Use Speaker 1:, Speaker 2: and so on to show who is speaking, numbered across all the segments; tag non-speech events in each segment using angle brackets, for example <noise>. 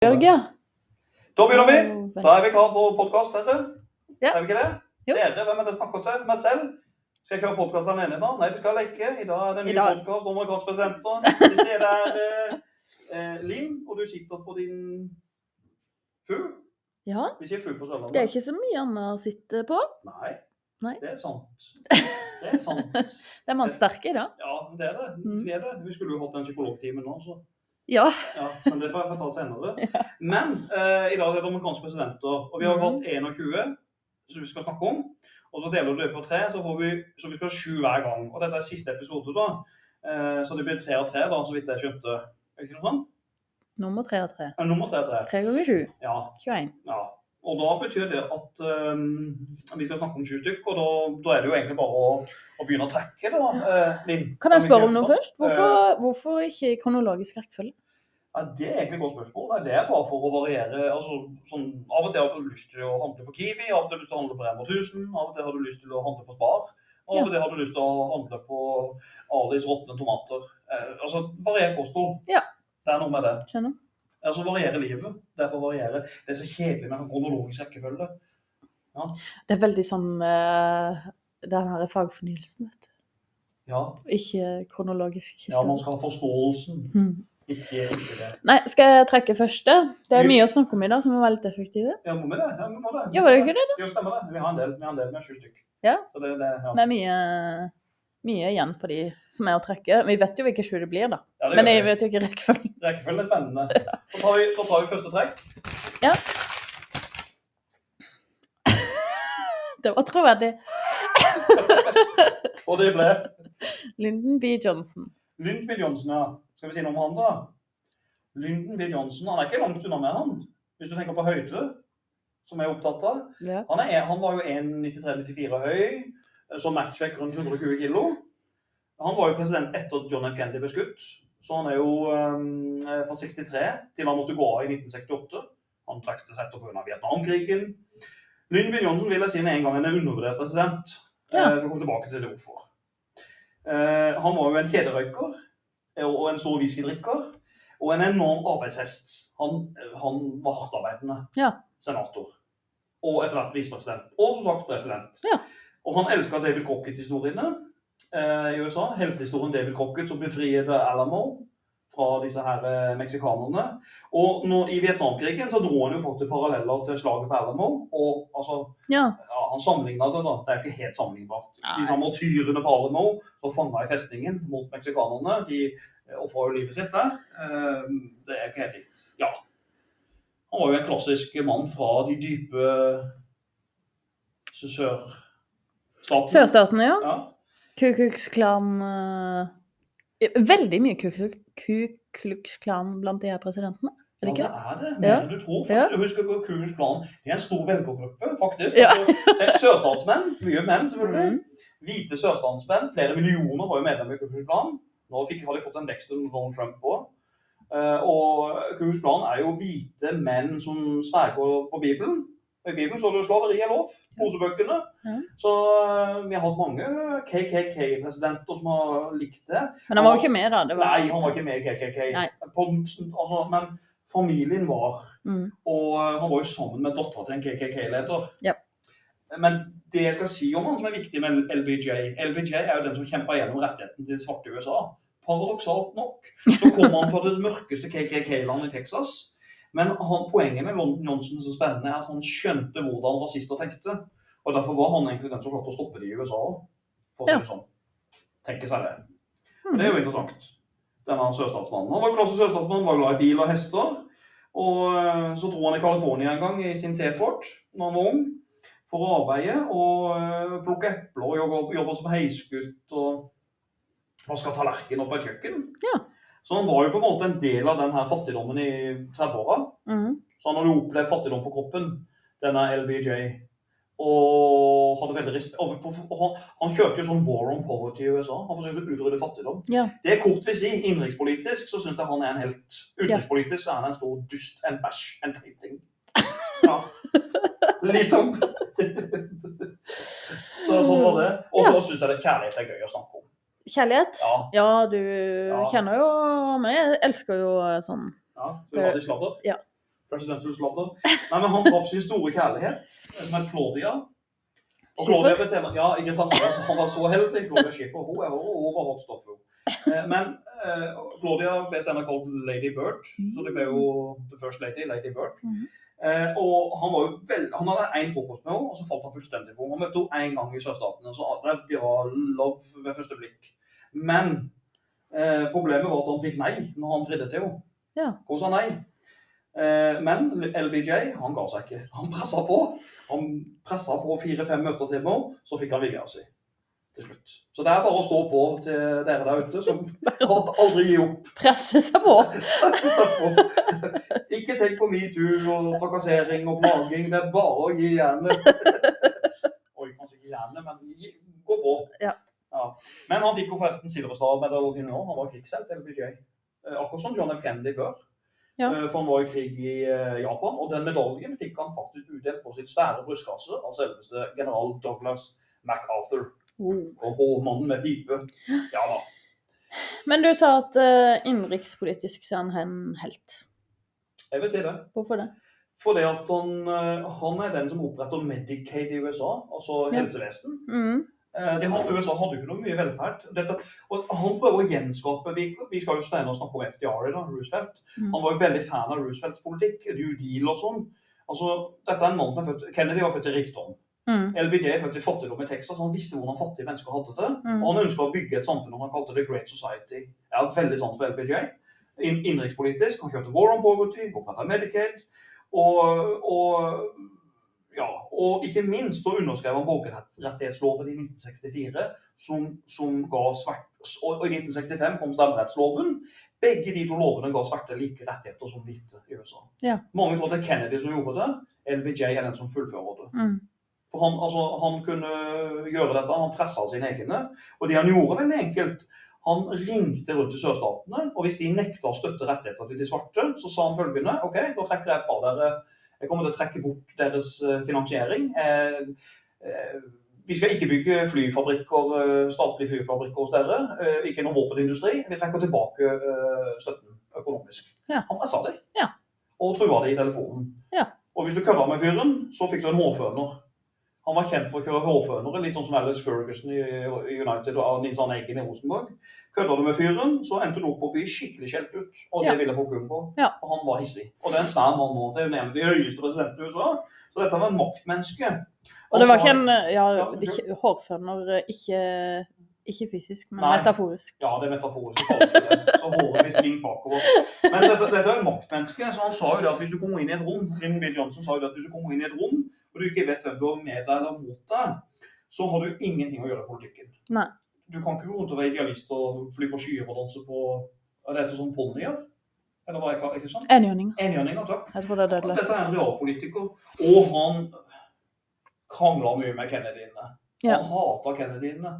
Speaker 1: Børge.
Speaker 2: Da begynner vi.
Speaker 1: Veldig-
Speaker 2: Da er vi klar for podkast, dere.
Speaker 1: Ja.
Speaker 2: Er vi ikke det?
Speaker 1: Jo.
Speaker 2: Dere, hvem er det jeg snakker til? Meg selv? Skal jeg kjøre podkast alene i dag? Nei, det skal jeg ikke. I dag er det en
Speaker 1: I
Speaker 2: ny
Speaker 1: dag-
Speaker 2: podkast om amerikanske presidenter. I stedet er det eh, Linn, og du sitter på din fu.
Speaker 1: Ja,
Speaker 2: Vi sier fu på Sørlandet.
Speaker 1: det er ikke så mye annet å sitte på.
Speaker 2: Nei.
Speaker 1: Nei.
Speaker 2: Det er
Speaker 1: <laughs>
Speaker 2: sant. Det er sant.
Speaker 1: Det er man sterke i dag.
Speaker 2: Ja, det er det.
Speaker 1: Mm.
Speaker 2: Vi er det. Vi skulle jo hatt en psykologtime nå, så
Speaker 1: Ja.
Speaker 2: Ja, men det får jeg få ta
Speaker 1: <laughs>
Speaker 2: senere. Men eh, i dag er det amerikanske presidenter, og vi har
Speaker 1: Mhm.
Speaker 2: hatt 21 som vi skal snakke om. Og så deler du det på tre, så, får vi, så vi skal ha sju hver gang. Og dette er siste episode, da. Eh, så det blir tre av tre, da, så vidt jeg skjønte. Er det ikke noe sånn?
Speaker 1: Nummer tre av tre.
Speaker 2: Eh, Nummer tre av tre.
Speaker 1: Tre ganger sju.
Speaker 2: Ja.
Speaker 1: 21.
Speaker 2: ja. Og da betyr det at eh, vi skal snakke om sju stykk, og da, da er det jo egentlig bare å, å begynne å trekke, da. eh, Linn.
Speaker 1: Kan jeg
Speaker 2: vi
Speaker 1: spørre
Speaker 2: gjøre
Speaker 1: om noe
Speaker 2: sånn?
Speaker 1: først? Hvorfor, hvorfor ikke i kronologisk rekkefølge?
Speaker 2: Ja, Det er egentlig et godt spørsmål. Nei, det er bare for å variere. altså sånn, Av og til har du lyst til å handle på Kiwi, av og til har du lyst til å handle på Rema 1000, av og til har du lyst til å handle på Spar, og av
Speaker 1: Ja.
Speaker 2: og til har du lyst til å handle på Alis råtne tomater. Eh, altså, Varier kosthold.
Speaker 1: Ja.
Speaker 2: Det er noe med det.
Speaker 1: Skjønner?
Speaker 2: Altså, Variere livet. Derfor variere. Det er så kjedelig med en kronologisk rekkefølge.
Speaker 1: Det er veldig som eh, den her fagfornyelsen, vet du.
Speaker 2: Ja,
Speaker 1: Ikke kronologisk.
Speaker 2: ja man
Speaker 1: historie.
Speaker 2: skal ha forståelsen,
Speaker 1: Hmm.
Speaker 2: ikke, ikke det.
Speaker 1: Nei, skal jeg trekke første? Det er
Speaker 2: Jo.
Speaker 1: mye å snakke om i dag, som er veldig effektive.
Speaker 2: Ja, må vi det? Ja, vi må det.
Speaker 1: Ja, var det ikke det?
Speaker 2: Jo, stemmer det. Vi har en del. Vi har en del med sju stykk.
Speaker 1: Ja.
Speaker 2: Så det, det, ja.
Speaker 1: Det er mye, mye igjen på de som er å trekke. Vi vet jo hvilke sju det blir, da.
Speaker 2: Ja, det
Speaker 1: Men
Speaker 2: gjør
Speaker 1: jeg
Speaker 2: vi.
Speaker 1: vet jo ikke rekkefølgen. <laughs>
Speaker 2: Rekkefølgen er spennende. Da tar vi, da tar vi første trekk.
Speaker 1: Det var troverdig.
Speaker 2: Og det ble
Speaker 1: Lyndon B. Johnson.
Speaker 2: Lyndby Johnson, ja. Skal vi si noe om han, da? Lyndon B. Johnson han er ikke langt unna med han. Hvis du tenker på høyde, som jeg er opptatt av.
Speaker 1: Ja.
Speaker 2: Han, er, han var jo 1,93-94 høy, så matchvekt rundt 120 kilo. Han var jo president etter at John F. Kennedy ble skutt. Så han er jo øhm, fra 63 til han måtte gå av i 1968. Han trakk til seg pga. Vietnamkrigen. Lyndby Johnson vil jeg si med en gang han er undervurdert president.
Speaker 1: Ja.
Speaker 2: Eh, Vi kommer tilbake til det hvorfor. Eh, Han var jo en kjederøyker eh, og en stor whiskydrikker. Og en enorm arbeidshest. Han, eh, han var hardtarbeidende
Speaker 1: Ja.
Speaker 2: senator. Og etter hvert visepresident. Og som sagt president.
Speaker 1: Ja.
Speaker 2: Og han elska David Crocket-historiene eh, i USA. Heltehistorien David Crocket som befriet Alamo fra disse her eh, meksikanerne. Og når, i Vietnamkrigen så dro han jo faktisk paralleller til slaget på Alamo. Og altså,
Speaker 1: ja.
Speaker 2: ja, han sammenligna det, da. Det er jo ikke helt sammenlignbart. De
Speaker 1: Nei.
Speaker 2: samme martyrene på Alamo som fanga i festningen mot meksikanerne, de eh, ofra jo livet sitt der. Eh, Det er ikke helt likt. Ja. Han var jo en klassisk mann fra de dype sørstatene.
Speaker 1: Sørstatene, ja.
Speaker 2: Ja.
Speaker 1: Ku Klux Klan eh, Veldig mye Ku Klux- Ku Klux Klan blant de her presidentene. Er det ikke?
Speaker 2: Ja, det er det.
Speaker 1: Ja.
Speaker 2: Men du tror
Speaker 1: Ja.
Speaker 2: faktisk, Husk på Kurs plan. Det er en stor velgergruppe, faktisk.
Speaker 1: Ja.
Speaker 2: Altså, tenk sørstatsmenn. Mye menn, selvfølgelig.
Speaker 1: Mm.
Speaker 2: Hvite sørstatsmenn. Flere millioner var jo medlemmer i Kurs plan. Nå fikk, har de fått en vekst under Donald Trump òg. og Kurs plan er jo hvite menn som sverger på Bibelen. I Bibelen så er det jo slaveri er lov. Mosebøkene.
Speaker 1: Ja.
Speaker 2: Så eh, vi har hatt mange KKK-presidenter som har likt det.
Speaker 1: Men han var jo ikke med, da. Det var...
Speaker 2: Nei, han var ikke med i KKK.
Speaker 1: Nei.
Speaker 2: På den- altså, men familien var
Speaker 1: Mm.
Speaker 2: Og eh, han var jo sammen med dattera til en KKK-leder.
Speaker 1: Ja.
Speaker 2: Men det jeg skal si om han som er viktig med LBJ LBJ er jo den som kjempa gjennom rettigheten til de svarte i USA. Paradoksalt nok så kom han fra det mørkeste KKK-landet i Texas. Men han, poenget med London Johnson er så spennende er at han skjønte hvordan rasister tenkte. Og derfor var han egentlig den som klarte å stoppe de i USA òg, for å si det sånn. Tenke seg det. Det
Speaker 1: Mm.
Speaker 2: er jo interessant. Denne sørstatsmannen. Han var klassisk sørstatsmann, var glad i bil og hester. Og eh, så dro han i California en gang i sin T-Fort når han var ung, for å arbeide og eh, plukke epler og jobbe, jobbe som heisgutt og vaske tallerken opp på et kjøkken.
Speaker 1: Ja.
Speaker 2: Så han var jo på en måte en del av den her fattigdommen i 30-åra.
Speaker 1: Mm.
Speaker 2: Så han hadde jo opplevd fattigdom på kroppen, denne LBJ. Og hadde veldig respekt og, og han, han kjørte jo sånn war on poverty i USA. Han forsøkte å utrydde fattigdom.
Speaker 1: Ja.
Speaker 2: Det er kort vil si. Innenrikspolitisk så syns jeg han er en helt. Utenrikspolitisk så er han en stor dust, en bæsj, en teiting. Ja. Liksom. <laughs> så sånn var det. Og så syns jeg det kjærlighet er gøy å snakke om.
Speaker 1: Kjærlighet?
Speaker 2: Ja.
Speaker 1: du
Speaker 2: Ja.
Speaker 1: kjenner jo Men jeg elsker jo eh, sånn
Speaker 2: Ja, så vi har de sladder.
Speaker 1: Ja.
Speaker 2: presidential slaughter. Nei, men han traff sin store kjærlighet, som er Claudia. Og Claudia
Speaker 1: Schiffer?
Speaker 2: ble senere, ja, ikke sant, han var så- han var så heldig, Claudia Schiffer. Hun er overhått stoff, hun. Eh, Men eh, Claudia ble senere kalt Lady Bird, så det ble jo the first lady, Lady Bird.
Speaker 1: Mhm.
Speaker 2: Eh, og han var jo vel, han hadde én frokost med henne, og så falt han fullstendig på henne. Han møtte henne én gang i sørstatene, så det- det var love ved første blikk. Men eh, problemet var at han fikk nei når han fridde til henne.
Speaker 1: Ja.
Speaker 2: Hun sa nei. Eh, men LBJ han ga seg ikke. Han pressa på. Han pressa på fire-fem møter til med henne, så fikk han vilja si til slutt. Så det er bare å stå på til dere der ute
Speaker 1: <laughs>
Speaker 2: som aldri gir opp.
Speaker 1: Presse seg på.
Speaker 2: <laughs> Ikke tenk på metoo og trakassering og plaging. Det er bare å gi
Speaker 1: <laughs>
Speaker 2: jernet. Oi, kanskje ikke jernet, men gi, gå på.
Speaker 1: Ja.
Speaker 2: Ja. Men han fikk jo forresten Silverstad-medaljen nå. Han var krigshelt, LBJ. Eh, Akkurat som John F. Kennedy før.
Speaker 1: Ja.
Speaker 2: Eh, For han var i krig i eh, Japan, og den medaljen fikk han faktisk utdelt på sitt svære brystkasse av selveste general Douglas MacArthur.
Speaker 1: Oh.
Speaker 2: Og hårmannen med pipe. Ja da.
Speaker 1: <laughs> Men du sa at eh, innenrikspolitisk så er han en helt.
Speaker 2: Jeg vil si det.
Speaker 1: Hvorfor det?
Speaker 2: Fordi at han, eh, han er den som oppretter Medicaid i USA, altså
Speaker 1: Ja.
Speaker 2: helsevesen.
Speaker 1: Mm.
Speaker 2: Eh, De hadde, USA hadde jo ikke noe mye velferd. Dette, og han prøver å gjenskape Vi, vi skal jo senere snakke om FDR i dag, Roosevelt.
Speaker 1: Mm.
Speaker 2: Han var jo veldig fan av Roosevelts politikk, New Deal og sånn. Altså, dette er en mann som er født Kennedy var født i rikdom.
Speaker 1: Mm.
Speaker 2: LBJ er født i fattigdom i Texas. Han visste hvordan fattige mennesker hadde det.
Speaker 1: Mm.
Speaker 2: Og han ønska å bygge et samfunn og han kalte det Great Society. Jeg har veldig sans for LBJ. Inn- Innenrikspolitisk. Han kjørte War on Poverty, oppretta Medicaid. Og, og, ja, og ikke minst så underskrev han borgerrettighetsloven i 1964, som, som ga svart, og, og i 1965 kom stemmerettsloven. Begge de to lovene ga svarte like rettigheter som hvite i USA.
Speaker 1: Ja.
Speaker 2: Mange tror det er Kennedy som gjorde det. LBJ er den som fullfører det.
Speaker 1: Mm.
Speaker 2: For han, altså, han kunne gjøre dette, han pressa sine egne. Og det han gjorde veldig enkelt, han ringte rundt til sørstatene, og hvis de nekta å støtte rettigheter til de svarte, så sa han følgende OK, da trekker jeg fra dere Jeg kommer til å trekke bort deres eh, finansiering. Eh, eh, vi skal ikke bygge flyfabrikker, eh, statlige flyfabrikker hos dere. Eh, ikke noe våpenindustri. Vi trekker tilbake eh, støtten økonomisk.
Speaker 1: Ja.
Speaker 2: Han pressa de.
Speaker 1: Ja.
Speaker 2: Og trua de i telefonen.
Speaker 1: Ja.
Speaker 2: Og hvis du kødda med fyren, så fikk du en hårføner. Han var kjent for å kjøre hårfønere, litt sånn som Alice Ferguson i i United og Nils Arne Eggen i Rosenborg. Kødda du med fyren, så endte du opp på å bli skikkelig skjelt ut, og det
Speaker 1: Ja.
Speaker 2: ville folk unngå.
Speaker 1: Ja.
Speaker 2: Og han var hissig. Og det er en svær mann nå. Det er jo nemlig de høyeste presidenten i USA. Så dette var en maktmenneske.
Speaker 1: Og det var
Speaker 2: så-
Speaker 1: ikke en eh, ja,
Speaker 2: Ja,
Speaker 1: det er ikke, hårføner eh, ikke, ikke fysisk, men
Speaker 2: Nei.
Speaker 1: metaforisk.
Speaker 2: Ja, det er metaforisk. det kalles jo det. Så håret blir svingt bakover. Men dette, dette er jo et maktmenneske, så han sa jo det at hvis du kommer inn i et rom Lyndon B. Johnson sa jo det at hvis du kommer inn i et rom og du ikke vet hvem du har med deg eller mot deg, så har du ingenting å gjøre i politikken.
Speaker 1: Nei.
Speaker 2: Du kan ikke gå rundt og være idealist og fly på skyer og danse på Er dette sånn ponnier? Eller hva er det? Ikke sant?
Speaker 1: Enhjørninger.
Speaker 2: Enhjørninger, takk.
Speaker 1: Jeg tror det er dødelig.
Speaker 2: Dette er en realpolitiker, og han krangla mye med Kennedyene.
Speaker 1: Ja.
Speaker 2: Han hata Kennedyene.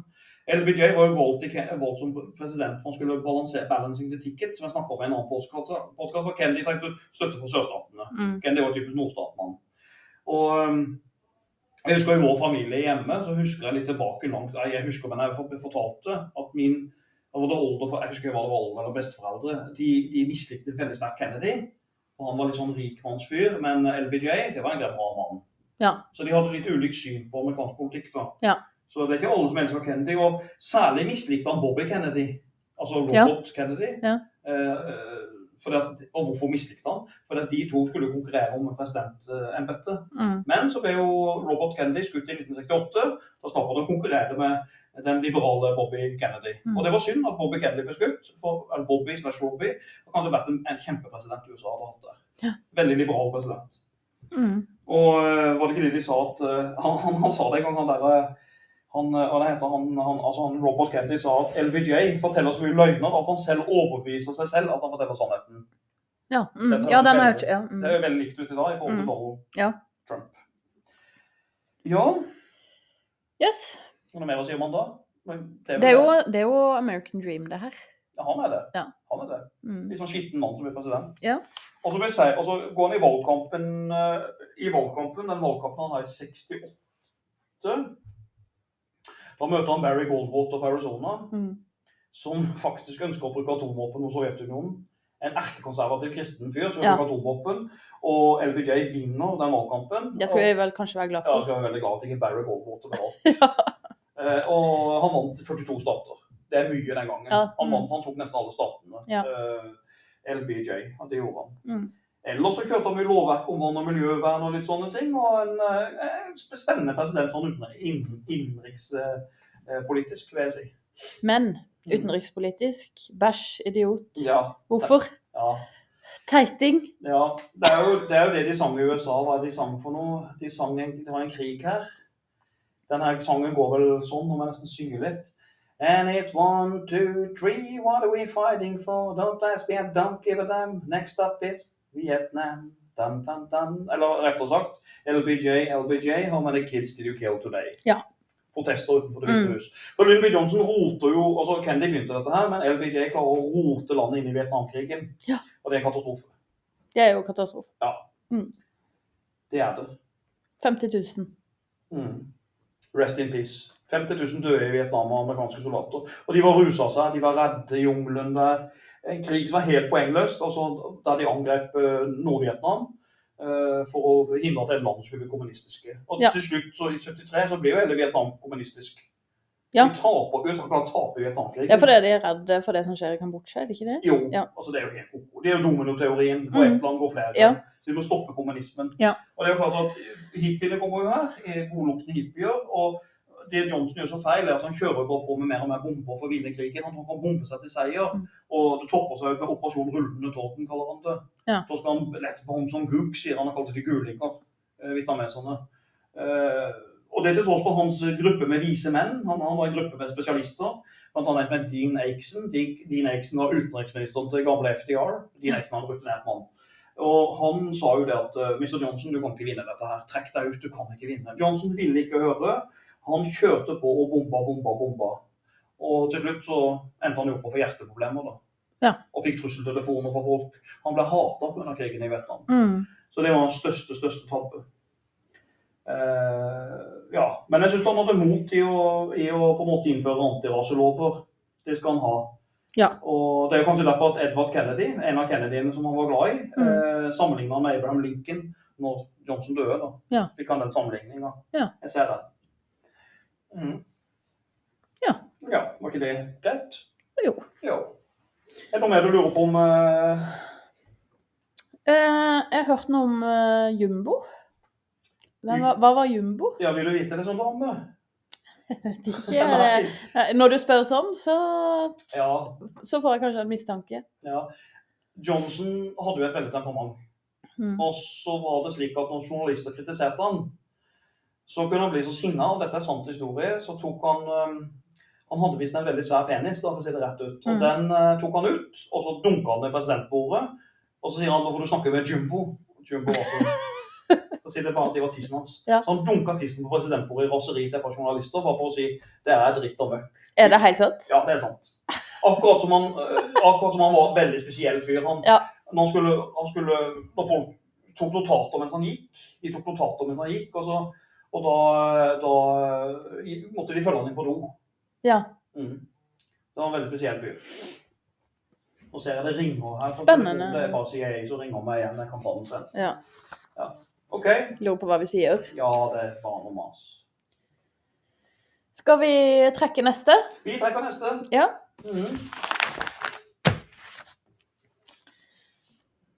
Speaker 2: LBJ var jo valgt, i, Ken- valgt som president for han skulle balansere 'balancing the ticket', som jeg snakka om i en annen podkast. hvor Kennedy trengte støtte fra sørstatene.
Speaker 1: Mm.
Speaker 2: Kennedy var typisk nordstatmann. Og um, jeg husker i vår familie hjemme, så husker jeg litt tilbake langt. Nei, Jeg husker, men jeg fort- fortalte at min da var det older, jeg husker hva det var older eller besteforeldre, de, de mislikte veldig sterkt Kennedy. Og han var litt sånn rikmannsfyr, men LBJ det var en grei bra mann.
Speaker 1: Ja.
Speaker 2: Så de hadde litt ulikt syn på amerikansk politikk. da.
Speaker 1: Ja.
Speaker 2: Så det er ikke alle som elsker Kennedy. Og særlig mislikte han Bobby Kennedy, altså
Speaker 1: Ja.
Speaker 2: Robert Kennedy.
Speaker 1: Ja.
Speaker 2: Eh, eh, fordi at, og hvorfor mislikte han? Fordi at de to skulle konkurrere om presidentembetet.
Speaker 1: Mm.
Speaker 2: Men så ble jo Robert Kennedy skutt i 1968. Da slapp han å konkurrere med den liberale Bobby Kennedy.
Speaker 1: Mm.
Speaker 2: Og det var synd at Bobby Kennedy ble skutt. For, eller Bobby slash Robbie har kanskje vært en, en kjempepresident USA hadde hatt der.
Speaker 1: Ja.
Speaker 2: Veldig liberal president.
Speaker 1: Mm.
Speaker 2: Og eh, var det ikke det de sa at eh, <laughs> han, han, han sa det en gang, han derre han, eh, hva det heter han, han, altså han, Robert Kennedy sa at LBJ forteller så mye løgner at han selv overbeviser seg selv at han forteller sannheten.
Speaker 1: Ja, mm.
Speaker 2: Dette er
Speaker 1: ja, den har jeg
Speaker 2: veldig-
Speaker 1: ikke ja,
Speaker 2: Det er
Speaker 1: mm.
Speaker 2: jo veldig likt ut i dag i forhold til
Speaker 1: Mm.
Speaker 2: Donald
Speaker 1: Ja.
Speaker 2: Trump. Ja,
Speaker 1: Yes.
Speaker 2: noe mer å si om han da? Men vel
Speaker 1: Det er, jo, det er jo American Dream, det her.
Speaker 2: Ja, han er det.
Speaker 1: Ja.
Speaker 2: Han er det.
Speaker 1: Mm.
Speaker 2: Litt sånn skitten mann som blir president.
Speaker 1: Ja.
Speaker 2: Og så blir seg, altså, går han i valgkampen, eh, i valgkampen, den valgkampen han har i 68, da møter han Barry Goldwater på Arizona,
Speaker 1: Mm.
Speaker 2: som faktisk ønsker å bruke atomvåpen mot Sovjetunionen. En erkekonservativ kristen fyr som
Speaker 1: Ja.
Speaker 2: bruker atomvåpen. Og LBJ vinner den valgkampen.
Speaker 1: Det skal vi vel kanskje være glad
Speaker 2: Ja, jeg
Speaker 1: for.
Speaker 2: skal være veldig glad at ikke Barry Goldwater
Speaker 1: <laughs>
Speaker 2: ble valgt. Eh, og han vant 42 stater. Det er mye den gangen.
Speaker 1: Ja,
Speaker 2: Han
Speaker 1: mm.
Speaker 2: vant, han tok nesten alle statene.
Speaker 1: Ja.
Speaker 2: Eh, LBJ, ja, det gjorde han.
Speaker 1: Mm.
Speaker 2: Ellers så kjørte han jo lovverk om vann og miljøvern og litt sånne ting. Og en eh, en spennende president sånn innenrikspolitisk, vil jeg si.
Speaker 1: Men utenrikspolitisk bæsj, idiot.
Speaker 2: Ja,
Speaker 1: Hvorfor?
Speaker 2: ja.
Speaker 1: Teiting.
Speaker 2: Ja, det er, jo, det er jo det de sang i USA. Hva er det de sang for noe? De sang en, Det var en krig her. Den her sangen går vel sånn, nå må jeg nesten synge litt. And it's one, two, three, what are we fighting for? Don't ask me, and don't give a damn. Next up is Vietnam. Dun, dun, dun. Eller rett og sagt, LBJ, LBJ, how many kids did you kill today?
Speaker 1: Ja.
Speaker 2: Protester utenfor Det hvite
Speaker 1: Mm.
Speaker 2: hus. For Lyndby Johnson roter jo, altså Kennedy begynte dette her, men LBJ klarer å rote landet inn i Vietnamkrigen.
Speaker 1: Ja.
Speaker 2: Og det er en katastrofe.
Speaker 1: Det er jo katastrofe.
Speaker 2: Det er det.
Speaker 1: 50 000.
Speaker 2: Mm. Rest in peace. 50 000 døde i Vietnam av amerikanske soldater. Og de var rusa seg, de var redde i jungelen der. En krig som var helt poengløst, altså da de angrep eh, Nord-Vietnam eh, for å hindre at hele land skulle bli kommunistiske. Og
Speaker 1: Ja.
Speaker 2: til slutt, så i 73, så blir jo hele Vietnam kommunistisk.
Speaker 1: Ja.
Speaker 2: De taper, USA klarer å tape Vietnamkrigen.
Speaker 1: Det er fordi de er redde for det som skjer i Kambodsja, er det ikke det?
Speaker 2: Jo,
Speaker 1: Ja.
Speaker 2: altså det er jo helt koko. Det er jo dominoteorien. På
Speaker 1: Mm.
Speaker 2: ett land går flere.
Speaker 1: Ja.
Speaker 2: Så vi må stoppe kommunismen.
Speaker 1: Ja.
Speaker 2: Og det er jo klart at Hippiene kommer jo her, er godluktende hippier. og det Johnson gjør så feil, er at han kjører bare på med mer og mer bomber for å vinne krigen. Han tror han kan bombe seg til seier.
Speaker 1: Mm.
Speaker 2: Og det topper seg med Operasjon rullende torden, kaller han det.
Speaker 1: Ja.
Speaker 2: Da skal han lette på ham som gugg, sier han. Han kalte de gulinger, eh, vietnameserne. Eh, og det til tross for hans gruppe med vise menn. Han, han var en gruppe med spesialister. Blant annet en som het Dean Aiksen. Dean Dean Aiksen var utenriksministeren til gamle FDR. Dean Aiksen var en rutinert mann. Og han sa jo det at eh, Mr. Johnson, du kan ikke vinne dette her. Trekk deg ut, du kan ikke vinne. Johnson ville ikke høre. Han kjørte på og bomba, bomba, bomba. Og til slutt så endte han jo på for hjerteproblemer, da.
Speaker 1: Ja.
Speaker 2: Og fikk trusseltelefoner fra folk. Han ble hata pga. krigen i Vietnam.
Speaker 1: Mm.
Speaker 2: Så det var hans største, største tabbe. Eh, ja. Men jeg syns han hadde mot i å, i å på en måte innføre antiraselover. Det skal han ha.
Speaker 1: Ja.
Speaker 2: Og det er kanskje derfor at Edvard Kennedy, en av Kennedyene som han var glad i,
Speaker 1: Mm.
Speaker 2: eh, sammenligna med Abraham Lincoln når Johnson døde. da.
Speaker 1: Ja.
Speaker 2: Vi kan den sammenligninga.
Speaker 1: Ja.
Speaker 2: Jeg ser den. Mm.
Speaker 1: Ja.
Speaker 2: ja. Var ikke det rett?
Speaker 1: Jo.
Speaker 2: Jo. Er det noe mer du lurer på om eh,
Speaker 1: Eh, jeg hørte noe om eh, jumbo. Hvem var, hva var jumbo?
Speaker 2: Ja, vil du vite det eh, som dame?
Speaker 1: Vet Ikke, eh, eh, når du spør sånn, så,
Speaker 2: Ja,
Speaker 1: så får jeg kanskje en mistanke.
Speaker 2: Ja. Johnson hadde jo et veldig temperament.
Speaker 1: Mm.
Speaker 2: Og så var det slik at når journalister kritiserte han, så kunne han bli så sinna, og dette er sant historie, så tok han øhm, Han hadde visst en veldig svær penis, da, for å si det rett ut. Og
Speaker 1: Mm.
Speaker 2: den øh, tok han ut, og så dunka han i presidentbordet. Og så sier han nå får du snakke med Jumbo. Jumbo var sånn.
Speaker 1: <laughs>
Speaker 2: Så sier det bare at det var tissen hans.
Speaker 1: Ja.
Speaker 2: Så han dunka tissen på presidentbordet i raseri til et par journalister, bare for å si det er dritt og møkk.
Speaker 1: Er det helt sant?
Speaker 2: Ja, det er sant. Akkurat som han, eh, akkurat som han var en veldig spesiell fyr. Han,
Speaker 1: Ja.
Speaker 2: når, han skulle, han skulle, når folk tok notater mens han gikk, de tok notater mens han gikk, og, så, og da, da eh, måtte de følge han inn på do.
Speaker 1: Ja.
Speaker 2: Mm. Det var en veldig spesiell fyr. Nå ser jeg det ringer her. på
Speaker 1: Spennende.
Speaker 2: telefonen. Det er bare CIA som ringer meg igjen. Jeg kan ta den selv.
Speaker 1: Ja.
Speaker 2: OK.
Speaker 1: Lurer på hva vi sier.
Speaker 2: Ja, det er bare noe mas.
Speaker 1: Skal vi trekke neste?
Speaker 2: Vi trekker neste.
Speaker 1: Ja.
Speaker 2: Mhm.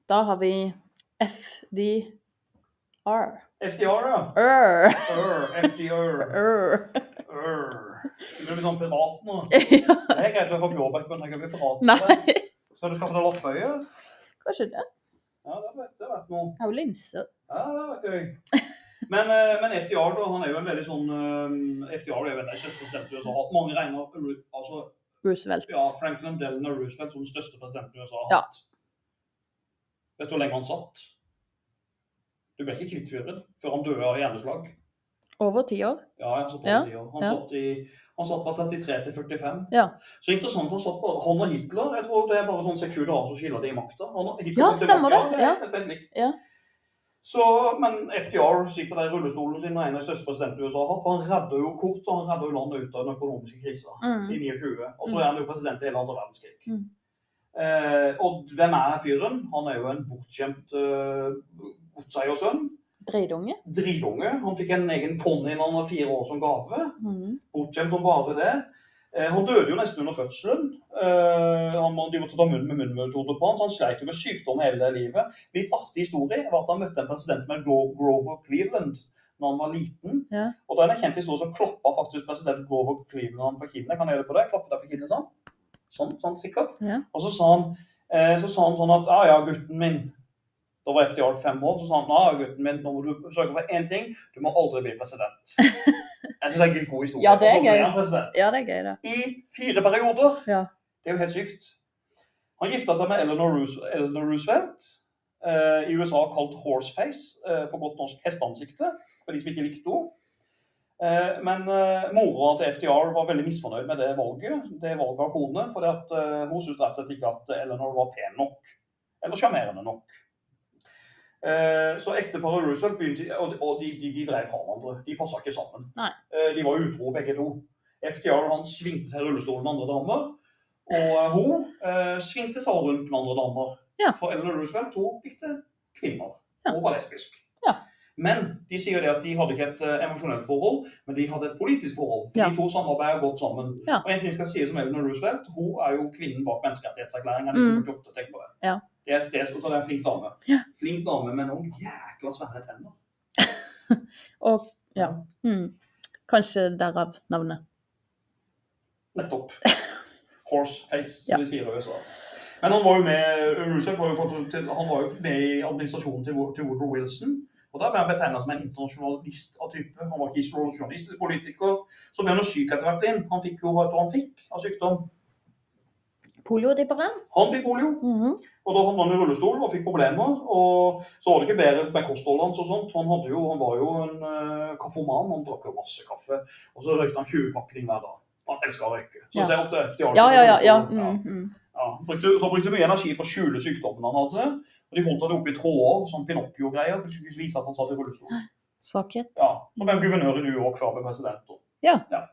Speaker 1: Da har vi FDR.
Speaker 2: FDR, ja.
Speaker 1: Ør.
Speaker 2: Ør, FDR.
Speaker 1: Ør.
Speaker 2: Ør. Du blir sånn pirat nå.
Speaker 1: Ja.
Speaker 2: Det er greit å få blåbær, men jeg kan bli pirat.
Speaker 1: <laughs> <laughs> Nei,
Speaker 2: Skal du skaffe deg loppøye?
Speaker 1: kanskje det.
Speaker 2: Ja, det vet det vet noe.
Speaker 1: Jeg har jo linser.
Speaker 2: Ja, det vet
Speaker 1: <laughs>
Speaker 2: gøy. Men, eh, men FDR da, han er jo en veldig sånn eh, FDR er jo en største president i USA. har hatt. Mange regner Ru- altså,
Speaker 1: Roosevelt.
Speaker 2: ja, Franklin Delano Roosevelt som den største presidenten USA har
Speaker 1: Ja.
Speaker 2: hatt. Vet du hvor lenge han satt? Du ble ikke kvitt fyren før han døde av hjerneslag.
Speaker 1: Over ti år.
Speaker 2: Ja, jeg satt på
Speaker 1: Ja,
Speaker 2: den tida. Han,
Speaker 1: ja.
Speaker 2: satt i, han satt fra 33 til 45.
Speaker 1: Ja.
Speaker 2: Så interessant, han satt bare Han og Hitler, jeg tror det er bare sånn seks-sju dager som skiller de i makta. Han og Hitler
Speaker 1: Ja,
Speaker 2: kom tilbake,
Speaker 1: stemmer det.
Speaker 2: Ja,
Speaker 1: Ja.
Speaker 2: det er nesten likt.
Speaker 1: Ja.
Speaker 2: Så, men FDR sitter der i rullestolen sin og er en av de største presidentene USA har hatt. For han redder jo kort, og han redder jo landet ut av den økonomiske krisa
Speaker 1: Mm.
Speaker 2: i 29. Og så
Speaker 1: Mm.
Speaker 2: er han jo president i hele andre verdenskrig.
Speaker 1: Mm.
Speaker 2: Eh, og hvem er den fyren? Han er jo en bortskjemt eh, godseiersønn.
Speaker 1: Dritunge.
Speaker 2: Dritunge. Han fikk en egen ponni da han var fire år som gave.
Speaker 1: Mm.
Speaker 2: Bortskjemt om bare det. Eh, han døde jo nesten under fødselen. Eh, han, må- de måtte ta munn med munnmetode på han, så han sleit jo med sykdom hele livet. Litt artig historie var at han møtte en president med Gro- Grover Cleveland når han var liten.
Speaker 1: Ja.
Speaker 2: Og da er det en kjent historie som klappa faktisk president Grover Cleveland på kinnet. Kan jeg gjøre det på deg? Klappe deg på kinnet sånn? Sånn, sånn sikkert.
Speaker 1: Ja.
Speaker 2: Og så sa han, eh, så sa han sånn at ja, ja, gutten min. Da var FDR fem år. Så sa han ja, gutten min, nå må du sørge for én ting. Du må aldri bli
Speaker 1: <laughs>
Speaker 2: president. Jeg syns det er en god historie.
Speaker 1: Ja, det er
Speaker 2: Og så ble
Speaker 1: gøy.
Speaker 2: han president
Speaker 1: ja, det er gøy, det.
Speaker 2: i fire perioder.
Speaker 1: Ja.
Speaker 2: Det er jo helt sykt. Han gifta seg med Eleanor, Roos Eleanor Roosevelt, eh, i USA kalt horseface, eh, på godt norsk hesteansikte, for de som ikke likte henne. Eh, men eh, mora til FDR var veldig misfornøyd med det valget, det valget av kone, fordi at eh, hun syntes rett og slett ikke at Eleanor var pen nok, eller sjarmerende nok. Eh, så ekteparet Roosevelt begynte, og, og de, de, de drev fra hverandre. De passa ikke sammen.
Speaker 1: Nei.
Speaker 2: Eh, de var utro begge to. FDR han svingte seg i rullestolen med andre damer. Og eh, hun eh, svingte seg rundt med andre damer.
Speaker 1: Ja.
Speaker 2: For Eleanor Roosevelt hun likte kvinner.
Speaker 1: Ja.
Speaker 2: Hun var lesbisk.
Speaker 1: Ja.
Speaker 2: Men de sier det at de hadde ikke et eh, emosjonelt forhold, men de hadde et politisk forhold.
Speaker 1: Ja.
Speaker 2: De to samarbeider godt sammen.
Speaker 1: Ja.
Speaker 2: Og en ting skal sies om Eleanor Roosevelt, hun er jo kvinnen bak menneskerettighetserklæringen.
Speaker 1: Mm.
Speaker 2: 1948, tenk på det.
Speaker 1: Ja.
Speaker 2: Det er, det er, så det er en flink dame.
Speaker 1: Ja.
Speaker 2: Flink dame med noen jækla svære tenner.
Speaker 1: Og ja. Mm. Kanskje derav navnet. <laughs>
Speaker 2: Nettopp. Horse face, som
Speaker 1: Ja.
Speaker 2: de sier i USA. Men han var jo med Roosevelt var jo, fått til- han var jo med i administrasjonen til, Wo- til Woodrow Wilson. Og da ble han betegnet som en internasjonalist av type. Han var ikke isolasjonistisk politiker. Så ble han jo syk etter hvert. inn. Han fikk jo hva han fikk av sykdom.
Speaker 1: Poliodipperen?
Speaker 2: Han fikk polio.
Speaker 1: Mm.
Speaker 2: Og da havna han i rullestol og fikk problemer. Og så var det ikke bedre med kostholdet hans og sånt. Han, hadde jo, han var jo en eh, kaffeman. Han drakk jo masse kaffe. Og så røykte han 20 pakning hver dag. Han elska å røyke. Så
Speaker 1: Ja.
Speaker 2: ser jeg ofte FDR
Speaker 1: Ja, ja, ja. ja.
Speaker 2: Ja.
Speaker 1: Mm, mm.
Speaker 2: Ja, brukte, så brukte mye energi på å skjule sykdommen han hadde. Og de holdt han oppe i tråder, sånn Pinocchio-greier, for de skulle ikke vise at han satt i rullestol.
Speaker 1: Svakhet.
Speaker 2: Ja, Så ble han guvernør i New York før han ble president. da.
Speaker 1: Ja.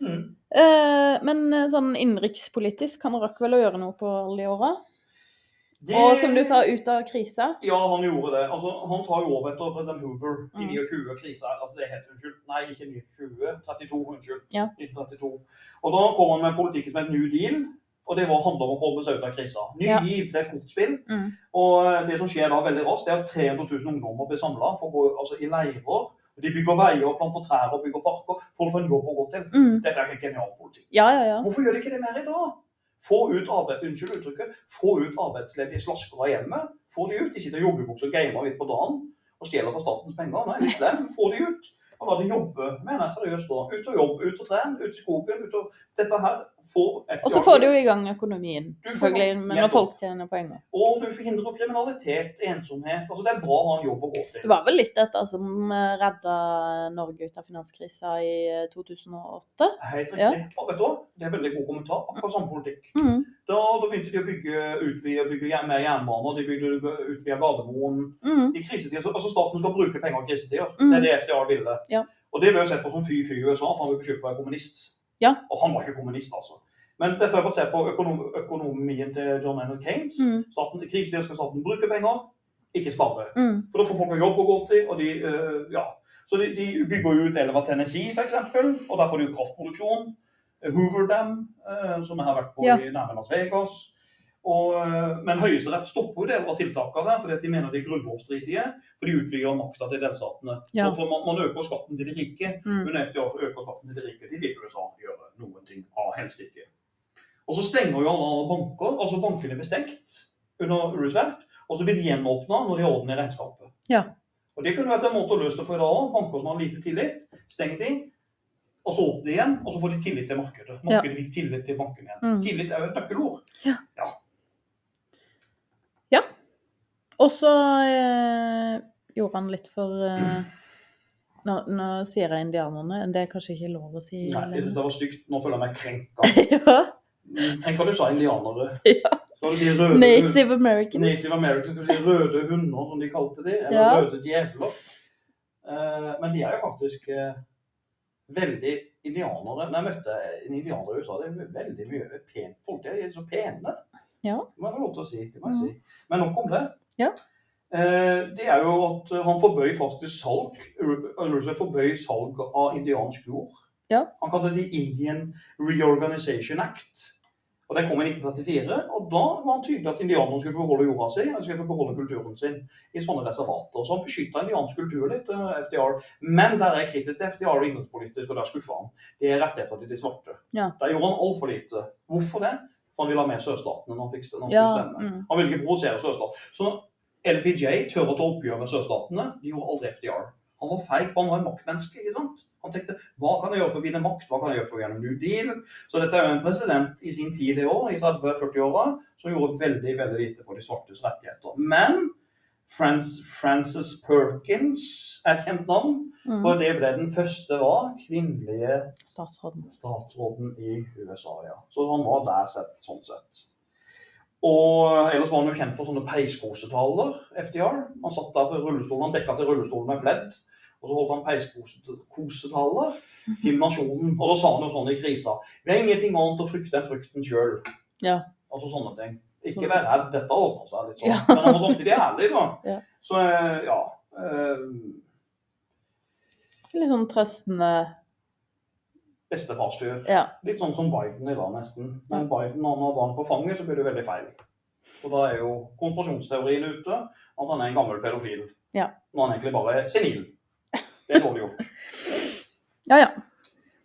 Speaker 2: Mm.
Speaker 1: Eh, men eh, sånn innenrikspolitisk, han rakk vel å gjøre noe på alle de åra?
Speaker 2: Det-
Speaker 1: Og som du sa, ut av krisa.
Speaker 2: Ja, han gjorde det. Altså, han tar jo over etter president Hoover i
Speaker 1: Mm.
Speaker 2: 29 kriser. Altså, det heter unnskyld. Nei, ikke 29. 32, unnskyld.
Speaker 1: Ja.
Speaker 2: 1932. Og da kom han med politikken som et New Deal, og det var, handler om å komme seg ut av krisa. Ny
Speaker 1: Ja.
Speaker 2: giv, det er et kortspill.
Speaker 1: Mm.
Speaker 2: Og eh, det som skjer da veldig raskt, det er at 300 000 ungdommer blir samla altså, i leirer. Og De bygger veier, planter trær og bygger parker for å få en jobb å gå til.
Speaker 1: Mm.
Speaker 2: Dette er helt genial politikk.
Speaker 1: Ja, ja, ja.
Speaker 2: Hvorfor gjør de ikke det mer i dag? Få ut, arbeid, unnskyld uttrykket, få ut arbeidsledige slasker av hjemmet. Få de ut. De sitter i joggebukse og gamer litt på dagen og stjeler fra statens penger. Nei, litt slem. Få de ut. Og la de jobbe, mener jeg seriøst da. Ut og jobb, ut og tren, ut i skogen. ut og... Dette her får
Speaker 1: Og så får du jo i gang økonomien,
Speaker 2: Du får-
Speaker 1: selvfølgelig, men når folk tjener penger.
Speaker 2: Og du forhindrer kriminalitet, ensomhet. Altså, det er bra å ha en jobb å gå til.
Speaker 1: Det var vel litt dette som eh, redda Norge ut av finanskrisa i eh, 2008?
Speaker 2: Helt riktig. Og vet du hva? Det er veldig god kommentar. Akkurat samme politikk.
Speaker 1: Mm.
Speaker 2: Da, da begynte de å bygge, utvide, bygge jern- mer jernbaner, de bygde utvide Gardermoen.
Speaker 1: Mm.
Speaker 2: I krisetider, så- altså Staten skal bruke penger i krisetider.
Speaker 1: Mm.
Speaker 2: Det er det FDR ville.
Speaker 1: Ja.
Speaker 2: Og det ble jo sett på som fy-fy i USA, for han ble beskyldt for å være kommunist.
Speaker 1: Ja.
Speaker 2: Og han var ikke kommunist, altså. Men dette er basert på økonom økonomien til John Maynard Keynes.
Speaker 1: Mm.
Speaker 2: Staten, I krisetider skal staten bruke penger, ikke spare.
Speaker 1: Mm.
Speaker 2: For da får folk en jobb å gå til, og de eh, ja. Så de, de bygger jo ut elva Tennessee, f.eks., og der får de jo kraftproduksjon. Hoover Dam, eh, som jeg har vært på
Speaker 1: Ja.
Speaker 2: i nærme Las Vegas. Og, eh, men Høyesterett stopper jo deler av tiltakene der, fordi at de mener de er grunnlovsstridige. For de utvider makta til delstatene.
Speaker 1: Ja.
Speaker 2: Og For man, man øker skatten til de rike,
Speaker 1: Mm.
Speaker 2: men FDR øker skatten til de rike. De vil jo USA gjøre noen ting av helst ikke. Og så stenger jo alle andre banker. Altså bankene blir stengt under Roosevelt, og så blir de gjenåpna når de har orden i regnskapet.
Speaker 1: Ja.
Speaker 2: Og det kunne vært en måte å løse det på i dag òg. Banker som har lite tillit, stenger de. Og så åpner de igjen, og så får de tillit til markedet. Markedet fikk tillit til bankene igjen.
Speaker 1: Mm.
Speaker 2: Tillit er jo et nøkkelord.
Speaker 1: Og så eh, gjorde han litt for eh, nå, nå sier jeg indianerne, det er kanskje ikke lov å si
Speaker 2: Nei, jeg synes
Speaker 1: lenger.
Speaker 2: det var stygt. Nå føler jeg meg
Speaker 1: <laughs>
Speaker 2: krenka.
Speaker 1: ja.
Speaker 2: Tenk hva du sa, indianere.
Speaker 1: Ja.
Speaker 2: Skal du si røde
Speaker 1: Native Americans.
Speaker 2: Native Americans skulle si røde hunder, som de kalte de, eller
Speaker 1: Ja.
Speaker 2: røde djevler. Eh, men de er jo faktisk eh, veldig indianere. Når jeg møtte en indianer i USA, det er veldig mye pent folk. De er så pene.
Speaker 1: Ja.
Speaker 2: Det må jeg få lov til å si. Det må jeg si. Men nok om det.
Speaker 1: Ja.
Speaker 2: Eh, det er jo at han forbøy faktisk salg Ru- Roosevelt forbøy salg av indiansk jord.
Speaker 1: Ja.
Speaker 2: Han kalte det Indian Reorganization Act. Og Det kom i 1934, og da var han tydelig at indianerne skulle få beholde jorda si og skulle få beholde kulturen sin i sånne reservater. sånn, Så han beskytta indiansk kultur litt, eh, FDR. Men der er jeg kritisk til FDR innenrikspolitisk, og der skuffa han. Det er rettigheter til de svarte.
Speaker 1: Ja.
Speaker 2: Der gjorde han altfor lite. Hvorfor det? For han ville ha med sørstatene når han fikk når han skulle
Speaker 1: Ja,
Speaker 2: stemme.
Speaker 1: mm.
Speaker 2: Han ville ikke provosere sørstaten. Så LBJ tør å ta oppgjør med sørstatene. De gjorde aldri FDR. Han var feig, for han var en maktmenneske. ikke sant? Han tenkte hva kan jeg gjøre for å vinne makt, hva kan jeg gjøre for å vinne New Deal? Så dette er jo en president i sin tid det år, i 30-40-åra, som gjorde veldig veldig lite for de svartes rettigheter. Men Frans- Frances Perkins er et kjent navn,
Speaker 1: Mm.
Speaker 2: for det ble den første hva, kvinnelige
Speaker 1: Statsråden.
Speaker 2: statsråden i USA, ja. Så han var der sett, sånn sett. Og ellers var han jo kjent for sånne peiskosetaler, FDR. Han satt der på rullestolen, han dekka til rullestolen med pledd. Og så holdt han peiskosetaler til nasjonen. Og da sa han jo sånn i krisa Vi har ingenting annet å frykte enn frykten sjøl.
Speaker 1: Ja.
Speaker 2: Altså sånne ting. Ikke vær redd, dette ordner seg litt sånn.
Speaker 1: Ja.
Speaker 2: Men han var samtidig ærlig, da.
Speaker 1: <laughs> Ja.
Speaker 2: Så eh, ja. eh,
Speaker 1: Litt sånn trøstende
Speaker 2: Bestefars fyr.
Speaker 1: Ja.
Speaker 2: Litt sånn som Biden i dag, nesten. Men Biden han har barn på fanget, så blir det veldig feil. Og da er jo konspirasjonsteorien ute, at han er en gammel pedofil.
Speaker 1: Ja.
Speaker 2: Når han egentlig bare er senil. Det er dårlig gjort.
Speaker 1: <laughs> Ja, ja.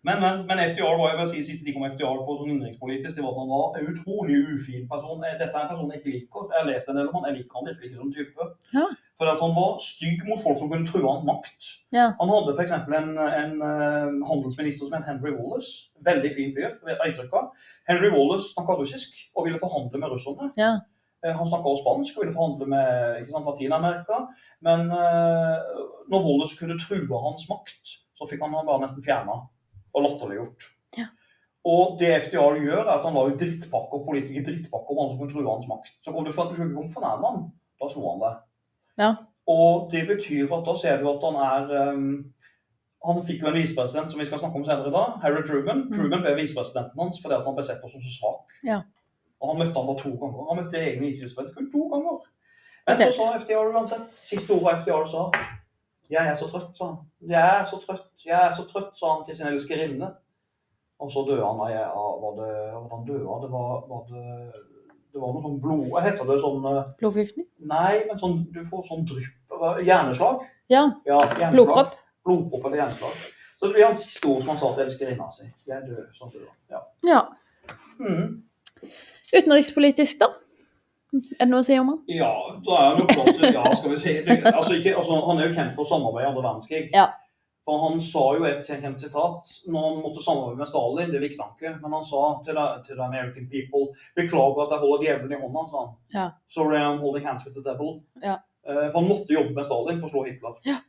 Speaker 2: Men, men, men FDR var jeg vil si siste ting om FDR på sånn innenrikspolitisk, det var at han var en utrolig ufin person. Eh, Dette er en person jeg ikke liker. Jeg har lest en del om han, jeg liker han virkelig ikke som type.
Speaker 1: Ja.
Speaker 2: For at han var stygg mot folk som kunne true hans makt.
Speaker 1: Ja.
Speaker 2: Han hadde f.eks. en, en eh, handelsminister som het Henry Wallace. Veldig fin fyr. vet jeg inntrykk av. Henry Wallace snakka russisk og ville forhandle med russerne.
Speaker 1: Ja.
Speaker 2: Eh, Han snakka også spansk og ville forhandle med ikke sant, Latin-Amerika. Men eh, når Wallace kunne true hans makt, så fikk han han bare nesten fjerna og latterliggjort.
Speaker 1: Ja.
Speaker 2: Og det FDR gjør, er at han lar jo drittpakker, politikere drittpakker om han som kunne true hans makt. Så kom det for at du skulle ikke komme fornærme han. Da slo han deg.
Speaker 1: Ja.
Speaker 2: Og det betyr at da ser du at han er ehm, Han fikk jo en visepresident som vi skal snakke om senere i dag, Harry Truman.
Speaker 1: Mm.
Speaker 2: Truman ble visepresidenten hans fordi at han ble sett på som så svak.
Speaker 1: Ja.
Speaker 2: Og han møtte han bare to ganger. Han møtte egne visepresidenter kun to ganger.
Speaker 1: Det er
Speaker 2: Men så
Speaker 1: tett.
Speaker 2: sa FDR uansett. Siste ordet FDR sa Jeg er så trøtt, sa han. Jeg er så trøtt, jeg er så trøtt, sa han til sin elskerinne. Og så døde han av jeg- av- var det, Hvordan døde han? Det var, var det, det var noe sånn blod... Hva heter det? Sånn eh,
Speaker 1: Blodforgiftning?
Speaker 2: Nei, men sånn, du får sånn drypp hva- Hjerneslag?
Speaker 1: Ja.
Speaker 2: Ja, hjerneslag.
Speaker 1: Blodpropp?
Speaker 2: Blodpropp eller hjerneslag. Så det blir hans siste ord som han sa til elskerinna si. Jeg dør som du da. Ja.
Speaker 1: Ja.
Speaker 2: Mm.
Speaker 1: Utenrikspolitisk, da? Er det noe å si om han?
Speaker 2: ja, da er han jo plass til Ja, skal vi si. Det, altså, ikke, altså, han er jo kjent for samarbeid i andre verdenskrig.
Speaker 1: Ja.
Speaker 2: For han sa jo et kjent sitat når han måtte samarbeide med Stalin, det likte han ikke, men han sa til, til the American people Beklager at jeg holder djevelen i hånda, sa han.
Speaker 1: Ja.
Speaker 2: Sorry, I'm holding hands with the devil.
Speaker 1: Ja.
Speaker 2: Eh, For han måtte jobbe med Stalin for å slå Hitler.
Speaker 1: Ja.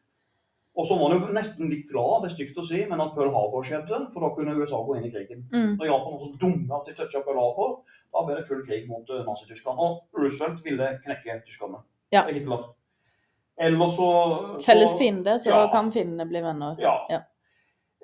Speaker 2: Og så var han jo nesten litt glad, det er stygt å si, men at Pearl Harbor skjedde, for da kunne USA gå inn i krigen.
Speaker 1: Mm.
Speaker 2: Når Japan var så dumme at de toucha Pearl Harbor, da ble det full krig mot eh, Nazi-Tyskland. Og Roosevelt ville knekke tyskerne.
Speaker 1: Ja.
Speaker 2: Hitler. Eller så, så
Speaker 1: Felles fiende, så
Speaker 2: Ja.
Speaker 1: kan fiendene bli venner.
Speaker 2: Ja.
Speaker 1: Ja.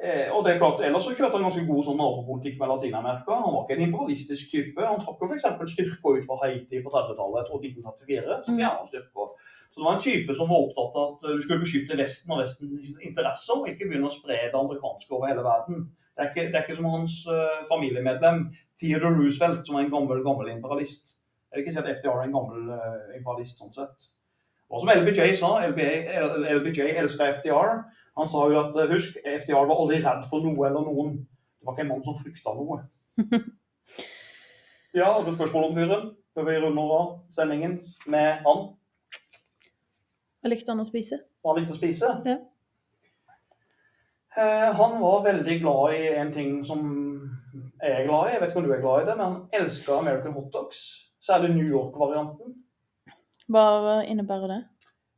Speaker 2: Eh, og det er klart, Ellers så kjørte han ganske god sånn nabopolitikk med Latin-Amerika. Han var ikke en imperialistisk type. Han trakk jo f.eks. styrker ut fra Haiti på 30-tallet, jeg tror 1934. Så
Speaker 1: Mm.
Speaker 2: fjerna han styrker. Så det var en type som var opptatt av at eh, du skulle beskytte Vesten og Vestens interesser, og ikke begynne å spre det amerikanske over hele verden. Det er ikke, det er ikke som hans eh, familiemedlem Theodore Roosevelt, som er en gammel, gammel imperialist. Jeg vil ikke si at FDR er en gammel eh, imperialist sånn sett. Og som LBJ sa, LBJ, LBJ elska FDR. Han sa jo at eh, husk, FDR var aldri redd for noe eller noen. Det var ikke en mann som frykta
Speaker 1: <laughs>
Speaker 2: noe. Ja, har du spørsmål om fyren? Før vi runder av sendingen med han.
Speaker 1: Hva likte han å spise?
Speaker 2: Hva han likte å spise?
Speaker 1: Ja.
Speaker 2: Eh, han var veldig glad i en ting som jeg er glad i. Jeg vet ikke om du er glad i det, men han elska American hotdogs. Særlig New York-varianten.
Speaker 1: Hva innebærer det?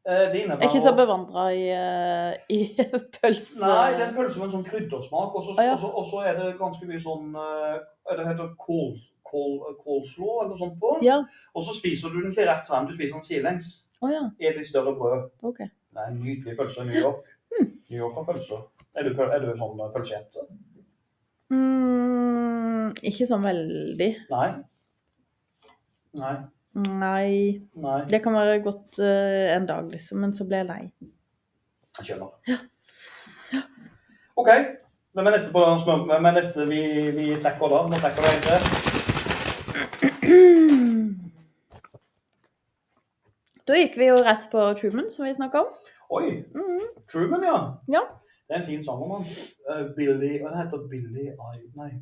Speaker 2: Eh, det innebærer
Speaker 1: Jeg er ikke så bevandra i, eh, i <laughs> pølse...
Speaker 2: Nei, det er en pølse med en sånn kryddersmak. Og så
Speaker 1: Å, ja.
Speaker 2: og så- og så er det ganske mye sånn eh, Det heter kål, kål, kålslå eller noe sånt på.
Speaker 1: Ja.
Speaker 2: Og så spiser du den ikke rett frem, du spiser den sidelengs.
Speaker 1: Å ja.
Speaker 2: I et litt større brød.
Speaker 1: OK.
Speaker 2: Det er en nydelig pølse i New York.
Speaker 1: Hmm.
Speaker 2: New York har pølser. Er du, pøl- er du sånn eh, pølsejente?
Speaker 1: Mm, ikke sånn veldig.
Speaker 2: Nei. Nei.
Speaker 1: Nei.
Speaker 2: Nei.
Speaker 1: Det kan være godt eh, en dag, liksom, men så blir jeg lei.
Speaker 2: Jeg skjønner. OK. Hvem er neste, på den smør- Hvem er neste vi, vi trekker da? Nå trekker du egentlig.
Speaker 1: <clears throat> Da gikk vi jo rett på Truman, som vi snakka om.
Speaker 2: Oi!
Speaker 1: Mhm.
Speaker 2: Truman, ja.
Speaker 1: Ja.
Speaker 2: Det er en fin sang om han. Eh, Billy Hva heter Billy I... Nei.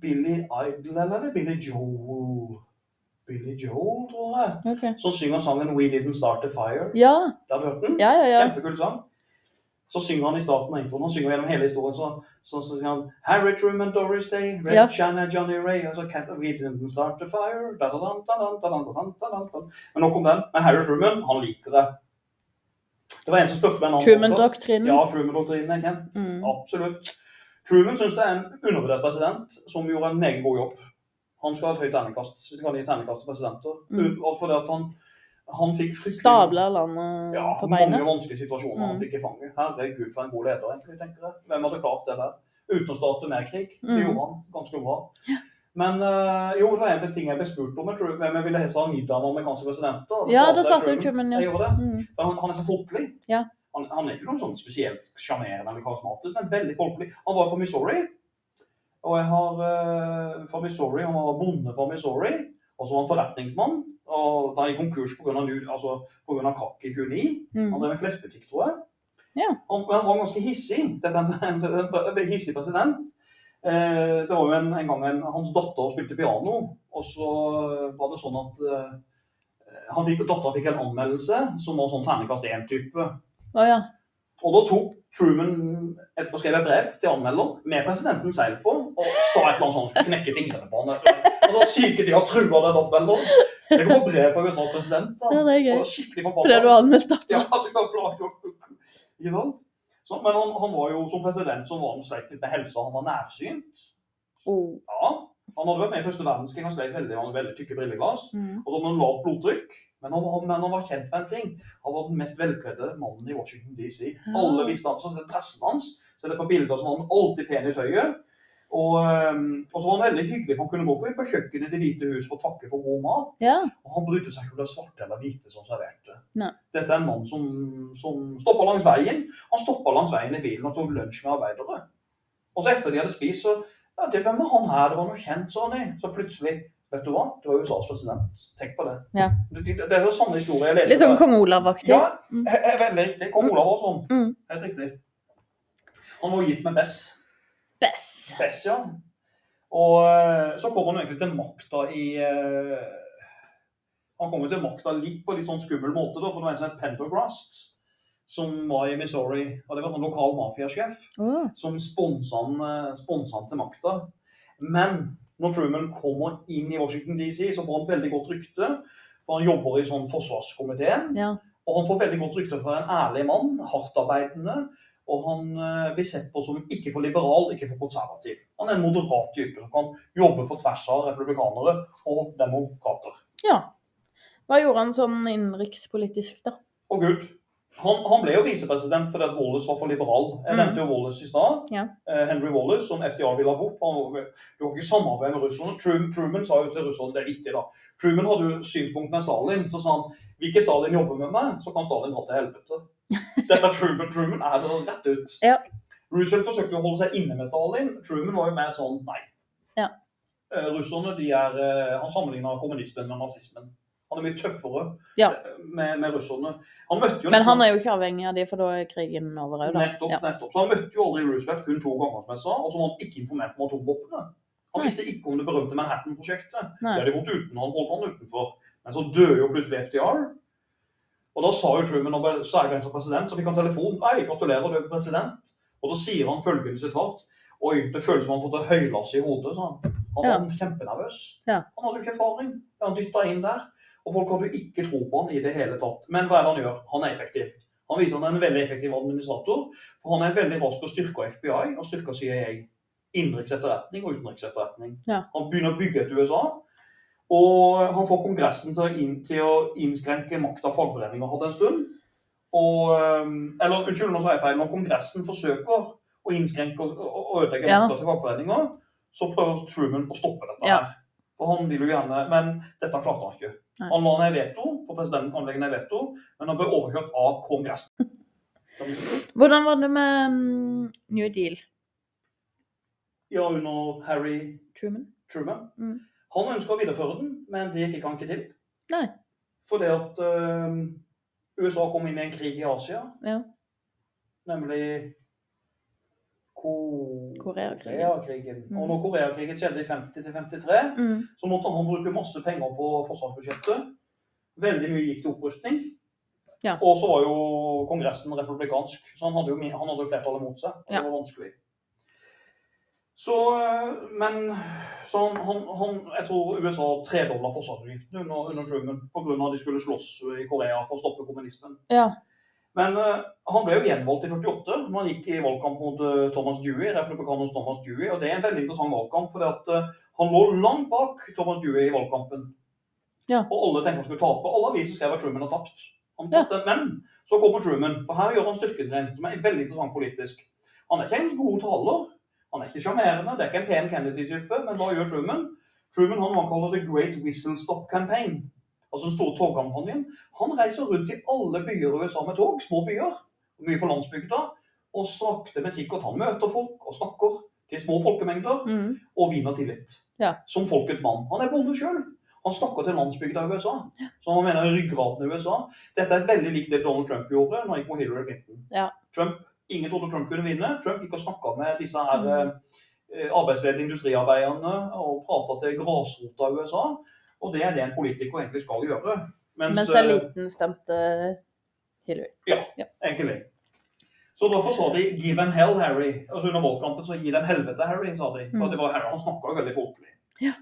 Speaker 2: Billy Idol, eller er det Billy Joel? Billy Joel, tror jeg. Som synger sangen We Didn't Start a Fire.
Speaker 1: Ja,
Speaker 2: Der har du hørt den?
Speaker 1: ja, ja. ja.
Speaker 2: Kjempekul sang. Så synger han i starten av introen. Han synger gjennom hele historien. Så, så, så synger han Harry Truman, Doris Day, Red
Speaker 1: Ja.
Speaker 2: Shanna, Johnny Ray og så Cat We Didn't Start a Fire. Da, da, da, da, da, da, da, da, da, da, da. Men nok om den. Men Harry Truman, han liker det. Det var en som spurte meg en annen podcast.
Speaker 1: Truman-doktrinen.
Speaker 2: Ja, Truman-doktrinen er kjent.
Speaker 1: Mm.
Speaker 2: Absolutt. Truman syns det er en undervurdert president som gjorde en meget god jobb. Han skal ha et høyt terningkast, hvis de kan gi terningkast til presidenter.
Speaker 1: Mm.
Speaker 2: Og fordi at han, han fikk fryktelig-
Speaker 1: Stabla landet
Speaker 2: ja,
Speaker 1: på
Speaker 2: mange
Speaker 1: beina.
Speaker 2: vanskelige situasjoner han
Speaker 1: Mm.
Speaker 2: fikk i fanget. Herregud, for en god leder, egentlig, tenker jeg. Hvem hadde klart det der? Uten å starte mer krig. Det
Speaker 1: Mm.
Speaker 2: gjorde han ganske bra. Men eh, jo, det var en ting jeg ble spurt om. Jeg tror, hvem jeg ville helst ha middag med amerikanske presidenter. og
Speaker 1: Ja, da
Speaker 2: svarte jeg
Speaker 1: svarte jo Truman, ja.
Speaker 2: Jeg gjorde det.
Speaker 1: Mm.
Speaker 2: For han, han er så folkelig.
Speaker 1: Ja.
Speaker 2: Han, han er ikke noen sånn spesielt sjarmerende eller karismatisk, men veldig folkelig. Han var fra Missouri. Og jeg har eh, fra Missouri, Han var bonde fra Missouri, og så var han forretningsmann. og Da han gikk konkurs pga. Altså, på grunn av krakk i 29. Han
Speaker 1: Mm.
Speaker 2: drev en klesbutikk, tror jeg.
Speaker 1: Ja.
Speaker 2: Han, han var ganske hissig. Dette er en, en, en, en hissig president. Eh, det var jo en, en gang en, hans datter spilte piano, og så var det sånn at eh, han fikk, datteren fikk en anmeldelse som var sånn terningkast 1-type.
Speaker 1: Å ja.
Speaker 2: Og da tok Truman et, og skrev et brev til anmelderen med presidenten seil på og sa et eller annet sånn han skulle knekke fingrene på han. Altså syke ting, han trua den anmelderen. Det kom brev fra USAs president. da.
Speaker 1: ja, det er gøy.
Speaker 2: Og skikkelig
Speaker 1: Fordi
Speaker 2: forbanna.
Speaker 1: du har anmeldt
Speaker 2: <laughs> Ja,
Speaker 1: datteren.
Speaker 2: det var klart. Ikke sant? Så, men han, han var jo som president så var han sleit litt med helsa. Han var nærsynt.
Speaker 1: Oh.
Speaker 2: Ja, Han hadde vært med i første verdenskrig. Han slet veldig, han hadde veldig tykke brilleglass.
Speaker 1: Mm.
Speaker 2: Og så hadde han lavt blodtrykk. Men han, var, men han var kjent for en ting. Han var den mest velkledde mannen i Washington DC. Alle visste han, så det er pressen hans. Så det er på bilder som han alltid pen i tøyet. Og, øhm, og så var han veldig hyggelig, for han kunne gå på kjøkkenet i Det hvite hus for å takke for god mat.
Speaker 1: Ja.
Speaker 2: Og han brydde seg ikke om det var svarte eller hvite som serverte.
Speaker 1: Nei.
Speaker 2: Dette er en mann som, som stoppa langs veien. Han stoppa langs veien i bilen og tok lunsj med arbeidere. Og så etter de hadde spist, så ja, det, Hvem var han her? Det var noe kjent, sa han. Så plutselig Vet du hva? Det var USAs president. Tenk på det.
Speaker 1: Ja.
Speaker 2: Det, det, det er så sanne historier jeg leser.
Speaker 1: Litt sånn
Speaker 2: der.
Speaker 1: kong Olav-aktig.
Speaker 2: Ja, he- he- veldig riktig. Kong Olav var sånn.
Speaker 1: Mm.
Speaker 2: Helt riktig. Han var gift med Bess.
Speaker 1: Bess.
Speaker 2: Bess, ja. Og eh, så kom han jo egentlig til makta i eh, Han kom jo til makta litt på litt sånn skummel måte, da, for det var en som het Pendergrast, som var i Missouri. Og det var sånn lokal mafiasjef
Speaker 1: Å.
Speaker 2: som sponsa han, eh, sponset han til makta. Men når Truman kommer inn i Washington DC, så får han veldig godt rykte. For han jobber i sånn forsvarskomiteen.
Speaker 1: Ja.
Speaker 2: Og han får veldig godt rykte for en ærlig mann, hardtarbeidende. Og han eh, blir sett på som ikke for liberal, ikke for konservativ. Han er en moderat type som kan jobbe på tvers av republikanere og demokrater.
Speaker 1: Hva gjorde han sånn innenrikspolitisk, da?
Speaker 2: Og Gud, han, han ble jo visepresident fordi at Wallace var for liberal. Jeg
Speaker 1: Mm.
Speaker 2: nevnte jo Wallace i stad.
Speaker 1: Ja.
Speaker 2: Eh, Henry Wallace, som FDR ville ha bort. for Han var, du kan ikke samarbeide med russerne. Trum, Truman sa jo til russerne det er viktig, da. Truman hadde jo synspunkt med Stalin. Så sa han vil ikke Stalin jobbe med meg, så kan Stalin dra til helvete. Dette er Truman, Truman er det rett ut.
Speaker 1: Ja.
Speaker 2: Roosevelt forsøkte jo å holde seg inne med Stalin. Truman var jo mer sånn nei.
Speaker 1: Ja.
Speaker 2: Eh, russerne de er eh, Han sammenligna kommunismen med nazismen. Han er mye tøffere
Speaker 1: Ja.
Speaker 2: eh, med, med russerne. Han møtte jo
Speaker 1: Men han er jo ikke avhengig av de, for da er krigen over òg, da.
Speaker 2: Nettopp,
Speaker 1: Ja.
Speaker 2: nettopp. Så han møtte jo aldri Roosevelt kun to ganger, som jeg sa, og så var han ikke informert om atomvåpnene. Han
Speaker 1: Nei.
Speaker 2: visste ikke om det berømte Manhattan-prosjektet. Det
Speaker 1: Nei.
Speaker 2: hadde de holdt uten, han holdt han utenfor. Men så døde jo plutselig FDR. Og da sa jo Truman når han ble særgrenset som president, så fikk han telefon. Nei, gratulerer, du er president. Og da sier han følgende sitat. Oi, det føles som han har fått et høylass i hodet, sa han. Han var kjempenervøs.
Speaker 1: Ja.
Speaker 2: Han hadde jo ikke erfaring. Han dytta inn der. Og folk hadde jo ikke tro på han i det hele tatt. Men hva er det han gjør? Han er effektiv. Han viser han er en veldig effektiv administrator. For han er veldig rask og styrker FBI og styrker CIA. Innenriks etterretning og utenriks etterretning.
Speaker 1: Ja.
Speaker 2: Han begynner å bygge et USA. Og han får Kongressen til å, inn, til å innskrenke makta fagforeninger hadde en stund. Og, eh, eller unnskyld, nå sa jeg feil. Når Kongressen forsøker å innskrenke og, og og ødelegge
Speaker 1: Ja.
Speaker 2: makta til fagforeninger, så prøver Truman å stoppe dette
Speaker 1: Ja.
Speaker 2: her. For han vil jo gjerne, Men dette klarte han ikke.
Speaker 1: Nei.
Speaker 2: Han la ned veto, for presidenten kan legge ned veto, men han ble overkjørt av
Speaker 1: <laughs>
Speaker 2: Kongressen.
Speaker 1: Hvordan var det med mm, New Deal?
Speaker 2: Ja, under Harry
Speaker 1: Truman?
Speaker 2: Truman.
Speaker 1: Mm.
Speaker 2: Han ønska å videreføre den, men det fikk han ikke til.
Speaker 1: Nei.
Speaker 2: Fordi at eh, USA kom inn i en krig i Asia,
Speaker 1: Ja.
Speaker 2: nemlig Ko-
Speaker 1: Koreakrigen.
Speaker 2: Koreakrigen.
Speaker 1: Mm.
Speaker 2: Og når Koreakrigen skjedde i 50-53,
Speaker 1: Mm.
Speaker 2: så måtte han bruke masse penger på forsvarsbudsjettet. Veldig mye gikk til opprustning.
Speaker 1: Ja.
Speaker 2: Og så var jo Kongressen republikansk, så han hadde jo, min- han hadde jo flertallet mot seg. Og
Speaker 1: Ja.
Speaker 2: Det var vanskelig. Så, eh, men så han, han, han, jeg tror USA tredobla forsvarsutgiftene under, under Truman pga. at de skulle slåss i Korea for å stoppe kommunismen.
Speaker 1: Ja.
Speaker 2: Men eh, han ble jo gjenvalgt i 48, når han gikk i valgkamp mot eh, Thomas Dewey, republikanernes Thomas Dewey. Og det er en veldig interessant valgkamp, fordi at eh, han lå langt bak Thomas Dewey i valgkampen.
Speaker 1: Ja.
Speaker 2: Og alle tenkte han skulle tape. Alle aviser skrev at Truman har tapt. Han tapte, Men så kommer Truman, og her gjør han styrken sin, som er veldig interessant politisk. Han er ikke en god taler, han er ikke sjarmerende, det er ikke en pen Kennedy-type, men hva gjør Truman? Truman han, han kaller det Great Whistle Stop Campaign, altså den store togkampanjen. Han reiser rundt i alle byer i USA med tog, små byer, mye på landsbygda, og sakte men sikkert han møter folk og snakker til små folkemengder
Speaker 1: Mm.
Speaker 2: og vinner tillit.
Speaker 1: Ja.
Speaker 2: Som folkets mann. Han er bonde sjøl. Han snakker til landsbygda i USA. Så han mener ryggraden i USA. Dette er veldig likt det Donald Trump gjorde når han gikk mot Hillary Clinton.
Speaker 1: Ja.
Speaker 2: Trump, ingen trodde Trump kunne vinne. Trump gikk og snakka med disse her
Speaker 1: Mm.
Speaker 2: eh, arbeidsledige industriarbeiderne og prata til grasrota i USA. Og det er det en politiker egentlig skal gjøre. Mens,
Speaker 1: Mens
Speaker 2: eh,
Speaker 1: eliten stemte Hillary.
Speaker 2: egentlig. Så derfor sa de 'give them hell, Harry'. Altså Under valgkampen så 'gi dem helvete, Harry', sa de. For
Speaker 1: Mm.
Speaker 2: det var Harry, Han snakka jo veldig folkelig.
Speaker 1: Ja.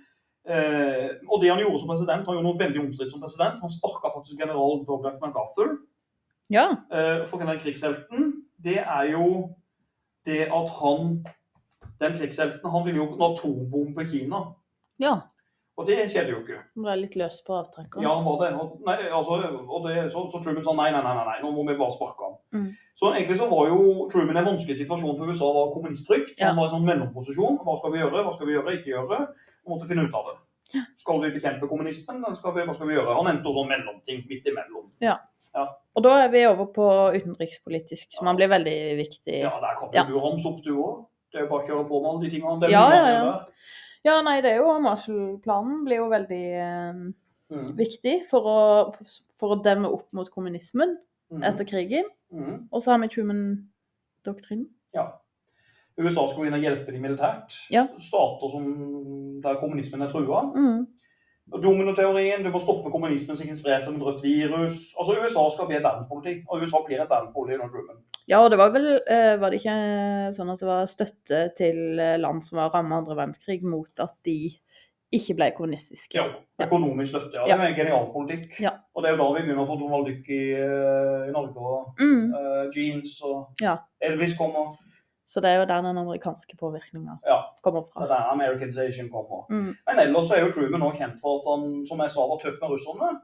Speaker 2: Eh, og det han gjorde som president, han gjorde noe veldig omstridt som president. Han sparka faktisk general Douglas MacArthur
Speaker 1: Ja.
Speaker 2: eh, for den krigshelten, det er jo det at han Den krigshelten han ville jo en atombombe i Kina.
Speaker 1: Ja.
Speaker 2: Og det skjedde jo ikke.
Speaker 1: Han ble litt løs på avtrekkeren.
Speaker 2: Ja, han var det. Og, nei, altså, og det, så, så Truman sa nei, nei, nei, nei, nei, nå må vi bare sparke ham.
Speaker 1: Mm.
Speaker 2: Så egentlig så var jo Truman i en vanskelig situasjon for USA var kommunistfrykt. så
Speaker 1: Ja.
Speaker 2: Han var i en sånn mellomposisjon. Hva skal vi gjøre, hva skal vi gjøre, ikke gjøre? Og måtte finne ut av det. Skal vi bekjempe kommunismen, eller skal vi, hva skal vi gjøre? Han endte opp sånn mellomting midt imellom.
Speaker 1: Og da er vi over på utenrikspolitisk, som han blir veldig viktig.
Speaker 2: Ja, der kan jo
Speaker 1: Ja.
Speaker 2: du ramse opp, du òg. Det er jo bare å kjøre på med alle de tingene. Det er
Speaker 1: Ja,
Speaker 2: mye
Speaker 1: ja, ja.
Speaker 2: å gjøre.
Speaker 1: Ja, nei, det er jo Marshall-planen blir jo veldig eh,
Speaker 2: Mm.
Speaker 1: viktig for å, for å demme opp mot kommunismen
Speaker 2: Mm.
Speaker 1: etter krigen.
Speaker 2: Mm.
Speaker 1: Og så har vi Truman-doktrinen.
Speaker 2: Ja. USA skal gå inn og hjelpe de militært.
Speaker 1: Ja.
Speaker 2: Stater som, der kommunismen er trua.
Speaker 1: Mm.
Speaker 2: Og Dominoteorien, du må stoppe kommunismen så ikke sprer seg som et rødt virus. Altså USA skal bli et verdenspoliti, og USA blir et verdenspoliti under Truman.
Speaker 1: Ja, og det var vel eh, Var det ikke sånn at det var støtte til eh, land som var rammet av andre verdenskrig, mot at de ikke ble kommunistiske?
Speaker 2: Ja, økonomisk støtte, ja. Det er en genial politikk.
Speaker 1: Ja.
Speaker 2: Og det er jo da vi begynner å få Donald Duck i, eh, i Norge, og
Speaker 1: Mm.
Speaker 2: eh, jeans, og
Speaker 1: Ja.
Speaker 2: Elvis kommer.
Speaker 1: Så det er jo der den amerikanske påvirkninga
Speaker 2: Ja.
Speaker 1: kommer
Speaker 2: Det
Speaker 1: fra.
Speaker 2: er der Americanization kommer.
Speaker 1: Mm.
Speaker 2: Men ellers er jo Truman nå kjent for at han, som jeg sa, var tøff med russerne.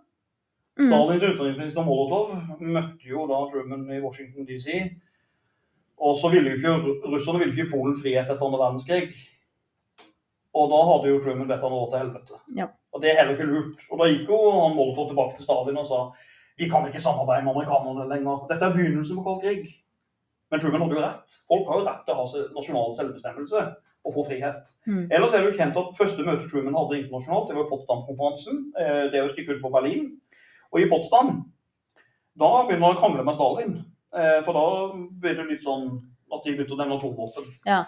Speaker 1: Mm.
Speaker 2: Stalins utenriksminister Molotov møtte jo da Truman i Washington DC. Og så ville jo ikke russerne ville ikke gi Polen frihet etter andre verdenskrig. Og da hadde jo Truman bedt han å gå til helvete.
Speaker 1: Ja.
Speaker 2: Og det er heller ikke lurt. Og da gikk jo han Molotov tilbake til Stalin og sa vi kan ikke samarbeide med amerikanerne lenger. Dette er begynnelsen på kald krig. Men Truman hadde jo rett. Folk har jo rett til å ha se- nasjonal selvbestemmelse og få frihet.
Speaker 1: Mm.
Speaker 2: Ellers er det jo kjent at første møte Truman hadde internasjonalt, det var Potsdam-konferansen. eh, Det er jo et stykke utenfor Berlin. Og i Potsdam, da begynner han å krangle med Stalin. eh, For da blir det litt sånn at de begynte å nevne atomvåpen.
Speaker 1: Ja.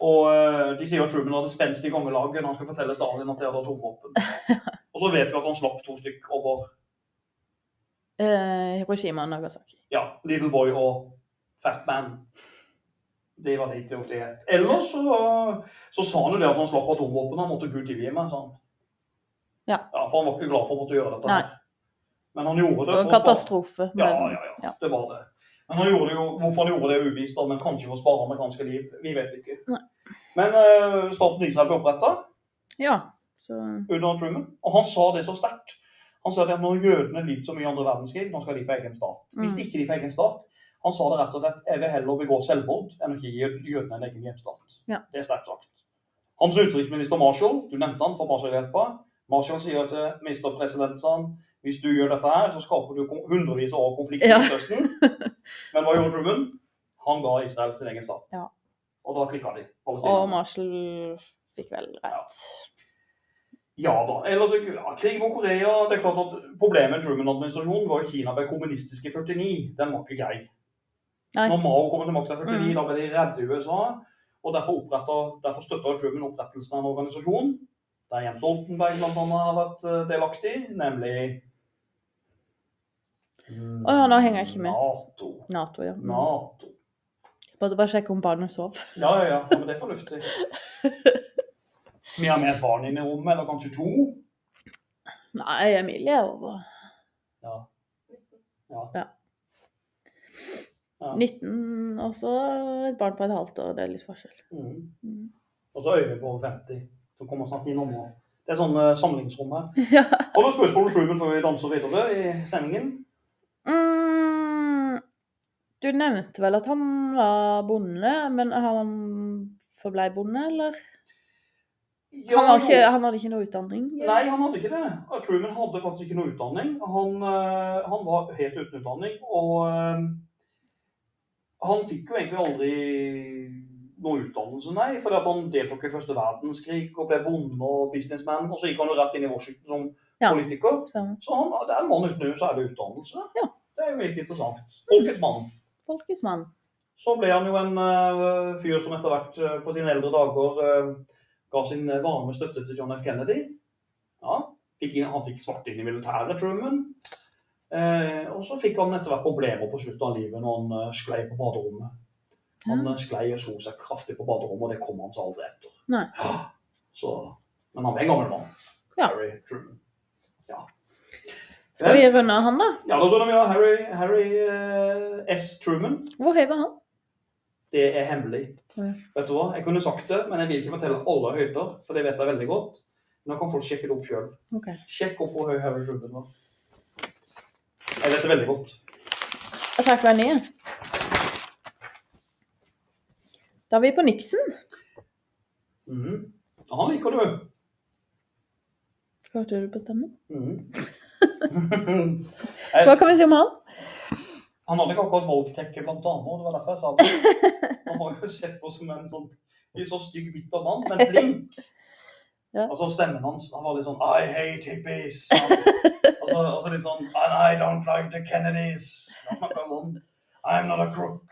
Speaker 2: Og eh, de sier at Truman hadde spenst i kongelaget når han skulle fortelle Stalin at de hadde atomvåpen.
Speaker 1: <laughs>
Speaker 2: Og så vet vi at han slapp to stykk over
Speaker 1: Eh, Hiroshima og Nagasaki.
Speaker 2: ja, Little Boy og Fat Man. Det var det ikke det het. Ellers så, så sa han jo det at han slapp atomvåpen, han måtte Gud tilgi meg, sa han.
Speaker 1: Ja.
Speaker 2: For han var ikke glad for å måtte gjøre dette.
Speaker 1: Nei.
Speaker 2: her. Men han gjorde det.
Speaker 1: Det var en
Speaker 2: for å spare-
Speaker 1: katastrofe.
Speaker 2: Ja,
Speaker 1: men-
Speaker 2: ja,
Speaker 1: Ja.
Speaker 2: ja. Det var det. Men han gjorde det jo, hvorfor han gjorde det, er uvisst, da, men kanskje for å spare amerikanske liv. Vi vet ikke.
Speaker 1: Nei.
Speaker 2: Men eh, staten Israel ble oppretta
Speaker 1: ja. Så
Speaker 2: under Truman, og han sa det så sterkt. Han sa det at når jødene lider så mye i andre verdenskrig, nå skal de få egen stat. Hvis
Speaker 1: Mm.
Speaker 2: ikke de får egen stat Han sa det rett og slett jeg vil heller begå selvmord enn å gi jødene en egen hjemstat.
Speaker 1: Ja.
Speaker 2: Det er sterkt sagt. Han som utenriksminister Marshall, du nevnte han fra Marshall-hjelpa. Marshall sier til ministerpresidenten sa han, hvis du gjør dette her, så skaper du kon- hundrevis av konflikter
Speaker 1: Ja.
Speaker 2: i
Speaker 1: <laughs>
Speaker 2: Midtøsten. Men hva gjorde Truman? Han ga Israel sin egen stat.
Speaker 1: Ja.
Speaker 2: Og da klikka de.
Speaker 1: Og
Speaker 2: Palestina.
Speaker 1: Marshall fikk vel rett.
Speaker 2: Ja da. Ellers, ja, krig mot Korea det er klart at Problemet med Truman-administrasjonen var jo Kina ble kommunistisk i 49. Den var ikke grei.
Speaker 1: Nei.
Speaker 2: Når Mao kom til makta i
Speaker 1: Mm.
Speaker 2: 49, da ble de redde i USA. Og derfor, opprettet- derfor støtta Truman opprettelsen av en organisasjon der Jens Stoltenberg bl.a. har vært eh, delaktig, nemlig mm,
Speaker 1: Å ja, nå henger jeg ikke med.
Speaker 2: Nato.
Speaker 1: Nato, ja. Mm.
Speaker 2: Nato.
Speaker 1: Måtte bare sjekke om barnet sov.
Speaker 2: Ja, ja, ja. ja, Men det er
Speaker 1: <laughs>
Speaker 2: fornuftig. Vi har med et barn inn i rommet, eller kanskje to.
Speaker 1: Nei, Emilie er over
Speaker 2: Ja. Ja.
Speaker 1: Ja.
Speaker 2: Ja.
Speaker 1: 19, og så et barn på et halvt år. Det er litt forskjell.
Speaker 2: Mm.
Speaker 1: Mm.
Speaker 2: Og så Øyvind på over 50, som kommer snart innom nå. Det er sånn eh, samlingsrom her.
Speaker 1: <laughs> Ja.
Speaker 2: Har du spørsmål om Truman før vi danser videre i sendingen?
Speaker 1: Mm, du nevnte vel at han var bonde, men han forblei bonde, eller? Han, var ikke, han hadde ikke noe utdanning?
Speaker 2: Nei, han hadde ikke det. Og Truman hadde faktisk ikke noe utdanning. Han, eh, han var helt uten utdanning, og eh, han fikk jo egentlig aldri noe utdannelse, nei. Fordi at han deltok i første verdenskrig og ble bonde og businessman. Og så gikk han jo rett inn i Washington som
Speaker 1: Ja.
Speaker 2: politiker.
Speaker 1: Så,
Speaker 2: Så han, det er en mann uten hus, så er det utdannelse.
Speaker 1: Ja.
Speaker 2: Det er jo litt interessant. Folkets mann.
Speaker 1: folkets mann.
Speaker 2: Så ble han jo en eh, fyr som etter hvert eh, på sine eldre dager eh, ga sin eh, varme støtte til John F. Kennedy. Ja, fikk inn, Han fikk svart inn i militæret, Truman. Eh, og så fikk han etter hvert problemer på slutten av livet når han eh, sklei på baderommet. Han eh, sklei og slo seg kraftig på baderommet, og det kom han seg aldri etter.
Speaker 1: Nei.
Speaker 2: Ja, <gasps> Så, men han var en gammel mann.
Speaker 1: Ja.
Speaker 2: Harry Truman.
Speaker 1: Skal vi runde av han, da?
Speaker 2: Ja, da runder vi av Harry, Harry eh, S. Truman.
Speaker 1: Hvor høy var han?
Speaker 2: Det er hemmelig.
Speaker 1: Ja.
Speaker 2: Vet du hva? Jeg kunne sagt det, men jeg vil ikke fortelle alle høyder, for det vet jeg veldig godt. Nå kan folk sjekke det opp sjøl.
Speaker 1: Ok.
Speaker 2: Sjekk opp hvor høy Harry Truman var. Jeg vet det veldig godt.
Speaker 1: Jeg trakk meg ned. Da er vi på Nixon.
Speaker 2: Mhm. Ja, Han liker du.
Speaker 1: Hørte du på stemmen?
Speaker 2: Mhm.
Speaker 1: Hva kan vi si om han?
Speaker 2: Han hadde ikke akkurat valgtekke blant damer, det var derfor jeg sa
Speaker 1: <laughs>
Speaker 2: det. Han var jo sett på som en sånn litt sånn stygg, bitter mann, men flink.
Speaker 1: Ja.
Speaker 2: Og så stemmen hans, han var litt sånn I hate hippies. Og så, og så litt sånn And I don't like the Kennedys. Han snakka sånn. I'm not a crook.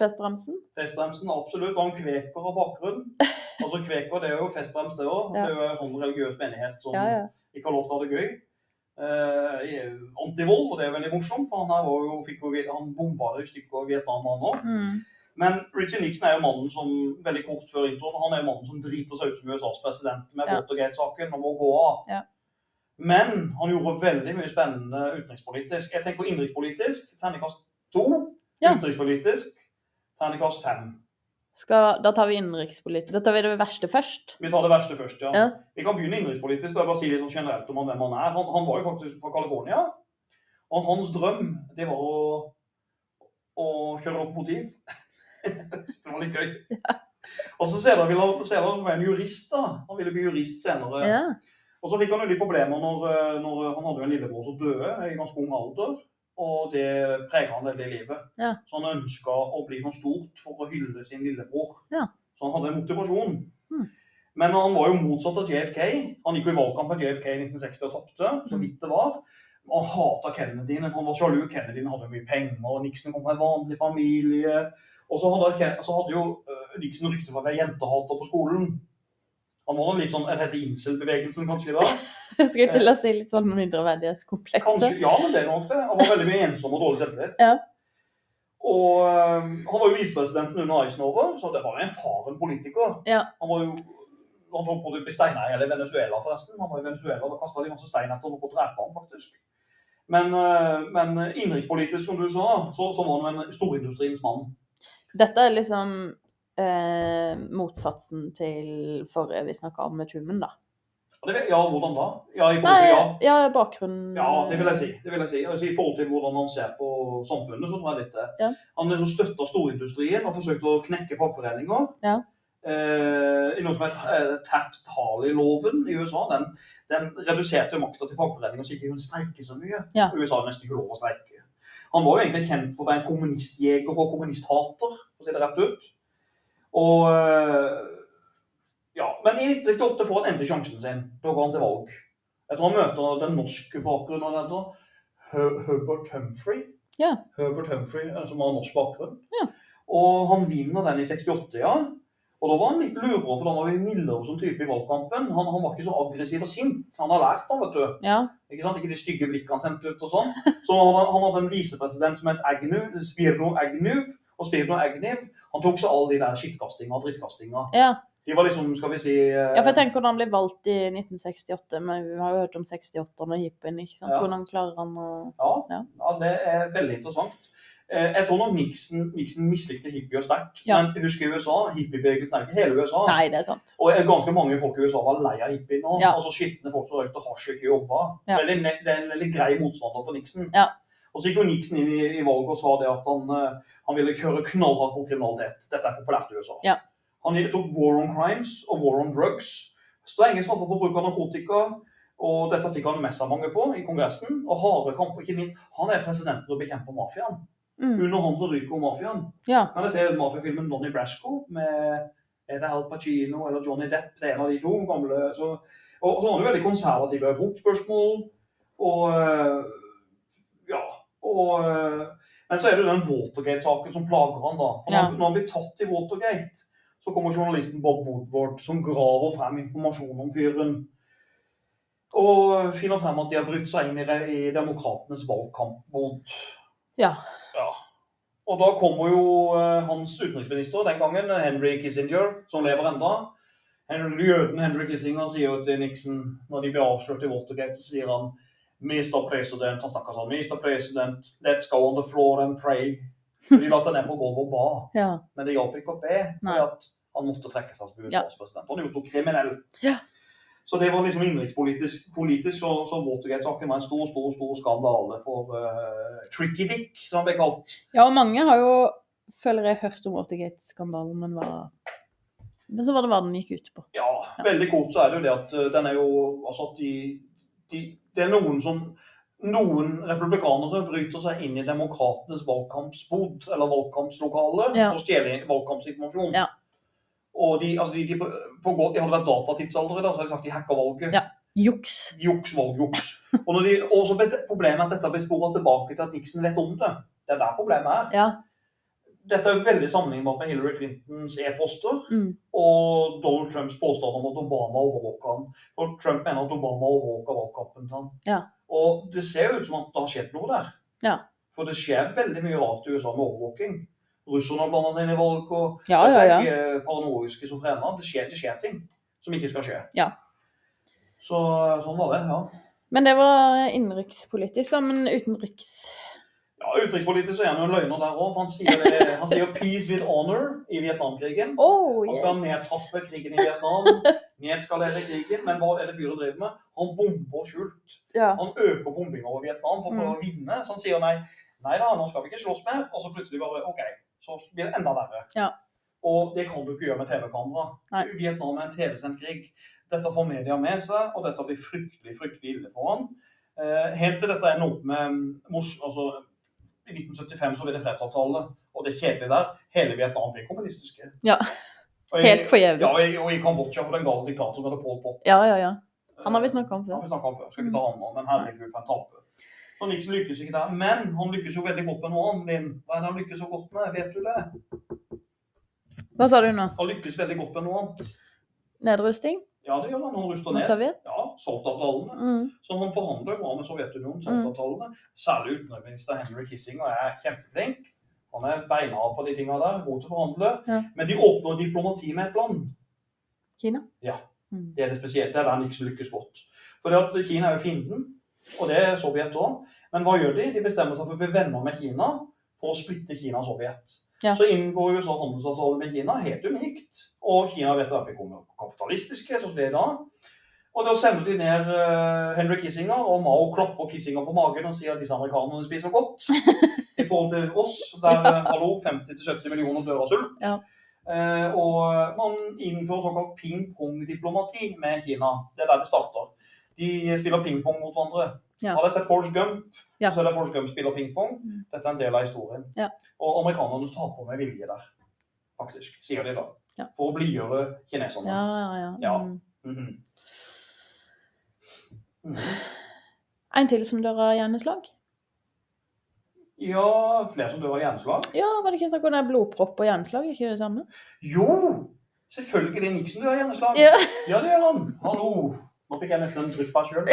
Speaker 1: Festbremsen?
Speaker 2: Festbremsen, absolutt. Og han kveker av bakgrunn. Altså kveker, det er jo festbrems, det òg. Det er jo en sånn religiøs menighet som
Speaker 1: Ja, ja.
Speaker 2: ikke har lov til å ha det gøy. Eh, i- antivold, og det er veldig morsomt, for han her var jo, fikk jo, han bomba jo i stykker Vietnam, han òg.
Speaker 1: Mm.
Speaker 2: Men Richard Nixon er jo mannen som veldig kort før introen, han er jo mannen som driter seg ut som USAs president med
Speaker 1: Ja.
Speaker 2: Watergate-saken og må gå av.
Speaker 1: Ja.
Speaker 2: Men han gjorde veldig mye spennende utenrikspolitisk. Jeg tenker innenrikspolitisk, terningkast to.
Speaker 1: Ja.
Speaker 2: Utenrikspolitisk, terningkast fem.
Speaker 1: Skal, da tar vi innenrikspolitikk. Da tar vi det verste først.
Speaker 2: Vi tar det verste først, ja.
Speaker 1: Ja.
Speaker 2: Vi kan begynne innenrikspolitisk. og Jeg bare si litt sånn generelt om han, hvem han er. Han, han var jo faktisk fra California. Og hans drøm, det var å, å kjøre opp motiv. <laughs> det var litt gøy. Og så senere ville han senere så ble han jurist, da. Han ville bli jurist senere.
Speaker 1: Ja.
Speaker 2: Og så fikk han jo litt problemer når, eh, når han hadde jo en lillebror som døde i ganske ung alder. Og det prega han veldig i livet.
Speaker 1: Ja.
Speaker 2: Så han ønska å bli noe stort for å hylle sin lillebror.
Speaker 1: Ja.
Speaker 2: Så han hadde en motivasjon.
Speaker 1: Mm.
Speaker 2: Men han var jo motsatt av JFK. Han gikk jo i valgkamp av JFK i 1960 og tapte, så
Speaker 1: Mm.
Speaker 2: vidt det var. Og han hata Kennedy. men Han var sjalu. Kennedy hadde jo mye penger. Nixon kom fra en vanlig familie. Og så hadde, Ken- så hadde jo eh, Nixon rykte for å være jentehater på skolen. Han var nå litt sånn Jeg heter incel-bevegelsen, kanskje, i dag.
Speaker 1: <laughs> Jeg skulle til å si litt sånn mindreverdighetskomplekset.
Speaker 2: Kanskje, ja, men det er nok det. Han var veldig mye ensom og dårlig selvtillit.
Speaker 1: Ja.
Speaker 2: Og øhm, han var jo visepresidenten under Eisenhower, så det var jo en faren politiker.
Speaker 1: Ja.
Speaker 2: Han var jo han holdt på å bli steina i hele Venezuela, forresten. Han var i Venezuela, Da kasta de masse stein etter ham og holdt på å drepe ham, faktisk. Men, øh, men innenrikspolitisk, som du sa, så, så var han jo en storindustriens mann.
Speaker 1: Dette er liksom eh, motsatsen til forrige vi snakka om med Truman, da.
Speaker 2: Og det, vil- ja, hvordan da? Ja, i forhold
Speaker 1: Nei,
Speaker 2: til ja.
Speaker 1: ja, bakgrunnen
Speaker 2: Ja, det vil jeg si. Det vil jeg si. Altså, I forhold til hvordan han ser på samfunnet, så tror jeg litt det.
Speaker 1: Ja.
Speaker 2: Han liksom støtta storindustrien og forsøkte å knekke fagforeninger.
Speaker 1: Ja.
Speaker 2: eh, i noe som heter eh, Taft-Harley-loven i USA. Den, den reduserte makta til fagforeninger så ikke hun streike så mye.
Speaker 1: Ja.
Speaker 2: USA hadde nesten ikke lov å streike. Han var jo egentlig kjent for å være en kommunistjeger og kommunisthater, for å si det rett ut. Og eh, ja, Men i 1968 får han endelig sjansen sin. Da går han til valg. Jeg tror han møter den norske bakgrunnen. han heter. Hu- Hubert Humphrey.
Speaker 1: Ja.
Speaker 2: Herbert Humphrey, eh, som har norsk bakgrunn.
Speaker 1: Ja.
Speaker 2: Og han vinner den i 68, ja. Og da var han litt lurere, for da var vi mildere som type i valgkampen. Han, han var ikke så aggressiv og sint. Han har lært nå, vet du.
Speaker 1: Ja.
Speaker 2: Ikke sant? Ikke de stygge blikkene han sendte ut og
Speaker 1: <laughs>
Speaker 2: sånn. Så han, han hadde en visepresident som het Agnew, Spirno Agnew. Og Spirno Agnew, han tok seg alle de der skittkastinga og drittkastinga.
Speaker 1: ja.
Speaker 2: De var liksom, skal vi si eh,
Speaker 1: Ja, for jeg tenker hvordan han ble valgt i 1968, men vi har jo hørt om 68-erne og hippien, ikke sant?
Speaker 2: Ja.
Speaker 1: Hvordan klarer han å
Speaker 2: Ja,
Speaker 1: Ja.
Speaker 2: ja. det er veldig interessant. Eh, Jeg tror nok Nixon, Nixon mislikte hippier sterkt.
Speaker 1: Ja.
Speaker 2: Men husk i USA, hippiebevegelsen er ikke hele USA.
Speaker 1: Nei, det er sant.
Speaker 2: Og eh, ganske mange folk i USA var lei av hippier nå.
Speaker 1: Ja.
Speaker 2: Altså skitne folk som røykte hasj og ikke jobba.
Speaker 1: Ja.
Speaker 2: Veldig ne- Det er en veldig grei motstander for Nixon.
Speaker 1: Ja.
Speaker 2: Og så gikk jo Nixon inn i, i valget og sa det at han, eh, han ville kjøre knallhardt mot kriminalitet. Dette er populært i USA.
Speaker 1: Ja.
Speaker 2: Han tok war on crimes og war on drugs. Strenge straffer for bruk av narkotika. Og dette fikk han mest av mange på i Kongressen. Og harde kamper, ikke minst. Han er president for å bekjempe mafiaen.
Speaker 1: Mm.
Speaker 2: Under han som ryker mafiaen.
Speaker 1: Ja.
Speaker 2: Kan jeg se mafiafilmen Donnie Brasco med er det Al Pacino eller Johnny Depp? Det er en av de to gamle. Så, og så var han jo veldig konservativ i abortspørsmål. Og øh, ja. Og, øh, men så er det jo den Watergate-saken som plager han da. For
Speaker 1: Ja.
Speaker 2: når, når han blir tatt i Watergate, så kommer journalisten Bob Woodward som graver frem informasjon om fyren. Og finner frem at de har brutt seg inn i, re- i demokratenes valgkamp mot
Speaker 1: Ja.
Speaker 2: ja. Og da kommer jo eh, hans utenriksminister den gangen, Henry Kissinger, som lever enda. Henry, jøden Henry Kissinger sier jo til Nixon, når de blir avslørt i Watergate, så sier han Mr. President, han snakker sånn, Mr. President, let's go on the floor and pray. Så de la seg ned på gulvet og ba.
Speaker 1: Ja.
Speaker 2: Men det hjalp ikke å be,
Speaker 1: Nei.
Speaker 2: for at han måtte trekke seg som
Speaker 1: Ja.
Speaker 2: USAs president. Han gjorde noe kriminelt.
Speaker 1: Ja.
Speaker 2: Så det var liksom innenrikspolitisk, politisk, så, så Watergate-saken var en stor, stor, stor skandale for eh, Tricky Dick, som han ble kalt.
Speaker 1: ja, og mange har jo, føler jeg, hørt om Watergate-skandalen, men hva Men så var det hva den gikk ut på.
Speaker 2: Ja, veldig kort så er det jo det at eh, den er jo Altså at de, de Det er noen som Noen republikanere bryter seg inn i demokratenes valgkampsbod, eller valgkampslokale,
Speaker 1: Ja.
Speaker 2: og stjeler valgkampsinformasjon.
Speaker 1: Ja.
Speaker 2: Og de, altså de, de, på, på, gå- de hadde vært datatidsalder i dag, så hadde de sagt de hacka valget.
Speaker 1: Ja. Juks.
Speaker 2: Juks, valgjuks. Og, når de, og så ble det- problemet er at dette blir sporet tilbake til at Nixon vet om det. Det er der problemet er.
Speaker 1: Ja.
Speaker 2: Dette er veldig sammenlignbart med Hillary Clintons e-poster
Speaker 1: Mm.
Speaker 2: og Donald Trumps påstand om at Obama overvåka han. For Trump mener at Obama overvåka valgkampen til han.
Speaker 1: Ja.
Speaker 2: Og det ser jo ut som at det har skjedd noe der.
Speaker 1: Ja.
Speaker 2: For det skjer veldig mye rart i USA med overvåking. Russerne har blanda seg inn i valg, og
Speaker 1: Ja, ja, ja.
Speaker 2: det er ikke paranoiske schizofrene. Det skjer, det skjer ting som ikke skal skje.
Speaker 1: Ja.
Speaker 2: Så sånn var det, ja.
Speaker 1: Men det var eh, innenrikspolitisk, da. Men utenriks
Speaker 2: ja Utenrikspolitisk så er han jo en løgner der òg, for han sier, det, han sier 'peace with honor' i Vietnamkrigen.
Speaker 1: Oh,
Speaker 2: Han
Speaker 1: yes.
Speaker 2: skal nedtrappe krigen i Vietnam, nedskalere krigen, men hva er det fyren driver med? Han bomber skjult.
Speaker 1: Ja.
Speaker 2: Han øker bombinga over Vietnam for å
Speaker 1: Mm.
Speaker 2: prøve å vinne, så han sier nei. Nei da, nå skal vi ikke slåss mer. Og så plutselig bare OK, så blir det enda verre.
Speaker 1: Ja.
Speaker 2: Og det kan du ikke gjøre med TV-kamera.
Speaker 1: Nei.
Speaker 2: Vietnam er en TV-sendt krig. Dette får media med seg, og dette blir fryktelig, fryktelig ille for han. Eh, helt til dette ender opp med mors, altså, I 1975 så blir det fredsavtale, og det er kjedelig der. Hele Vietnam blir kommunistiske.
Speaker 1: Ja.
Speaker 2: Og i-
Speaker 1: Helt forgjeves.
Speaker 2: ja, og i- og i Kambodsja for den gale diktatoren med Pol Pot.
Speaker 1: Ja, ja, ja. Han har vi snakka om
Speaker 2: Ja,
Speaker 1: før.
Speaker 2: vi snakket om før. Skal ikke ta han nå, men herregud, for en taper. Så Nixon lykkes ikke der. Men han lykkes jo veldig godt med noe annet. Linn. Hva er det han lykkes så godt med? Vet du det?
Speaker 1: Hva sa du nå?
Speaker 2: Han lykkes veldig godt med noe annet.
Speaker 1: Nedrusting
Speaker 2: Ja, det gjør han. Han ruster
Speaker 1: mot
Speaker 2: ned.
Speaker 1: Sovjet?
Speaker 2: Ja, SALT-avtalene.
Speaker 1: Mm.
Speaker 2: Så han forhandler bra med Sovjetunionen, SALT-avtalene. Særlig utenriksminister Henry Kissinger er kjempeflink. Han er beinhard på de tinga der. God til å forhandle.
Speaker 1: Ja.
Speaker 2: Men de åpner diplomati med et land.
Speaker 1: Kina?
Speaker 2: Ja.
Speaker 1: Mm.
Speaker 2: Det er det spesielle. Det er der han ikke lykkes godt. Fordi at Kina er jo fienden, og det er Sovjet òg. Men hva gjør de? De bestemmer seg for å bli venner med Kina for å splitte Kina og Sovjet.
Speaker 1: Ja.
Speaker 2: Så inngår USA handelsavtale med Kina, helt unikt. Og Kina vet at vi kommer kapitalistiske, sånn som det er i dag. Og da sender de ned eh, Henry Kissinger, og Mao klapper Kissinger på magen og sier at disse amerikanerne
Speaker 1: <laughs>
Speaker 2: spiser godt. I forhold til oss, der eh, hallo, 50-70 millioner dør av sult.
Speaker 1: Ja.
Speaker 2: Eh, og man innfører såkalt ping-pong-diplomati med Kina. Det er der det starter. De spiller ping-pong mot hverandre.
Speaker 1: Ja.
Speaker 2: Har dere sett Forrest Gump?
Speaker 1: Ja.
Speaker 2: Så er det Forrest Gump spiller ping-pong.
Speaker 1: Mm.
Speaker 2: Dette er en del av historien.
Speaker 1: Ja.
Speaker 2: Og amerikanerne taper med vilje der, faktisk, sier de da.
Speaker 1: Ja.
Speaker 2: For å blidgjøre kineserne.
Speaker 1: Ja, ja, ja.
Speaker 2: Ja.
Speaker 1: Mm.
Speaker 2: Mhm. Mhm.
Speaker 1: En til som dør av hjerneslag?
Speaker 2: Ja, flere som dør av hjerneslag?
Speaker 1: Ja, var det ikke snakk om det er blodpropp og hjerneslag? Er ikke det det samme?
Speaker 2: Jo! Selvfølgelig Nixon dør av hjerneslag.
Speaker 1: Ja.
Speaker 2: Ja, det gjør han. Hallo. Nå fikk jeg nesten en drypp av sjøl.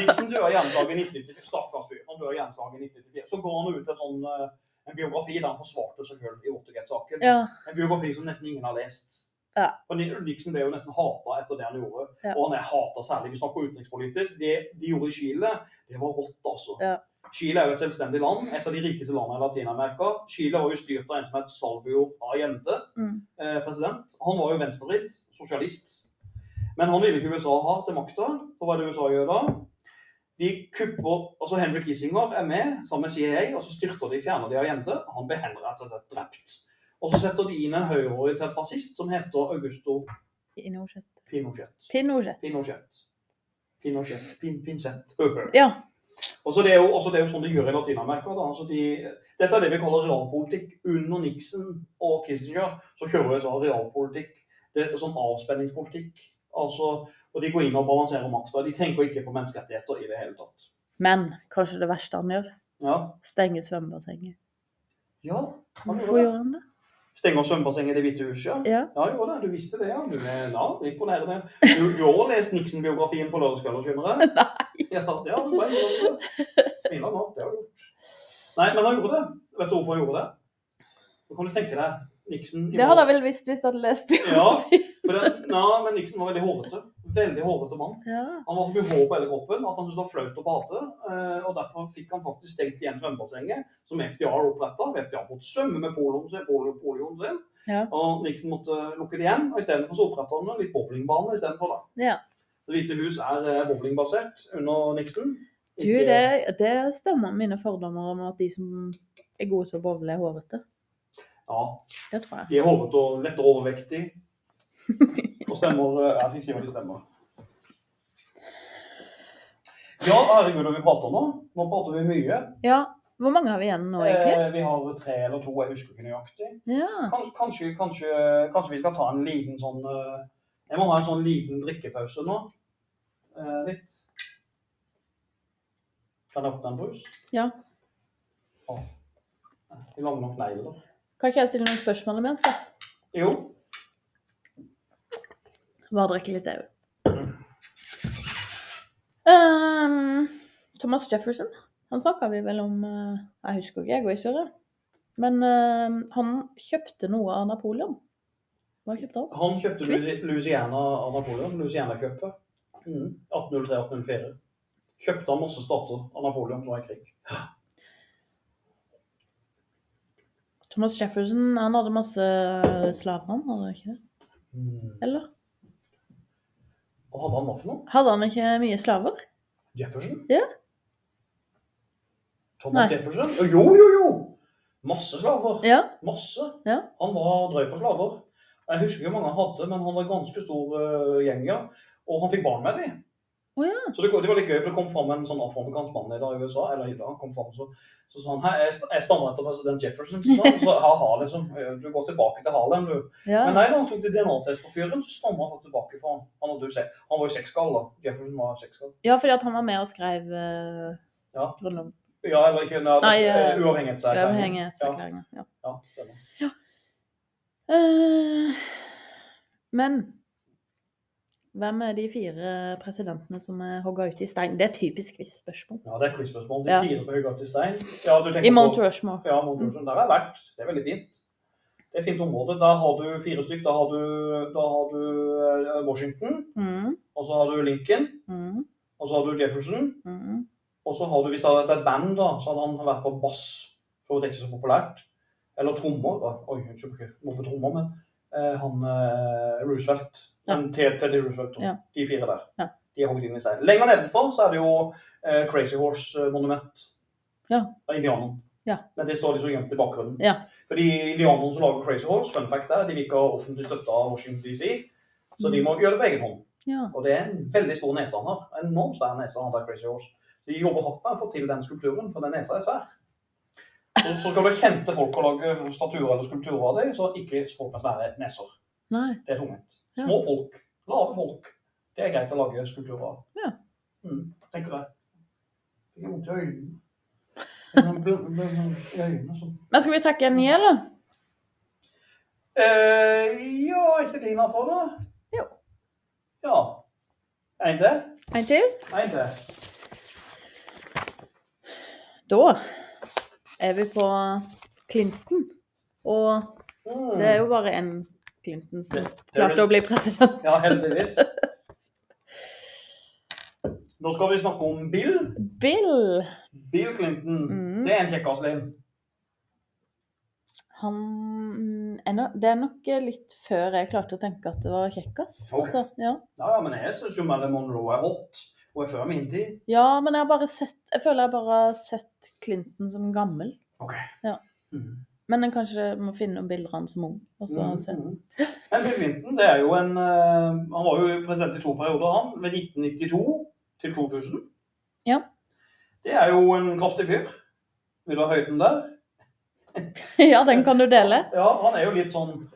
Speaker 2: Nixon dør av hjerneslag i 1994. Stakkars fyr. Han dør av hjerneslag i 1994. Så går han ut til en sånn, eh, en biografi der han forsvarte seg sjøl i Watergate-saken.
Speaker 1: ja.
Speaker 2: En biografi som nesten ingen har lest.
Speaker 1: Ja.
Speaker 2: Og Ni- Nixon ble jo nesten hata etter det han gjorde.
Speaker 1: Ja.
Speaker 2: Og han er hata særlig. Vi snakker utenrikspolitisk. Det de gjorde i Chile, det var rått, altså.
Speaker 1: Ja.
Speaker 2: Chile er jo et selvstendig land, et av de rikeste landene i Latin-Amerika. Chile var jo styrt av en som het Salvio Allende
Speaker 1: Mm.
Speaker 2: eh, president. Han var jo venstrevridd, sosialist. Men han ville ikke USA ha til makta. Så var det USA gjør da. De kupper, altså Henry Kissinger er med sammen med CIA, og så styrter de, fjerner de Allende. Han blir henrettet og drept. Og så setter de inn en høyreorientert fascist som heter Augusto
Speaker 1: Pinochet.
Speaker 2: Pinochet.
Speaker 1: Pinochet.
Speaker 2: Pinochet. Pinochet. Pin, pinsett. Høhø.
Speaker 1: Ja.
Speaker 2: Og så det, er jo, også det er jo sånn de gjør i Latin-Amerika. da. Altså de, dette er det vi kaller realpolitikk. Under Nixon og Kissinger så kjører USA realpolitikk. Det er sånn avspenningspolitikk. Altså, og de går inn og balanserer makta. De tenker ikke på menneskerettigheter i det hele tatt.
Speaker 1: Men kanskje det verste han gjør,
Speaker 2: Ja.
Speaker 1: stenge svømmebassenget.
Speaker 2: ja han
Speaker 1: Hvorfor
Speaker 2: gjorde det.
Speaker 1: gjør han det?
Speaker 2: Stenger svømmebassenget i Det hvite huset, ja.
Speaker 1: Ja.
Speaker 2: Ja, jo da, du visste det, ja. Du er ja, imponerende. Du, du har lest Nixon-biografien på lørdagskvelden, skjønner
Speaker 1: <laughs>
Speaker 2: jeg? Nei. Ja, det har du bare gjort. Smiler nå, det har du gjort. Nei, men han gjorde det. Vet du hvorfor han gjorde det? Nå kan du tenke deg Nixon i
Speaker 1: Det hadde
Speaker 2: morgen.
Speaker 1: jeg vel visst hvis jeg hadde lest
Speaker 2: Ja, for det, ja, men Nixon var veldig hårete. Veldig hårete mann.
Speaker 1: <laughs> Ja.
Speaker 2: Han var så mye hår på hele kroppen at han syntes det var flaut å bade. eh, Og derfor fikk han faktisk stengt igjen svømmebassenget, som FDR oppretta. FDR måtte svømme med poloen sin. Polo, polioen sin.
Speaker 1: Ja.
Speaker 2: Og Nixon måtte lukke det igjen. Og istedenfor så oppretta han litt bowlingbane istedenfor, da.
Speaker 1: Ja.
Speaker 2: Så Det hvite hus er eh, bowlingbasert under Nixon.
Speaker 1: Du, det, det stemmer mine fordommer om at de som er gode til å bowle, er hårete.
Speaker 2: Ja,
Speaker 1: Det tror jeg.
Speaker 2: de er hårete og lettere overvektige. Og stemmer eh, Jeg skal ikke si hva de stemmer. Ja, herregud, og vi prater nå. Nå prater vi mye.
Speaker 1: Ja. Hvor mange har vi igjen nå, egentlig?
Speaker 2: Eh, Vi har tre eller to, jeg husker ikke nøyaktig.
Speaker 1: Ja.
Speaker 2: Kans- Kanskje, kanskje, kanskje vi skal ta en liten sånn eh, Jeg må ha en sånn liten drikkepause nå. Eh, Litt. Kan jeg åpne en brus?
Speaker 1: ja.
Speaker 2: Å. Vi lager nok negler.
Speaker 1: Kan ikke jeg stille noen spørsmål imens, da?
Speaker 2: Jo.
Speaker 1: Bare drikke litt au. Ehm, Thomas Jefferson, han snakka vi vel om eh, Jeg husker ikke, jeg går i surre. Men eh, han kjøpte noe av Napoleon. Hva kjøpte han?
Speaker 2: Han kjøpte Lusi- Louisiana av Napoleon. Louisiana-kjøpet. Mm. 1803-1804. Kjøpte han masse stater av Napoleon som var i krig.
Speaker 1: Thomas Jefferson han hadde masse slaver, han hadde han ikke det?
Speaker 2: Mm.
Speaker 1: Eller?
Speaker 2: Hva hadde han nå for noe?
Speaker 1: Hadde han ikke mye slaver?
Speaker 2: Jefferson?
Speaker 1: Ja.
Speaker 2: Thomas
Speaker 1: Nei.
Speaker 2: Jefferson? Jo, jo, jo! Masse slaver.
Speaker 1: Ja.
Speaker 2: Masse.
Speaker 1: Ja.
Speaker 2: Han var drøy på slaver. Jeg husker ikke hvor mange han hadde, men han var en ganske stor eh, gjeng, ja. Og han fikk barn med dem.
Speaker 1: Å ja.
Speaker 2: Så det, det var litt gøy, for det kom fram en sånn afroamerikansk mann i dag i USA. eller i dag, han kom fram, så, så sa han «Hei, jeg, st- jeg stammer etter president Jefferson. Så, sa han, så ha-ha, liksom. Du går tilbake til Harlem, du.
Speaker 1: ja.
Speaker 2: Men nei, da han tok DNA-test på fyren, så stammer han faktisk tilbake fra han. Han, hadde jo se, han var jo sexgal, da. Jefferson var sexgal.
Speaker 1: Ja, fordi at han var med og skrev eh,
Speaker 2: Ja.
Speaker 1: grunnloven.
Speaker 2: Ja, eller ikke nei,
Speaker 1: Nei,
Speaker 2: det-
Speaker 1: eh,
Speaker 2: uavhengighetserklæringen.
Speaker 1: Uavhengighetserklæringa. Ja.
Speaker 2: Ja, ja, stemmer.
Speaker 1: Eh, Men hvem er de fire presidentene som er hogga ut i stein? Det er et typisk quiz-spørsmål.
Speaker 2: ja, det er et quiz-spørsmål. De
Speaker 1: Ja.
Speaker 2: fire på Høygaard til Stein. Ja, du tenker
Speaker 1: I
Speaker 2: på-
Speaker 1: Mount Rushmore.
Speaker 2: Ja, Montrose. Der har jeg vært. Det er veldig fint. Det er et fint område. Der har du fire stykk. Da har du, da har du eh, Washington,
Speaker 1: Mm,
Speaker 2: og så har du Lincoln,
Speaker 1: mm,
Speaker 2: og så har du Jefferson.
Speaker 1: mm.
Speaker 2: Og så har du, hvis det hadde vært et band, da, så hadde han vært på bass. For det er ikke så populært. Eller trommer. Da. Oi, jeg tror ikke noe på trommer, men eh, han eh, Roosevelt.
Speaker 1: Ja.
Speaker 2: Men Ted- Teddy Roosevelt. da.
Speaker 1: Ja.
Speaker 2: De fire der.
Speaker 1: Ja.
Speaker 2: De er hogd inn i stein. Lenger nedenfor så er eh, det jo eh, Crazy Horse-monument.
Speaker 1: Ja.
Speaker 2: Av indianeren.
Speaker 1: Ja.
Speaker 2: Men det står liksom gjemt i bakgrunnen.
Speaker 1: Ja.
Speaker 2: Fordi indianerne som lager Crazy Horse, fun fact er, de vil ikke ha offentlig støtte av Washington DC, så de må gjøre det på egen hånd.
Speaker 1: Ja.
Speaker 2: Og det er en veldig stor nese han har. En enormt svær nese han har, Crazy Horse. De jobber hardt med å få til den skulpturen, for den nesa er svær. Så, så skal du ha kjente folk og lage statuer eller skulpturer av deg, så ikke folk med svære neser.
Speaker 1: Nei.
Speaker 2: Det er tungvint.
Speaker 1: Ja.
Speaker 2: Små folk, lave folk. Det er greit å lage skulpturer av.
Speaker 1: Ja.
Speaker 2: Mm, tenker jeg. Jeg har vondt i øynene. Jeg har bl- bl- bl- i øynene sånn.
Speaker 1: Men skal vi trekke en ny, eller?
Speaker 2: Eh, ja, er ikke din for det?
Speaker 1: Jo.
Speaker 2: Ja. En til?
Speaker 1: En til?
Speaker 2: En til.
Speaker 1: Da er vi på Clinton. Og
Speaker 2: Mm.
Speaker 1: det er jo bare en Clinton som
Speaker 2: Det- det er
Speaker 1: klarte å bli president.
Speaker 2: Ja, heldigvis. Nå skal vi snakke om Bill.
Speaker 1: Bill,
Speaker 2: Bill Clinton.
Speaker 1: Mm.
Speaker 2: Det er en kjekkas, Linn.
Speaker 1: han mm, er no, Det er nok litt før jeg klarte å tenke at det var kjekkas.
Speaker 2: Ok.
Speaker 1: Altså, ja.
Speaker 2: Ja, ja, men jeg syns jo Marilyn Monroe er hot. Hun er før min tid.
Speaker 1: ja, men jeg har bare sett Jeg føler jeg bare har sett Clinton som gammel.
Speaker 2: Ok.
Speaker 1: Ja.
Speaker 2: Mm.
Speaker 1: Men en kanskje må finne noen bilder av han som ung. Og så
Speaker 2: Mm,
Speaker 1: se.
Speaker 2: mm. Men Bill Clinton det er jo en eh, Han var jo president i to perioder, han. Ved 1992 til 2000.
Speaker 1: Ja.
Speaker 2: Det er jo en kraftig fyr. Vil du ha høyden der?
Speaker 1: <laughs> Ja, den kan du dele.
Speaker 2: Ja, han er jo litt sånn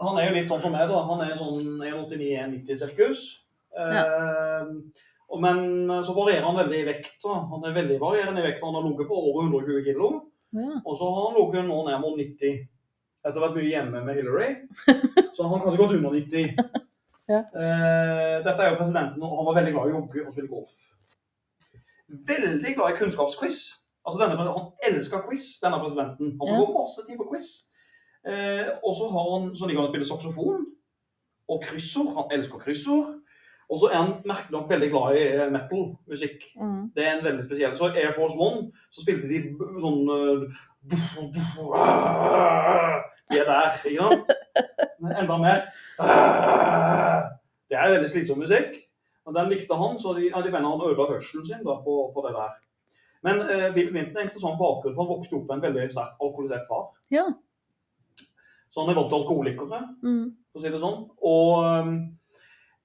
Speaker 2: Han er jo litt sånn som meg, da. Han er sånn 1,89-1,90-sirkus. Ehm, Men eh, så varierer han veldig i vekt. da. Han er veldig varierende i vekt. for Han har ligget på over 120 kilo.
Speaker 1: Ja.
Speaker 2: Og så har han ligget nå ned mot 90. Etter å ha vært mye hjemme med
Speaker 1: <laughs>
Speaker 2: Hillary. Så har han kanskje gått under 90.
Speaker 1: Ja.
Speaker 2: Eh, Dette er jo presidenten, og han var veldig glad i å jogge og spille golf. Veldig glad i kunnskapsquiz. Altså denne, han elsker quiz, denne presidenten. Han
Speaker 1: Ja.
Speaker 2: bruker masse tid på quiz. Eh, og så har han, så ligger han og spiller saksofon og kryssord. Han elsker kryssord. Og så er han merkelig nok veldig glad i eh, metal-musikk.
Speaker 1: Mm.
Speaker 2: Det er en veldig spesiell. Så Air Force One, så spilte de b- sånn eh, buff, buff, ah, De er der, ikke sant? Men enda mer. ah. Det er veldig slitsom musikk. Og den likte han, så de, ja, de mener han ødela hørselen sin da, på, på det der. Men eh, Bill Clinton er en interessant bakgrunn, for han vokste opp med en veldig sterkt alkoholisert far.
Speaker 1: Ja.
Speaker 2: Så han er vant til alkoholikere
Speaker 1: Mm.
Speaker 2: for å si det sånn. Og um,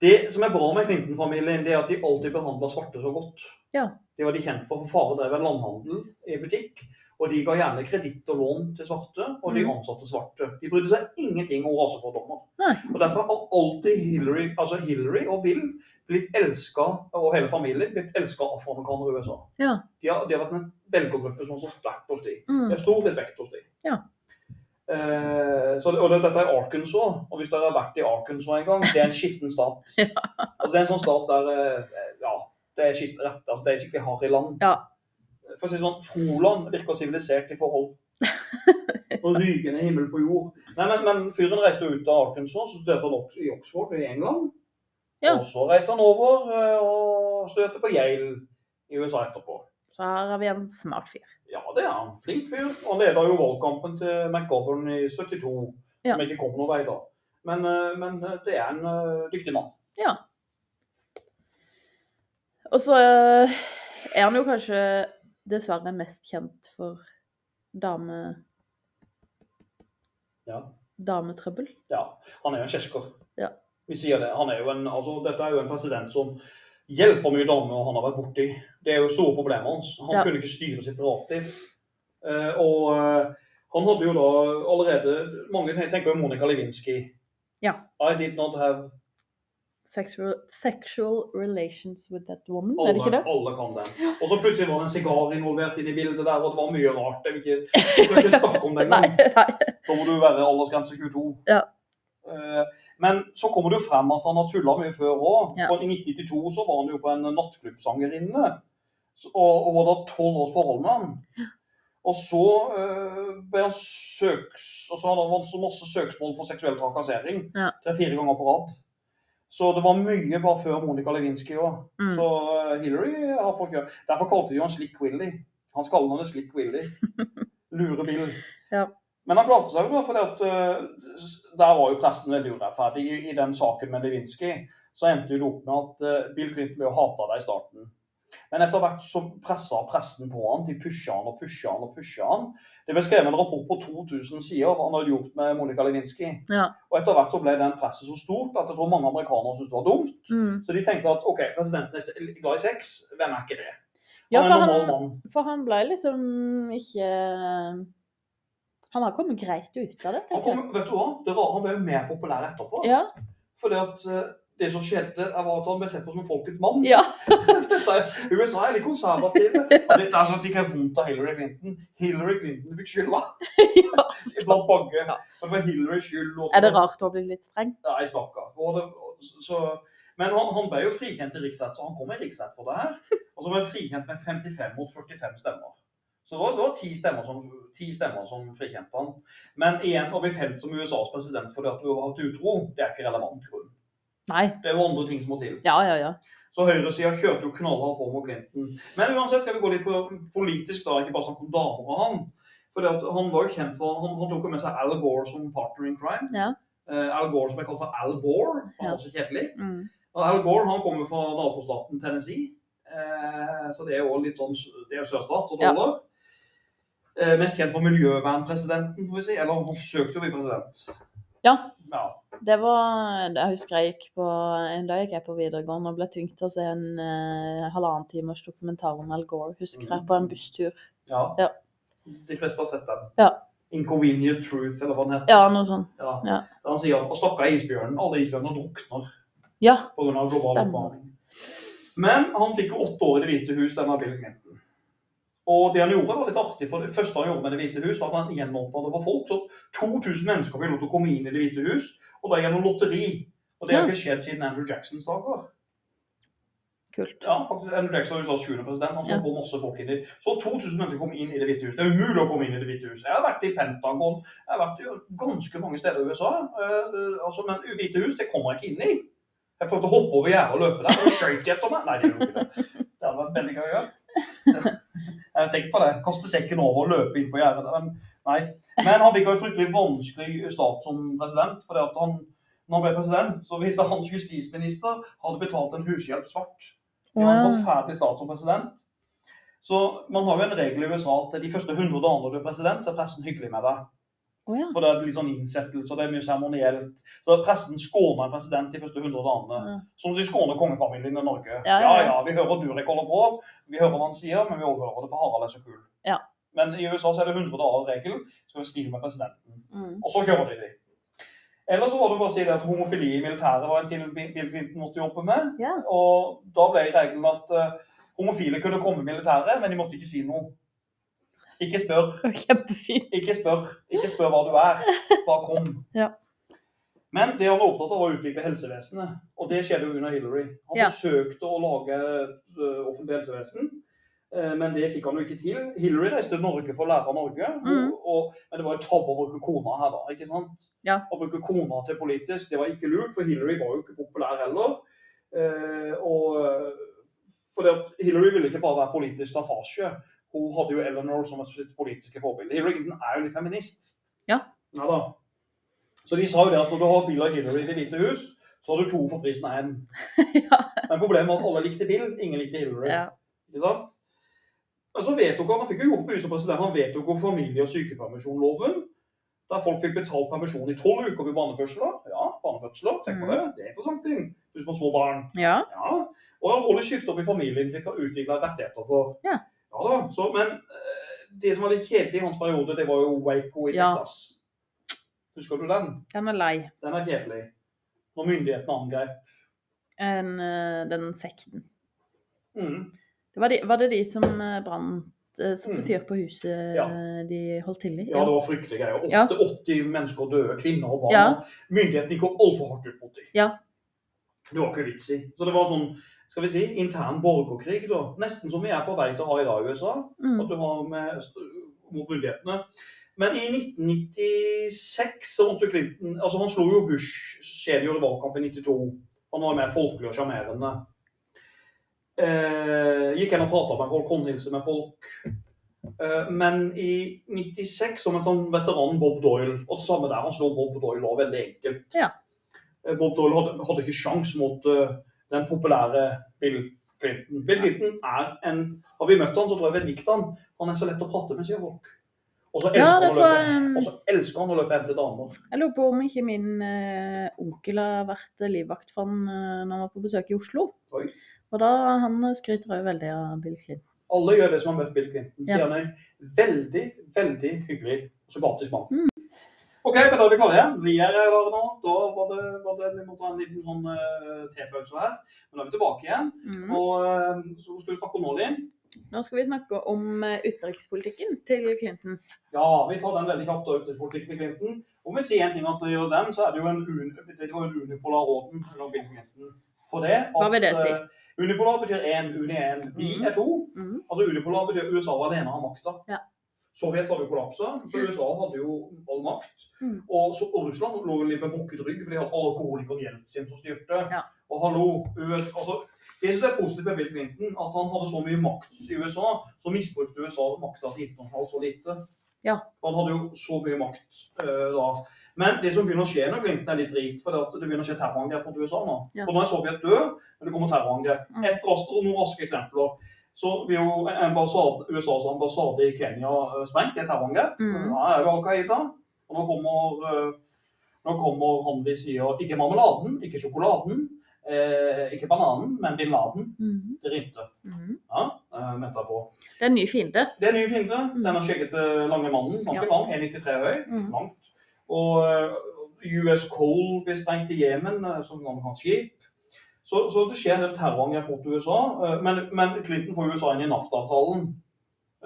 Speaker 2: det som er bra med Clinton-familien, det er at de alltid behandler svarte så godt.
Speaker 1: Ja.
Speaker 2: Det var de kjent for, for faren drev en landhandel i butikk. Og de ga gjerne kreditt og lån til svarte, og de
Speaker 1: Mhm.
Speaker 2: ansatte svarte. De brydde seg ingenting om rasefordommer.
Speaker 1: Nei.
Speaker 2: Og derfor har alltid Hillary, altså Hillary og Bill blitt elska, og hele familien, blitt elska av afroamerikanere i USA.
Speaker 1: Ja.
Speaker 2: De har, de har vært en velgergruppe som har stått sterkt hos de.
Speaker 1: Mm.
Speaker 2: Det er stor respekt hos dem.
Speaker 1: Ja.
Speaker 2: Eh, så, og det, dette er Arkansas. Og hvis dere har vært i Arkansas en gang, det er en skitten stat.
Speaker 1: <laughs> Ja.
Speaker 2: Altså, det er en sånn stat der eh, Ja, det er skitt rett. Altså, det er skikkelig harry land.
Speaker 1: Ja.
Speaker 2: For å si det sånn, Froland virker sivilisert i
Speaker 1: <laughs>
Speaker 2: forhold. Og rykende himmel på jord. Nei, men, men fyren reiste ut av Arkansas, så studerte han opp i Oxford i England.
Speaker 1: Ja.
Speaker 2: Og så reiste han over eh, og studerte på Yale i USA etterpå.
Speaker 1: Så her har vi en smart fyr.
Speaker 2: Ja, det er han. Flink fyr. Han leda jo valgkampen til McGovern i 72,
Speaker 1: Ja.
Speaker 2: som ikke kom noen vei da. Men, eh, men eh, det er en eh, dyktig mann.
Speaker 1: Og så eh, er han jo kanskje dessverre mest kjent for dame...
Speaker 2: Ja.
Speaker 1: Dametrøbbel.
Speaker 2: Ja, Han er jo en kjesker.
Speaker 1: Ja.
Speaker 2: Vi sier det. Han er jo en, altså, dette er jo en president som hjelper mye damer og han har vært borti. Det er jo store problemer hans. Han
Speaker 1: Ja.
Speaker 2: kunne ikke styre sitt privatliv. Eh, og eh, han hadde jo da allerede Mange tenker jo Monica Lewinsky.
Speaker 1: Ja.
Speaker 2: I did not have
Speaker 1: Sexual, sexual relations with that woman,
Speaker 2: Alle,
Speaker 1: er det ikke det?
Speaker 2: alle kan den. Og så plutselig var det en sigar involvert inn i bildet der, og det var mye rart. Jeg
Speaker 1: <laughs>
Speaker 2: vil ikke, jeg skal ikke snakke om det
Speaker 1: Nei, <laughs>
Speaker 2: engang.
Speaker 1: nei.
Speaker 2: Da må du være aldersgrense 22.
Speaker 1: Ja.
Speaker 2: Eh, Men så kommer det jo frem at han har tulla mye før òg.
Speaker 1: Ja.
Speaker 2: I 1992 så var han jo på en nattklubbsangerinne, Så- og, og var da tolv års forhold med han. Og så eh, ble han søks... Og så hadde han så masse søksmål for seksuell trakassering.
Speaker 1: Ja.
Speaker 2: Tre-fire ganger på rad. Så det var mye bare før Monica Lewinsky òg.
Speaker 1: Mm.
Speaker 2: Så eh, Hillary har fått gjøre Derfor kalte de jo han Slick Willy. Han kaller han det Slick
Speaker 1: <laughs>
Speaker 2: Willy. Lure Bill.
Speaker 1: Ja.
Speaker 2: Men han klarte seg jo, da, fordi at eh, s- der var jo pressen veldig urettferdig. I, I den saken med Lewinsky så endte jo det opp med at eh, Bill Clinton ble jo hata deg i starten. Men etter hvert så pressa pressen på han, de pusha han og pusha han og pusha han. Det ble skrevet en rapport på 2000 sider hva han hadde gjort med Monica Lewinsky.
Speaker 1: Ja.
Speaker 2: Og etter hvert så ble den presset så stort at jeg tror mange amerikanere syntes det var dumt.
Speaker 1: Mm.
Speaker 2: Så de tenkte at OK, presidenten er se- glad i sex, hvem er ikke det?
Speaker 1: ja,
Speaker 2: Han er en
Speaker 1: for
Speaker 2: normal
Speaker 1: han,
Speaker 2: mann.
Speaker 1: for han ble liksom ikke Han har kommet greit ut av det,
Speaker 2: Han
Speaker 1: tenker jeg.
Speaker 2: kom, vet du hva? Det rare, han ble jo mer populær etterpå.
Speaker 1: Ja. <laughs>
Speaker 2: Fordi at eh, det som skjedde, er var at han ble sett på som en folkets mann.
Speaker 1: ja.
Speaker 2: <laughs> Dette er, USA er litt konservative. Og Dette er sånn at de ikke har vondt av Hillary Clinton. Hillary Clinton fikk skylda
Speaker 1: ja.
Speaker 2: blant mange.
Speaker 1: Ja.
Speaker 2: Men Det var Hillarys skyld. og- sånn.
Speaker 1: Er det rart å bli litt streng?
Speaker 2: Nei, stakkar. Og det- så- Men han, han ble jo frikjent i riksrett, så han kom i riksrett for det her. Og så ble han frikjent med 55 mot 45 stemmer. Så det var, det var ti, stemmer som, ti stemmer som frikjente han. Men igjen å bli felt som USAs president fordi at du har vært utro, det er ikke relevant grunn.
Speaker 1: Nei.
Speaker 2: Det er jo andre ting som må til.
Speaker 1: Ja, ja, ja.
Speaker 2: Så høyresida kjørte jo knallhardt på mot Clinton. Men uansett skal vi gå litt på politisk, da, ikke bare snakke om damer og han. Fordi at han var jo kjent for, han, han tok jo med seg Al Gore som partner in crime.
Speaker 1: Ja.
Speaker 2: Eh, Al Gore som er kalt for Al Gore, han
Speaker 1: Ja.
Speaker 2: var så kjedelig.
Speaker 1: Mm.
Speaker 2: Og Al Gore han kommer fra nabostaten Tennessee, eh, så det er jo litt sånn, det er jo sørstat og
Speaker 1: Ja.
Speaker 2: dollar. Eh, mest kjent for miljøvernpresidenten, får vi si. Eller han søkte jo å bli president.
Speaker 1: Ja.
Speaker 2: Ja.
Speaker 1: Det var Jeg husker jeg gikk på En dag gikk jeg på videregående og ble tvunget til å se en eh, halvannen timers dokumentar om Al Gore, husker jeg,
Speaker 2: Mm.
Speaker 1: på en busstur.
Speaker 2: ja.
Speaker 1: Ja.
Speaker 2: De fleste har sett den.
Speaker 1: Ja.
Speaker 2: Inconvenient Truth, eller hva den heter.
Speaker 1: Ja, noe sånn. sånt.
Speaker 2: Ja.
Speaker 1: Ja.
Speaker 2: Der Han sier at å stakke isbjørnen, alle isbjørner drukner
Speaker 1: Ja.
Speaker 2: pga. global
Speaker 1: Stemmer.
Speaker 2: oppvarming. Men han fikk jo åtte år i Det hvite hus, denne Bill Clinton. Og det han gjorde var litt artig, for det første han gjorde med Det hvite hus, var at han gjenåpna det for folk. Så 2000 mennesker fikk lov til å komme inn i Det hvite hus, og da gjennom lotteri. Og det har ikke skjedd siden Andrew Jacksons dager.
Speaker 1: Kult.
Speaker 2: Ja, faktisk, Andrew Jackson var USAs sjuende president. Han så
Speaker 1: Ja.
Speaker 2: på masse folk inn i Så 2000 mennesker kom inn i Det hvite hus. Det er umulig å komme inn i Det hvite hus. Jeg har vært i Pentagon, jeg har vært i ganske mange steder i USA. eh, eh, altså, men Det hvite hus, det kommer jeg ikke inn i. Jeg prøvde å hoppe over gjerdet og løpe der, og skøyt de etter meg. Nei, det gjorde ikke det. Det hadde vært veldig gøy å gjøre. <laughs> Jeg har tenkt på det. Kaste sekken over og løpe inn på gjerdet. der, Men, nei. men han fikk jo en fryktelig vanskelig start som president. fordi at han, når han ble president, så viste hans justisminister hadde betalt en hushjelp svart. Det var en
Speaker 1: Wow.
Speaker 2: forferdelig start som president. Så man har jo en regel i USA at de første 100 dagene du er president, så er pressen hyggelig med deg.
Speaker 1: Å ja.
Speaker 2: For det er litt sånn innsettelse, og det er mye seremonielt. Så pressen skåner en president de første 100 dagene.
Speaker 1: Ja.
Speaker 2: Sånn som de skåner kongefamilien i Norge.
Speaker 1: Ja, ja,
Speaker 2: ja,
Speaker 1: ja.
Speaker 2: vi hører Durek holder på, vi hører hva han sier, men vi overhører det, for Harald er så kul.
Speaker 1: Ja.
Speaker 2: Men i USA så er det 100 dager regel, så er det snill med presidenten.
Speaker 1: Mm.
Speaker 2: Og så kjører de de. Ellers så var det bare å si det at homofili i militæret var en ting Bill Clinton måtte jobbe med.
Speaker 1: Ja.
Speaker 2: Og da ble regelen at eh, homofile kunne komme i militæret, men de måtte ikke si noe. Ikke spør,
Speaker 1: Kjempefint.
Speaker 2: ikke spør, ikke spør hva du er. Bare kom.
Speaker 1: <laughs> Ja.
Speaker 2: Men det han var opptatt av, var å utvikle helsevesenet. Og det skjedde jo under Hillary. Han
Speaker 1: Ja.
Speaker 2: forsøkte å lage et eh, offentlig helsevesen, eh, men det fikk han jo ikke til. Hillary reiste til Norge for å lære av Norge,
Speaker 1: Mhm.
Speaker 2: og, og, men det var jo tabbe å bruke kona her da, ikke sant?
Speaker 1: Ja.
Speaker 2: Å bruke kona til politisk, det var ikke lurt, for Hillary var jo ikke populær heller. Eh, og eh, fordi at Hillary ville ikke bare være politisk staffasje. Hun hadde jo Eleanor som et sitt politiske forbilde. Hillary Clinton er jo litt feminist.
Speaker 1: Ja.
Speaker 2: Ja da. Så de sa jo det at når du har Bill og Hillary i Det hvite hus, så har du to for prisen av én.
Speaker 1: <laughs> Ja.
Speaker 2: Men problemet var at alle likte Bill, ingen likte Hillary.
Speaker 1: ja.
Speaker 2: Ikke sant? Men så vedtok han, han fikk jo gjort mye som president, han vedtok jo familie- og sykepermisjonloven. Der folk fikk betalt permisjon i tolv uker ved barnefødsler. Ja, barnefødsler, tenk på
Speaker 1: Mm.
Speaker 2: det. Det er interessant ting. Du som har små barn.
Speaker 1: ja.
Speaker 2: Ja, og alvorlig sykdom i familien fikk han utvikla rettigheter for.
Speaker 1: Ja.
Speaker 2: Ja da, så, Men eh, det som var litt kjedelig i hans periode, det var jo Waco i
Speaker 1: Ja.
Speaker 2: Texas. Husker du den?
Speaker 1: Den er lei.
Speaker 2: Den er kjedelig. Når myndighetene angrep.
Speaker 1: En, eh, den sekten.
Speaker 2: Mm.
Speaker 1: Det var, de, var det de som eh, brant eh, Satte
Speaker 2: Mm.
Speaker 1: fyr på huset
Speaker 2: Ja.
Speaker 1: eh, de holdt til i?
Speaker 2: Ja, det var fryktelige greier.
Speaker 1: Ja.
Speaker 2: 80, 80 mennesker døde, kvinner og barn.
Speaker 1: Ja.
Speaker 2: og Myndighetene gikk altfor hardt ut mot dem.
Speaker 1: Ja.
Speaker 2: Det var ikke vits i. Så det var sånn, skal vi si, intern borgerkrig, da. Nesten som vi er på vei til å ha i dag i USA.
Speaker 1: Mm.
Speaker 2: at du har med øst- mot myndighetene. Men i 1996 så måtte jo Clinton altså Han slo jo Bush senior i valgkampen i 92. Han var mer folkelig og sjarmerende. Eh, gikk hen og prata med folk, håndhilste med folk. Eh, men i 96 så møtte han veteranen Bob Doyle, og det samme der. Han slo Bob Doyle òg, veldig enkelt.
Speaker 1: Ja.
Speaker 2: Eh, Bob Doyle hadde, hadde ikke sjans mot eh, den populære Bill Clinton. Bill Clinton er en Har vi møtt han, så tror jeg vi hadde likt han. Han er så lett å prate med, sier folk. Og så elsker,
Speaker 1: Ja, det
Speaker 2: han, å
Speaker 1: tror
Speaker 2: løpe.
Speaker 1: jeg
Speaker 2: Og
Speaker 1: um,
Speaker 2: så elsker han å løpe hen til damer.
Speaker 1: Jeg lurer på om ikke min eh, onkel har vært livvakt for han eh, når han var på besøk i Oslo.
Speaker 2: Oi.
Speaker 1: Og da han eh, skryter òg veldig av Bill Clinton.
Speaker 2: Alle gjør det som har møtt Bill Clinton. Sier
Speaker 1: Ja.
Speaker 2: han er veldig, veldig hyggelig og sympatisk mann.
Speaker 1: Mm.
Speaker 2: OK, men da er vi klare igjen. Vi er her nå. Da var det, var det Vi må ta en liten sånn eh, tepause her. Men da er vi tilbake igjen.
Speaker 1: Mm.
Speaker 2: Og eh, så skal vi snakke om nå, Linn.
Speaker 1: Nå skal vi snakke om eh, utenrikspolitikken til Clinton.
Speaker 2: Ja, vi tar den veldig kjapt og utenrikspolitikken til Clinton. Om vi sier en ting at når det gjelder den, så er det jo en, un det var en unipolar orden mellom Bill Clinton. For det at,
Speaker 1: Hva vil det si?
Speaker 2: eh, Unipolar betyr én, uni er én. Vi
Speaker 1: Mhm.
Speaker 2: er to.
Speaker 1: Mm.
Speaker 2: Altså Unipolar betyr USA var alene av makta.
Speaker 1: Ja.
Speaker 2: Sovjet hadde jo kollapsa, så USA hadde jo all makt.
Speaker 1: Mhm.
Speaker 2: Og, så, og Russland lå jo litt med brukket rygg, for de hadde alkoholikeren Jeltsin som styrte.
Speaker 1: Ja.
Speaker 2: Og hallo, US, altså, jeg synes det er positivt med Bill Clinton at han hadde så mye makt i USA, så misbrukte USA makta si internasjonalt så lite.
Speaker 1: Ja.
Speaker 2: Han hadde jo så mye makt eh, da. Men det som begynner å skje når Clinton er litt drit, for det, at det begynner å skje terrorangrep mot USA nå.
Speaker 1: Ja.
Speaker 2: For nå er Sovjet død, men det kommer terrorangrep.
Speaker 1: Mm.
Speaker 2: Et raskt og noen raske eksempler. Så blir jo ambassade, USAs ambassade i Kenya eh, sprengt i et terrorangrep.
Speaker 1: Mm.
Speaker 2: Nå er det Al Qaida. Og nå kommer, eh, nå kommer han vi sier ikke marmeladen, ikke sjokoladen, eh, ikke bananen, men bin Laden.
Speaker 1: Mm.
Speaker 2: Det rimte.
Speaker 1: Mm.
Speaker 2: Ja, eh, venter jeg på.
Speaker 1: Det er en ny fiende.
Speaker 2: Det er en ny fiende. Denne skjeggete lange mannen. Ganske
Speaker 1: Mm. Ja.
Speaker 2: lang. 1,93 høy.
Speaker 1: Mm.
Speaker 2: Langt. Og eh, US Coal ble sprengt i Jemen eh, som amerikansk skip. Så, så det skjer en del terrorangrep mot USA. eh, Men, men Clinton får USA inn i NAFTA-avtalen.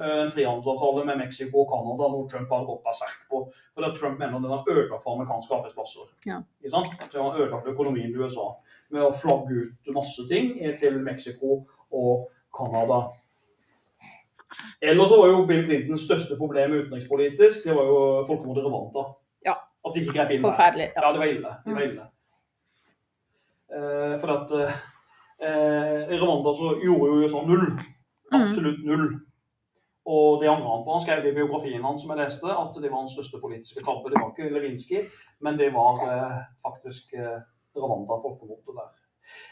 Speaker 2: Eh, En frihandelsavtale med Mexico og Canada, noe Trump har gått berserk på. For at Trump mener den har ødelagt for amerikanske arbeidsplasser.
Speaker 1: Ja.
Speaker 2: Ikke sant? At Den har ødelagt økonomien i USA med å flagge ut masse ting eh, til Mexico og Canada. Ellers så var jo Bill Clintons største problem utenrikspolitisk, det var jo folkemordet Rwanda.
Speaker 1: Ja.
Speaker 2: At de ikke grep inn der.
Speaker 1: Forferdelig.
Speaker 2: Ja,
Speaker 1: Ja.
Speaker 2: det var ille. Det var
Speaker 1: Mm.
Speaker 2: ille. Eh, for at eh, i Rwanda så gjorde jo USA null.
Speaker 1: Mm.
Speaker 2: Absolutt null. Og det angrer han på. Han skrev det i biografien hans som jeg leste, at det var hans største politiske tabbe. Det var ikke Lewinsky, men det var eh, faktisk eh, Rwanda, folkemordet der.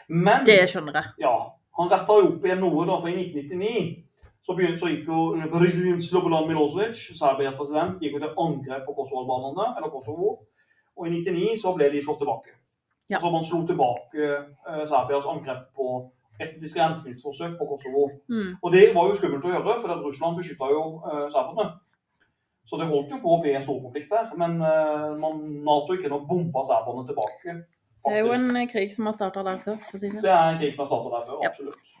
Speaker 2: Men
Speaker 1: Mm. Det skjønner jeg.
Speaker 2: ja, han retta jo opp igjen noe, da, for i 1999 så, begynte, så gikk jo Brezjnev Slobodan Milosevic, Serbias president, gikk jo til angrep på Kosovo-albanerne, eller Kosovo. Og i 1999 så ble de slått tilbake.
Speaker 1: Ja.
Speaker 2: Så man slo tilbake eh, Serbias angrep på etniske rensningsforsøk på Kosovo.
Speaker 1: Mm.
Speaker 2: Og det var jo skummelt å gjøre, for at Russland beskytta jo eh, serberne. Så det holdt jo på å bli en stor konflikt der, men eh, man, Nato ikke nok bomba serberne tilbake.
Speaker 1: Det er jo
Speaker 2: faktisk.
Speaker 1: en eh, krig som har starta der før. for å si det.
Speaker 2: Det er en krig som har startet der før,
Speaker 1: Ja.
Speaker 2: absolutt.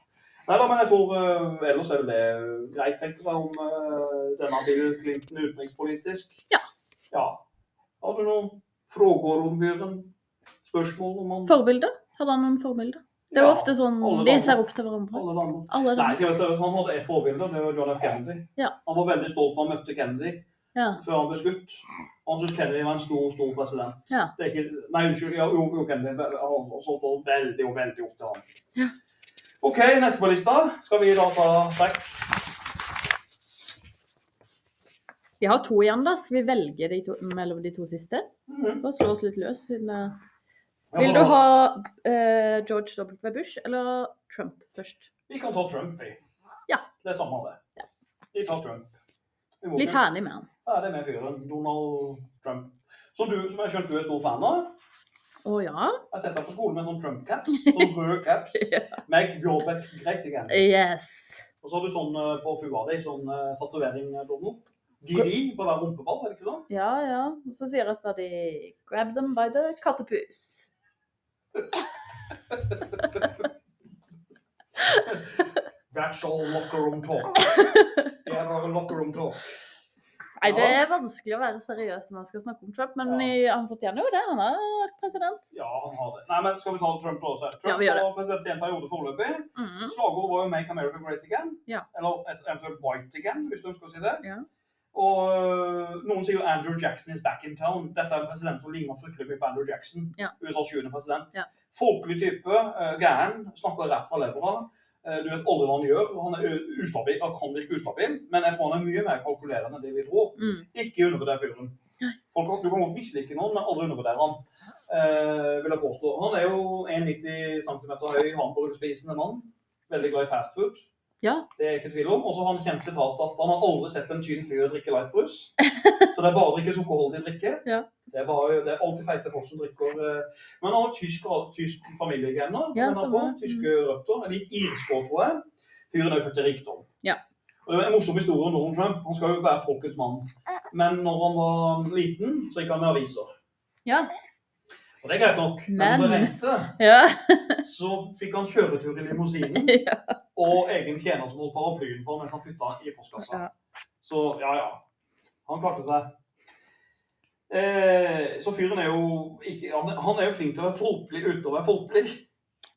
Speaker 2: Nei da, men jeg tror eh, ellers er vel det greit, tenker jeg, om eh, denne Bill Clinton utenrikspolitisk.
Speaker 1: Ja.
Speaker 2: Ja. Har du noen frågor om fyren? Spørsmål om han?
Speaker 1: Forbilde? Hadde han noen forbilde? Det er jo
Speaker 2: Ja,
Speaker 1: ofte sånn
Speaker 2: alle
Speaker 1: de
Speaker 2: damer.
Speaker 1: ser opp til hverandre.
Speaker 2: Alle damer.
Speaker 1: Alle
Speaker 2: Nei,
Speaker 1: damer.
Speaker 2: skal jeg si, han hadde ett forbilde, det var John F. Kennedy.
Speaker 1: Ja.
Speaker 2: Han var veldig stolt når han møtte Kennedy
Speaker 1: Ja.
Speaker 2: før han ble skutt. Han syntes Kennedy var en stor, stor president.
Speaker 1: Ja.
Speaker 2: Det er ikke, nei, unnskyld. Ja, jo, jo, Kennedy. Han han så så veldig, veldig opp til han.
Speaker 1: Ja.
Speaker 2: OK, neste på lista skal vi da ta trekk.
Speaker 1: Vi har to igjen, da. Skal vi velge de to, mellom de to siste?
Speaker 2: Mhm.
Speaker 1: For å slå oss litt løs. Siden eh,
Speaker 2: Ja,
Speaker 1: Vil
Speaker 2: men
Speaker 1: du
Speaker 2: da-
Speaker 1: ha eh, George W. Bush eller Trump først?
Speaker 2: Vi kan ta Trump, vi.
Speaker 1: Ja.
Speaker 2: Det er samme det. Vi tar Trump. Vi må
Speaker 1: Bli
Speaker 2: ikke-
Speaker 1: ferdig med han.
Speaker 2: Ja, det er med fyren. Donald Trump. Så du, som jeg skjønte du er stor fan av,
Speaker 1: Å ja?
Speaker 2: jeg setter deg på skolen med sånn Trump-caps. Sånn
Speaker 1: <laughs>
Speaker 2: rød caps. Meg Bjørbeck greit igjen.
Speaker 1: Yes.
Speaker 2: Og så har du sånn eh, på fua di, sånn eh, tatovering, eh, Donald. DD på hver rumpeball, er det ikke sånn?
Speaker 1: Ja, ja. Og så sier jeg stadig 'grab them by the kattepus'.
Speaker 2: That's all locker room
Speaker 1: <laughs>
Speaker 2: talk. Det er bare locker room talk.
Speaker 1: Nei, det
Speaker 2: Ja.
Speaker 1: er vanskelig å være seriøs når man skal snakke om Trump, men
Speaker 2: Ja.
Speaker 1: i- han fortjener jo det. Han har vært president.
Speaker 2: Ja, han har det. Nei, men skal vi ta Trump også? Trump
Speaker 1: Ja, vi gjør det.
Speaker 2: var president i en periode foreløpig.
Speaker 1: Mm.
Speaker 2: Slagordet var jo 'Make America Great Again'.
Speaker 1: Ja.
Speaker 2: Eller et, eventuelt 'White Again', hvis du ønsker å si det.
Speaker 1: Ja.
Speaker 2: Og øh, noen sier jo 'Andrew Jackson is back in town'. Dette er en president som ligner fryktelig mye på Andrew Jackson.
Speaker 1: Ja.
Speaker 2: USAs 20. president.
Speaker 1: Ja.
Speaker 2: Folkelig type, øh, gæren, snakker rett fra levra. Eh, Du vet aldri hva han gjør. Han er u- ustabil, han kan virke ustabil, men jeg tror han er mye mer kalkulerende enn det vi tror.
Speaker 1: Mm.
Speaker 2: Ikke undervurder fyren.
Speaker 1: Nei.
Speaker 2: Folk, kan- du kan godt mislike noen, men aldri undervurder han. Eh, vil jeg påstå. Han er jo 1,90 cm høy, har han på rullespisen, en mann. veldig glad i fast food.
Speaker 1: Ja.
Speaker 2: Det er jeg ikke i tvil om. Og så har han kjent sitat at han har aldri sett en tynn fyr drikke lightbrus.
Speaker 1: <laughs>
Speaker 2: Så det er bare å drikke sukkerholdig drikke.
Speaker 1: Ja.
Speaker 2: Det, er bare, det er alltid feite folk som drikker eh, Men han har tysk, tysk familiegener.
Speaker 1: Ja,
Speaker 2: men han
Speaker 1: stemmer.
Speaker 2: har tyske røtter. Er litt irsk òg, tror jeg. Fyren er født i rikdom.
Speaker 1: Ja.
Speaker 2: Og det er en morsom historie om Donald Trump. Han skal jo være folkets mann. Men når han var liten, så gikk han med aviser.
Speaker 1: Ja.
Speaker 2: Og det er greit nok. Men,
Speaker 1: Men-
Speaker 2: men rente,
Speaker 1: Ja.
Speaker 2: så fikk han kjøretur i limousinen
Speaker 1: <laughs> ja.
Speaker 2: og egen tjener som holdt paraplyen for mens han putta i postkassa.
Speaker 1: Ja.
Speaker 2: Så ja, ja. Han klarte seg. Eh, så fyren er jo ikke, han, er- han er jo flink til å være folkelig uten å være folkelig.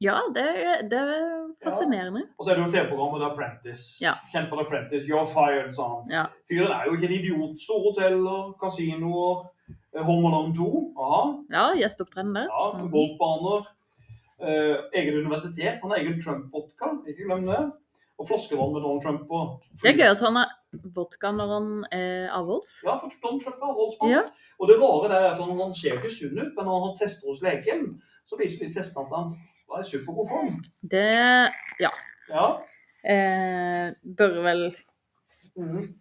Speaker 1: ja det, er, det er fascinerende.
Speaker 2: Og så er det jo TV-programmet The Apprentice.
Speaker 1: Ja.
Speaker 2: Kjent for The Apprentice. You're fired, sa han.
Speaker 1: Ja.
Speaker 2: sånn. Fyren er jo ikke en idiot. Store hoteller, kasinoer, eh, Home Alone 2. Aha.
Speaker 1: Ja, gjesteopptredende.
Speaker 2: Ja,
Speaker 1: Mhm.
Speaker 2: golfbaner. eh, eget universitet. Han har egen Trump-vodka. Ikke glem det. Og flaskevann med Donald Trump på.
Speaker 1: Det er gøy at han har vodka når han er avholds.
Speaker 2: Ja, for Donald Trump er avholdsmann.
Speaker 1: Ja.
Speaker 2: Og det rare det er at han, han ser jo ikke sunn ut, men når han har tester hos legen, så viser de testene at han er i supergod form.
Speaker 1: Det
Speaker 2: Ja.
Speaker 1: eh, bør vel
Speaker 2: Mhm.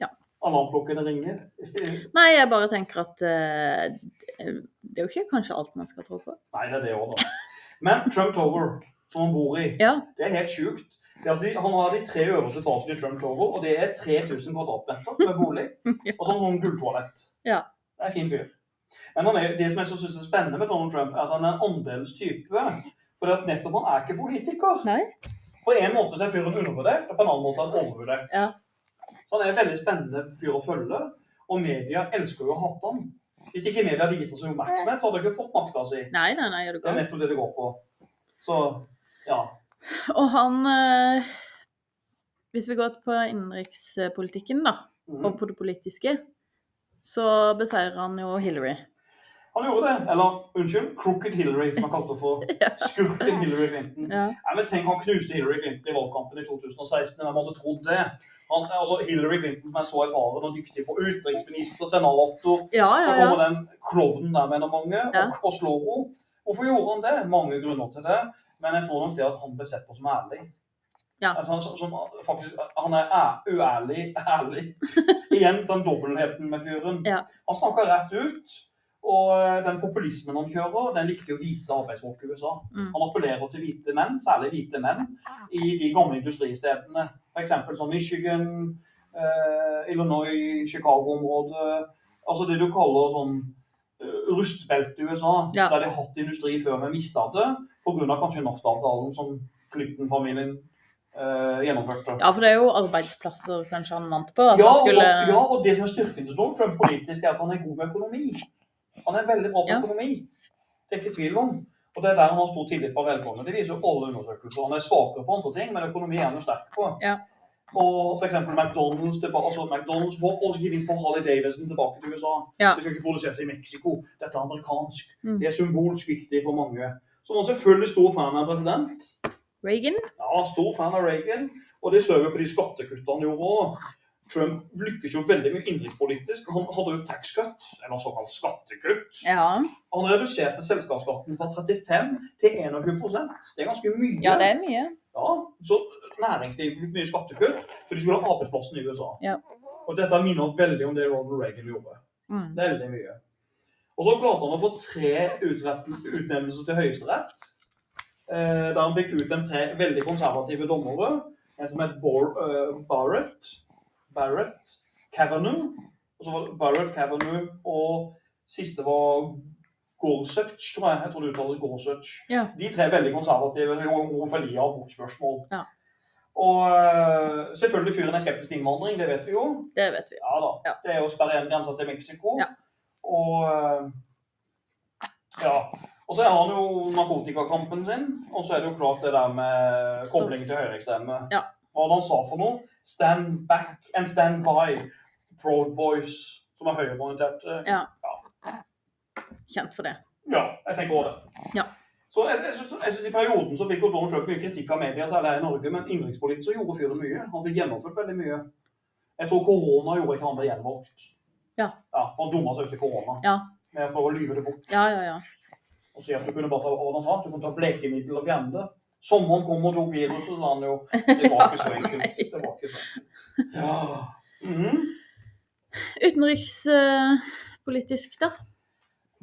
Speaker 1: Ja.
Speaker 2: Alarmklokkene ringer.
Speaker 1: Nei, jeg bare tenker at eh, det er jo ikke kanskje alt man skal tro på.
Speaker 2: Nei, det er det òg, da. Men Trump Tower, som han bor i,
Speaker 1: Ja.
Speaker 2: det er helt sjukt. Det er altså de- Han har de tre øverste etasjene i Trump Tower, og det er 3000 kvadratmeter med
Speaker 1: <laughs>
Speaker 2: bolig. Og sånn sånn gulltoalett.
Speaker 1: Ja.
Speaker 2: Det er en fin fyr. Men han er, det som jeg så synes er spennende med Donald Trump, er at han er en annerledes type. For at nettopp han er ikke politiker.
Speaker 1: Nei.
Speaker 2: På en måte så er fyren undervurdert, og på en annen måte er han overvurdert.
Speaker 1: Ja.
Speaker 2: Så han er en veldig spennende fyr å følge, og media elsker jo å hate ham. Hvis ikke media hadde gitt oss oppmerksomhet, så hadde de ikke fått makta si.
Speaker 1: Nei, nei, nei, er du
Speaker 2: Det er
Speaker 1: gal.
Speaker 2: nettopp det det går på. Så ja.
Speaker 1: Og han eh, Hvis vi går på innenrikspolitikken, da,
Speaker 2: Mm.
Speaker 1: og på det politiske, så beseirer han jo Hillary.
Speaker 2: Han gjorde det. Eller unnskyld, Crooked Hillary, som han kalte det for.
Speaker 1: <laughs> Ja.
Speaker 2: Skurken Hillary Clinton.
Speaker 1: Ja.
Speaker 2: Nei, men tenk, Han knuste Hillary Clinton i valgkampen i 2016. Hvem hadde trodd det? Han, altså, Hillary Clinton som er så erfaren og dyktig på utenriksminister, senator
Speaker 1: Ja,
Speaker 2: Så
Speaker 1: ja, ja.
Speaker 2: kommer den klovnen der, mener mange,
Speaker 1: Ja.
Speaker 2: og, og slår henne. Hvorfor gjorde han det? Mange grunner til det. Men jeg tror nok det at han ble sett på som ærlig.
Speaker 1: Ja.
Speaker 2: Altså, han, som, som, faktisk, han er æ- uærlig, <laughs> ærlig. Igjen den dobbeltheten med fyren.
Speaker 1: Ja.
Speaker 2: Han snakker rett ut. Og eh, den populismen han kjører, den likte jo hvite arbeidsfolk i USA.
Speaker 1: Mm.
Speaker 2: Han appellerer til hvite menn, særlig hvite menn, i de gamle industristedene. F.eks. som Michigan, eh, Illinois, Chicago-området. Altså det du kaller sånn eh, rustbelte i USA,
Speaker 1: Ja.
Speaker 2: der de har hatt industri før, men mista det pga. kanskje NAFTA-avtalen som Clinton-familien eh, gjennomførte.
Speaker 1: ja, for det er jo arbeidsplasser kanskje han vant på. At
Speaker 2: Ja,
Speaker 1: han
Speaker 2: og,
Speaker 1: skulle
Speaker 2: ja, og det som er styrken til Donald Trump politisk, er at han er god med økonomi. Han er veldig bra på
Speaker 1: Ja.
Speaker 2: økonomi. Det er ikke tvil om. Og det er der han har stor tillit på velgerne. Det viser jo alle undersøkelser. Han er svakere på andre ting, men økonomi er han jo sterk på.
Speaker 1: Ja.
Speaker 2: Og f.eks. McDonald's, tilba- altså McDonald's får også gevinst for Harley Davidson tilbake til USA.
Speaker 1: Ja.
Speaker 2: Det skal ikke produseres i Mexico. Dette er amerikansk.
Speaker 1: Mm.
Speaker 2: Det er symbolsk viktig for mange. Så han er selvfølgelig stor fan av president.
Speaker 1: Reagan.
Speaker 2: Ja, stor fan av Reagan. Og det ser vi på de skattekuttene han gjorde òg. Trump lykkes jo veldig mye innenrikspolitisk. Han hadde jo tax cut, eller såkalt skattekutt.
Speaker 1: Ja.
Speaker 2: Han reduserte selskapsskatten fra 35 til 21 Det er ganske mye.
Speaker 1: ja, det er mye.
Speaker 2: Ja, så næringslivet fikk mye skattekutt, for de skulle ha arbeidsplassen i USA.
Speaker 1: Ja.
Speaker 2: Og dette minner veldig om det Ronald Reagan gjorde.
Speaker 1: Mm.
Speaker 2: Veldig mye. Og så klarte han å få tre utrett- utnevnelser til Høyesterett. Eh, der han fikk utnevnt tre veldig konservative dommere. En som het Bor eh, Barrett, Barrett Kavanaugh. Og så var det Barrett Kavanaugh, og siste var Gorsuch, tror jeg. Jeg tror det uttales Gorsuch.
Speaker 1: Ja.
Speaker 2: De tre er veldig konservative. Det er jo homofili og abortspørsmål.
Speaker 1: Ja.
Speaker 2: Og eh, selvfølgelig fyren er skeptisk til innvandring, det vet vi jo.
Speaker 1: Det vet vi.
Speaker 2: Ja da.
Speaker 1: Ja.
Speaker 2: Det er jo sperre en grense til Mexico.
Speaker 1: Ja.
Speaker 2: Og eh, ja. Og så har han jo narkotikakampen sin, og så er det jo klart det der med kobling til høyreekstreme.
Speaker 1: Ja.
Speaker 2: Hva var det han sa for noe? Stand back and stand by. Proud Boys, som er høyreorienterte.
Speaker 1: Ja. Kjent for det.
Speaker 2: Ja, jeg tenker over det.
Speaker 1: Ja.
Speaker 2: Så jeg, jeg, synes, jeg synes I perioden så fikk jo Donald Trump mye kritikk av media, særlig her i Norge, men innenrikspolitisk så gjorde fyren mye. Han fikk gjennomført veldig mye. Jeg tror korona gjorde ikke han ble gjenvalgt.
Speaker 1: Ja.
Speaker 2: ja for han dumma seg ut i korona.
Speaker 1: Ja.
Speaker 2: Med å prøve å lyve det bort
Speaker 1: Ja, ja, ja.
Speaker 2: og si at du kunne bare ta hva han sa, du kunne ta blekemiddel og fjerne det. Sommeren kom og tok virus, og så sa han jo Det var ikke så
Speaker 1: <laughs>
Speaker 2: enkelt. Det var ikke så enkelt. Ja. Mhm.
Speaker 1: Utenrikspolitisk, da.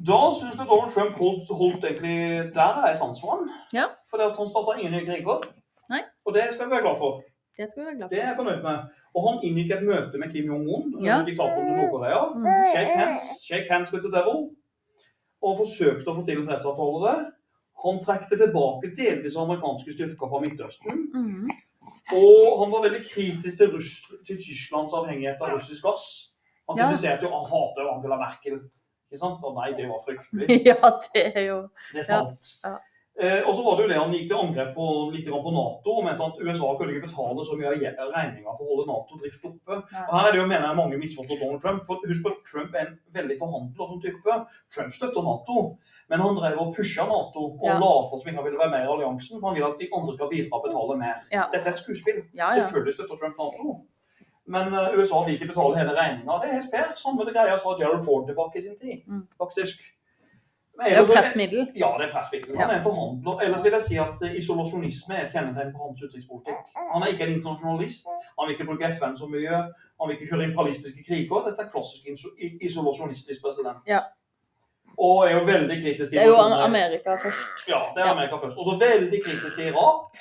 Speaker 2: Da syns jeg Donald Trump holdt, holdt egentlig Der er jeg sans for han.
Speaker 1: Ja.
Speaker 2: Fordi at han starta ingen nye kriger.
Speaker 1: Nei.
Speaker 2: Og det skal vi være glad for.
Speaker 1: Det skal vi være glad
Speaker 2: Det er jeg fornøyd med. Og han inngikk et møte med Kim Jong-un,
Speaker 1: Ja.
Speaker 2: ja. diktatoren i Nord-Korea.
Speaker 1: Mm.
Speaker 2: Shake hands, shake hands with the devil. Og forsøkte å få til en fredsavtale der. Han trekte tilbake delvis amerikanske styrker fra Midtøsten.
Speaker 1: for. Mm.
Speaker 2: Og han var veldig kritisk til, Russ til Tysklands avhengighet av russisk gass. Han
Speaker 1: Ja.
Speaker 2: kritiserte jo, han hatet jo Angela Merkel. Ikke sant? Og nei, det var fryktelig.
Speaker 1: <laughs> Ja, det er jo
Speaker 2: Det smalt.
Speaker 1: Ja.
Speaker 2: Eh, og så var det jo det han gikk til angrep på litt grann på Nato og mente at USA kunne ikke betale så mye av gje- regninga for å holde Nato drift oppe. Og her er det jo, mener jeg, mange misforstår Donald Trump. For husk på at Trump er en veldig forhandler som type. Trump støtter Nato, men han drev og pusha Nato og
Speaker 1: Ja.
Speaker 2: later som ikke han ville være med i alliansen. For han vil at de andre skal bidra og betale mer.
Speaker 1: Ja.
Speaker 2: Dette er et skuespill.
Speaker 1: Ja, ja.
Speaker 2: Selvfølgelig støtter Trump Nato. Men eh, USA vil ikke betale hele regninga. Det er helt fair. Samme det greia sa Gerald Ford tilbake i sin tid,
Speaker 1: Mm.
Speaker 2: faktisk. Men
Speaker 1: Det er jo
Speaker 2: ellers-
Speaker 1: pressmiddel.
Speaker 2: Ja, det er pressmiddel. Han er en forhandler. Ellers vil jeg si at eh, isolasjonisme er et kjennetegn på hans utenrikspolitikk. Han er ikke en internasjonalist. Han vil ikke bruke FN så mye. Han vil ikke kjøre imperialistiske kriger. Dette er klassisk iso- i- isolasjonistisk president.
Speaker 1: Ja.
Speaker 2: Og er jo veldig kritisk til
Speaker 1: Det er jo sånn, eh,
Speaker 2: sånne-
Speaker 1: Amerika først.
Speaker 2: ja, det er
Speaker 1: Ja.
Speaker 2: Amerika først. Og så veldig kritisk til Irak.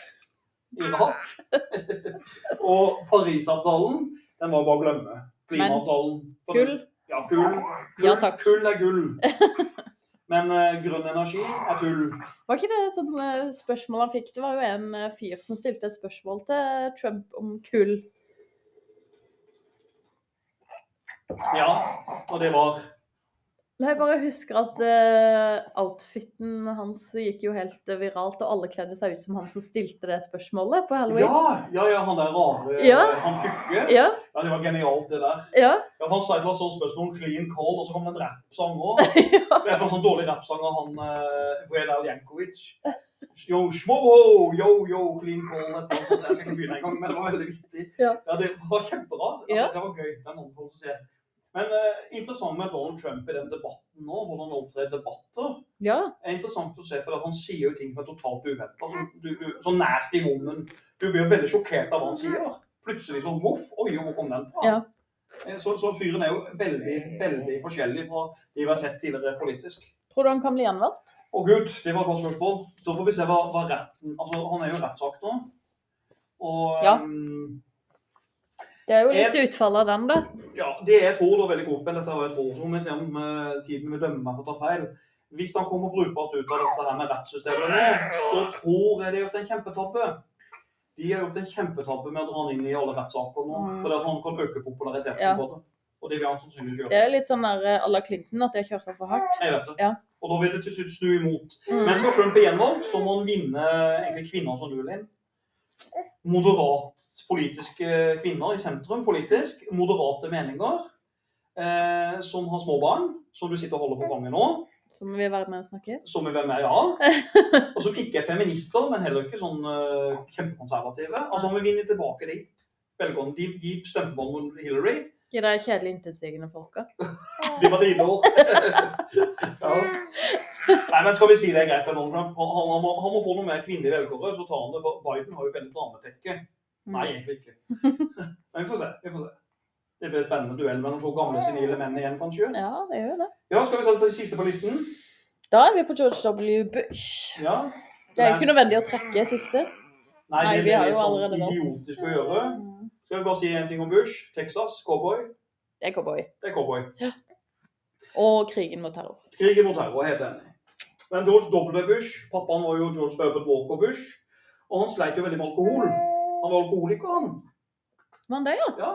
Speaker 2: Irak. <laughs> og Parisavtalen, den var bare å glemme. Klimaavtalen.
Speaker 1: Kull.
Speaker 2: Ja, kull. kull.
Speaker 1: Ja, takk.
Speaker 2: Kull er gull. <laughs> Men eh, grønn energi er tull.
Speaker 1: Var ikke det et sånt eh, spørsmål han fikk? Det var jo en eh, fyr som stilte et spørsmål til eh, Trump om kull.
Speaker 2: Ja, og det var
Speaker 1: Nei, jeg bare husker at eh, outfiten hans gikk jo helt eh, viralt, og alle kledde seg ut som han som stilte det spørsmålet på halloween.
Speaker 2: Ja, ja, ja han der rare eh,
Speaker 1: Ja.
Speaker 2: Han tykke.
Speaker 1: Ja,
Speaker 2: Ja, det var genialt, det der.
Speaker 1: ja.
Speaker 2: Ja, for Han sa et eller annet sånt spørsmål om clean call, og så kom det en rappsang
Speaker 1: <laughs>
Speaker 2: òg. Det er en sånn dårlig rappsang av han uh, Vredal Jankovic. Yo, shmo, yo, yo, clean call, et eller annet sånt. Jeg skal ikke begynne engang, men det var veldig vittig.
Speaker 1: Ja.
Speaker 2: det var kjempebra. Ja,
Speaker 1: Ja.
Speaker 2: Det var gøy. Det er noen folk som ser. Men eh, interessant med Donald Trump i den debatten nå, hvordan han opptrer i debatter,
Speaker 1: ja.
Speaker 2: er interessant å se, for han sier jo ting som er totalt uventa. Sånn nasty woman. Du blir jo veldig sjokkert av hva han sier. Plutselig sånn voff. Oi, hvor kom den fra?
Speaker 1: Ja.
Speaker 2: Eh, Så, så fyren er jo veldig, veldig forskjellig fra de vi har sett tidligere politisk.
Speaker 1: Tror du han kan bli gjenvalgt?
Speaker 2: Å gud, det var et godt spørsmål. Da får vi se hva, hva retten Altså, han er jo rettssak nå. Og
Speaker 1: Ja.
Speaker 2: ehm,
Speaker 1: Det er jo litt utfall av den, da.
Speaker 2: ja, det jeg tror da veldig godt, men dette var et råd som vi ser om eh, tiden vil dømme meg for å ta feil. Hvis han kommer brukbart ut av dette her med rettssystemet nå, så tror jeg de har gjort en kjempetabbe. De har gjort en kjempetabbe med å dra han inn i alle rettssaker nå,
Speaker 1: Mm.
Speaker 2: fordi at han kan øke populariteten
Speaker 1: Ja.
Speaker 2: på det. Og det vil han sannsynligvis gjøre.
Speaker 1: Det er litt sånn der eh, à la Clinton, at de har kjørt ham for hardt.
Speaker 2: Jeg vet det.
Speaker 1: Ja.
Speaker 2: Og da vil det til slutt snu imot.
Speaker 1: Mm.
Speaker 2: Men skal Trump bli gjenvalgt, så må han vinne egentlig kvinner som Lulin. Moderat politiske kvinner i sentrum politisk. Moderate meninger. Eh, som har små barn, som du sitter og holder på fanget nå.
Speaker 1: Som vil være med og snakke.
Speaker 2: Som vil være med, ja. Og som ikke er feminister, men heller ikke sånn eh, kjempekonservative. Altså, han vil vinne tilbake de. Velkommen. De, de stemte på han mot Hillary.
Speaker 1: Ikke de kjedelige, intetsigende folka.
Speaker 2: Det var dine ord. <laughs> ja. Nei, men skal vi si det er greit med Donald Trump? Han, han, må, han må få noe mer kvinnelig velkåre, så tar han det. for Biden har jo veldig drametekke.
Speaker 1: Mm.
Speaker 2: Nei, egentlig ikke. Men vi får se. vi får se. Det blir en spennende duell mellom to gamle senile menn igjen, kanskje.
Speaker 1: Ja, det gjør jo det.
Speaker 2: Ja, skal vi se til siste på listen?
Speaker 1: Da er vi på George W. Bush.
Speaker 2: Ja.
Speaker 1: Det er jo ikke nødvendig å trekke siste.
Speaker 2: Nei,
Speaker 1: Nei,
Speaker 2: det
Speaker 1: vi
Speaker 2: blir
Speaker 1: har
Speaker 2: litt
Speaker 1: jo
Speaker 2: sånn
Speaker 1: allerede valgt.
Speaker 2: idiotisk å gjøre.
Speaker 1: Mm.
Speaker 2: Skal vi bare si en ting om Bush? Texas, cowboy.
Speaker 1: Det er cowboy.
Speaker 2: Det er cowboy.
Speaker 1: Og krigen mot terror.
Speaker 2: Krigen mot terror, helt enig. Men George W. Bush, pappaen var jo George Herbert Walker Bush, og han sleit jo veldig med alkohol. Han var alkoholiker, han.
Speaker 1: Men det, ja.
Speaker 2: Ja,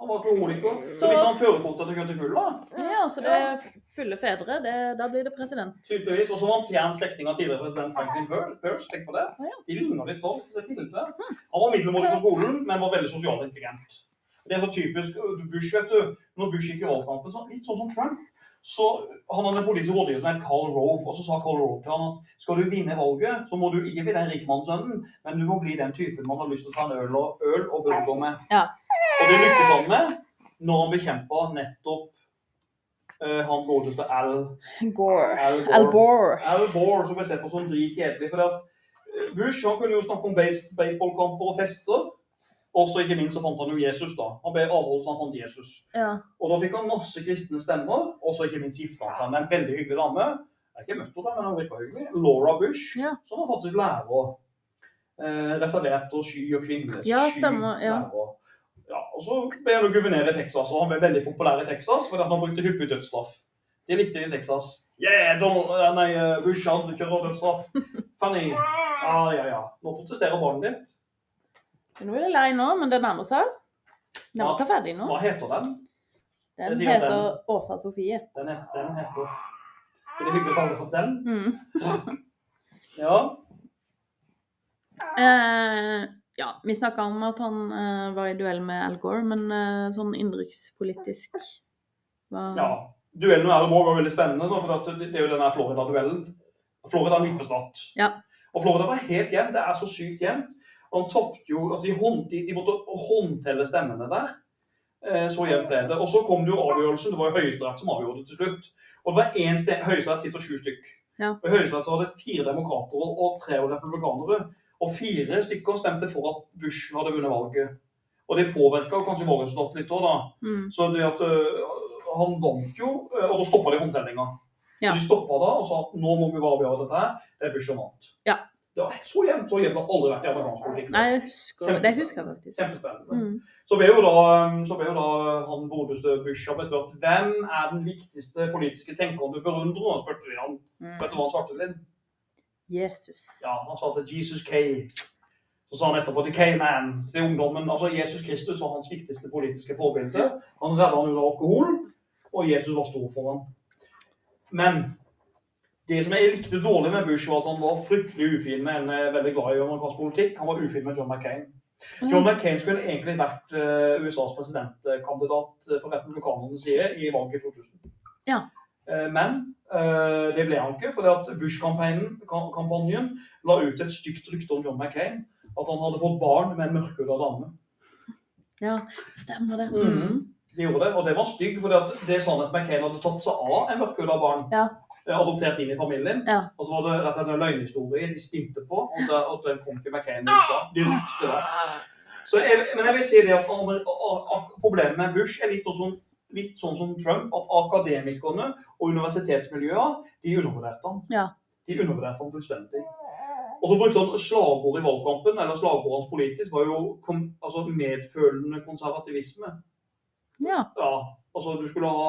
Speaker 2: han var alkoholiker.
Speaker 1: Så-
Speaker 2: Så visste han førerkortet til å kjøre til full, da.
Speaker 1: ja så det er fulle fedre. Det, da blir det president.
Speaker 2: Tydeligvis. Og så var han fjern slektning av tidligere president Franklin Pur- Pierce. Tenk på det.
Speaker 1: Å, ja. Hm.
Speaker 2: De ligner litt sånn. så det er bilde. Han var middelmådig på skolen, men var veldig sosial og intelligent. Det er så typisk øh, Bush, vet du. Når Bush gikk i valgkampen, så litt sånn som Trump. Så han hadde en politisk rådgiver som het Carl Rove, og så sa Carl Rove til han at skal du vinne valget, så må du ikke bli den rikmannssønnen, men du må bli den typen man har lyst til å ta en øl og, øl og burger med.
Speaker 1: Ja.
Speaker 2: Og det lykkes han med når han bekjempa nettopp øh, han godeste Al
Speaker 1: Gore.
Speaker 2: Al Gore.
Speaker 1: Al Gore.
Speaker 2: Al Gore, som jeg ser på som sånn dritkjedelig. For at eh, Bush han kunne jo snakke om base, baseballkamper og fester. Og så ikke minst så fant han jo Jesus, da. Han ble avholdt så han fant Jesus.
Speaker 1: Ja.
Speaker 2: Og da fikk han masse kristne stemmer, og så ikke minst gifta han seg med en veldig hyggelig dame. Jeg har ikke møtt henne, men hun virka hyggelig. Laura Bush,
Speaker 1: Ja.
Speaker 2: som var faktisk lærer. Eh, reservert og sky og kvinnelig
Speaker 1: Ja,
Speaker 2: sky
Speaker 1: stemmer, ja.
Speaker 2: lærer. Ja, og så ble han jo guvernør i Texas, og han ble veldig populær i Texas fordi at han brukte hyppig dødsstraff. De likte det i Texas. Yeah, Don, eh, nei, eh, Bush han kjører dødsstraff. Fanny. Ja, ja, ja. Nå protesterer barnet ditt.
Speaker 1: Nå er det lei nå, men det nærmer seg. Nærmer
Speaker 2: Ja.
Speaker 1: seg ferdig nå.
Speaker 2: Hva heter den?
Speaker 1: Den
Speaker 2: Jeg sier at
Speaker 1: heter Åsa Sofie.
Speaker 2: Den, het- den heter Er det hyggelig å kalle for den?
Speaker 1: Mm.
Speaker 2: Ja.
Speaker 1: Eh, ja, vi snakka om at han eh, var i duell med Al Gore, men eh, sånn innenrikspolitisk var
Speaker 2: Ja. Duellen med Alan Moore var veldig spennende, da, for at det det er jo denne Florida-duellen. Florida er en vippestat.
Speaker 1: Ja.
Speaker 2: Og Florida var helt jevnt. Det er så sykt jevnt. Og han toppte jo altså de, hånd, de, de måtte håndtelle stemmene der. Eh, så jevnt ble det. Og så kom det jo avgjørelsen. Det var jo Høyesterett som avgjorde det til slutt. Og det var én sted, Høyesterett sitter sju stykk.
Speaker 1: Ja.
Speaker 2: Og Høyesterett hadde fire demokrater og tre republikanere. Og fire stykker stemte for at Bush hadde vunnet valget. Og det påvirka kanskje valgresultatet litt òg, da.
Speaker 1: Mm.
Speaker 2: Så det at øh, han vant jo, øh, og da stoppa de håndtellinga.
Speaker 1: Ja.
Speaker 2: De stoppa da og sa at nå må vi bare avgjøre dette her. Det er Bush som vant.
Speaker 1: Ja.
Speaker 2: Det var så jevnt. Så jevnt har aldri vært i amerikansk politikk.
Speaker 1: Nei, jeg husker, det husker jeg faktisk.
Speaker 2: Kjempespennende.
Speaker 1: Mm.
Speaker 2: Så ble jo da, øh, så ble jo da øh, han godeste Bush han ble spurt hvem er den viktigste politiske tenkeren du beundrer? Og spurte de han.
Speaker 1: Mm.
Speaker 2: Vet du hva han svarte til?
Speaker 1: Jesus.
Speaker 2: Ja, han svarte Jesus K. Så sa han etterpå til K-man, til ungdommen. Altså, Jesus Kristus var hans viktigste politiske forbilde. Han redda han ut av alkohol, og Jesus var stor for ham. Men det som jeg likte dårlig med Bush, var at han var fryktelig ufin med en eh, veldig glad i amerikansk politikk. Han var ufin med John McCain. John McCain skulle egentlig vært eh, USAs presidentkandidat eh, for republikanernes side i valget i 2000.
Speaker 1: Ja.
Speaker 2: Eh, men eh, det ble han ikke, fordi at Bush-kampanjen kam- kampanjen la ut et stygt rykte om John McCain. At han hadde fått barn med en mørkhuda dame.
Speaker 1: Ja, stemmer det. Mm.
Speaker 2: Mhm. De gjorde det, og det var stygg, fordi at det er sånn at McCain hadde tatt seg av en mørkhuda barn.
Speaker 1: Ja.
Speaker 2: eh, Adoptert inn i familien.
Speaker 1: Ja.
Speaker 2: Og så var det rett og slett en løgnhistorie de spinte på, og, det, og den kom til McCain. ut av. De rykte det. Så jeg, men jeg vil si det at andre- a- a- problemet med Bush er litt sånn som, litt sånn som Trump, at akademikerne og universitetsmiljøer, de undervurderte han.
Speaker 1: Ja.
Speaker 2: De undervurderte han fullstendig. Og så brukte han slagord i valgkampen, eller slagordet hans politisk, var jo kom, altså medfølende konservativisme.
Speaker 1: Ja.
Speaker 2: Ja, altså du skulle ha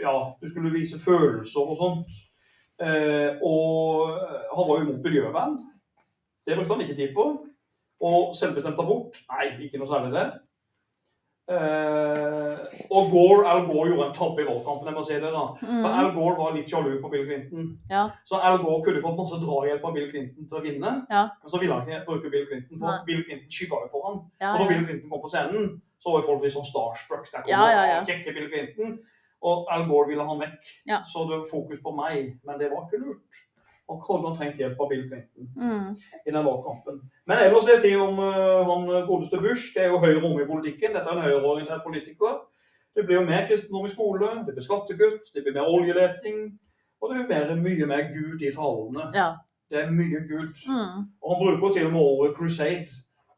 Speaker 2: Ja, du skulle vise følelser og sånt. Eh, og han var jo imot miljøvern. Det brukte han ikke tid på. Og selvbestemt abort? Nei, ikke noe særlig det. Eh, og Gore, Al Gore gjorde en tabbe i valgkampen, jeg må si det. da. For
Speaker 1: Mm.
Speaker 2: Al Gore var litt sjalu på Bill Clinton.
Speaker 1: Ja.
Speaker 2: Så Al Gore kunne fått masse drahjelp av Bill Clinton til å vinne.
Speaker 1: Ja.
Speaker 2: Men så ville han ikke bruke Bill Clinton, for
Speaker 1: Nei.
Speaker 2: Bill Clinton skygga jo for han.
Speaker 1: Mm. Ja,
Speaker 2: Og da
Speaker 1: ja.
Speaker 2: Bill Clinton kom på scenen, så var jo folk litt sånn starstruck. Der kom
Speaker 1: Ja, ja, ja.
Speaker 2: han, kjekke Bill Clinton. Og Al Gore ville han vekk.
Speaker 1: Ja.
Speaker 2: Så det var fokus på meg. Men det var ikke lurt. Og hadde han trengt hjelp av Bill Clinton
Speaker 1: Mm.
Speaker 2: i den valgkampen. Men ellers vil jeg si om eh, han godeste Bush, det er jo høyre om i politikken. Dette er en høyreorientert politiker. Det blir jo mer kristendom i skole, det blir skattekutt, det blir mer oljeleting. Og det blir mer, mye mer Gud i talene.
Speaker 1: Ja.
Speaker 2: Det er mye Gud.
Speaker 1: Mm.
Speaker 2: Og han bruker til og med ordet crusade.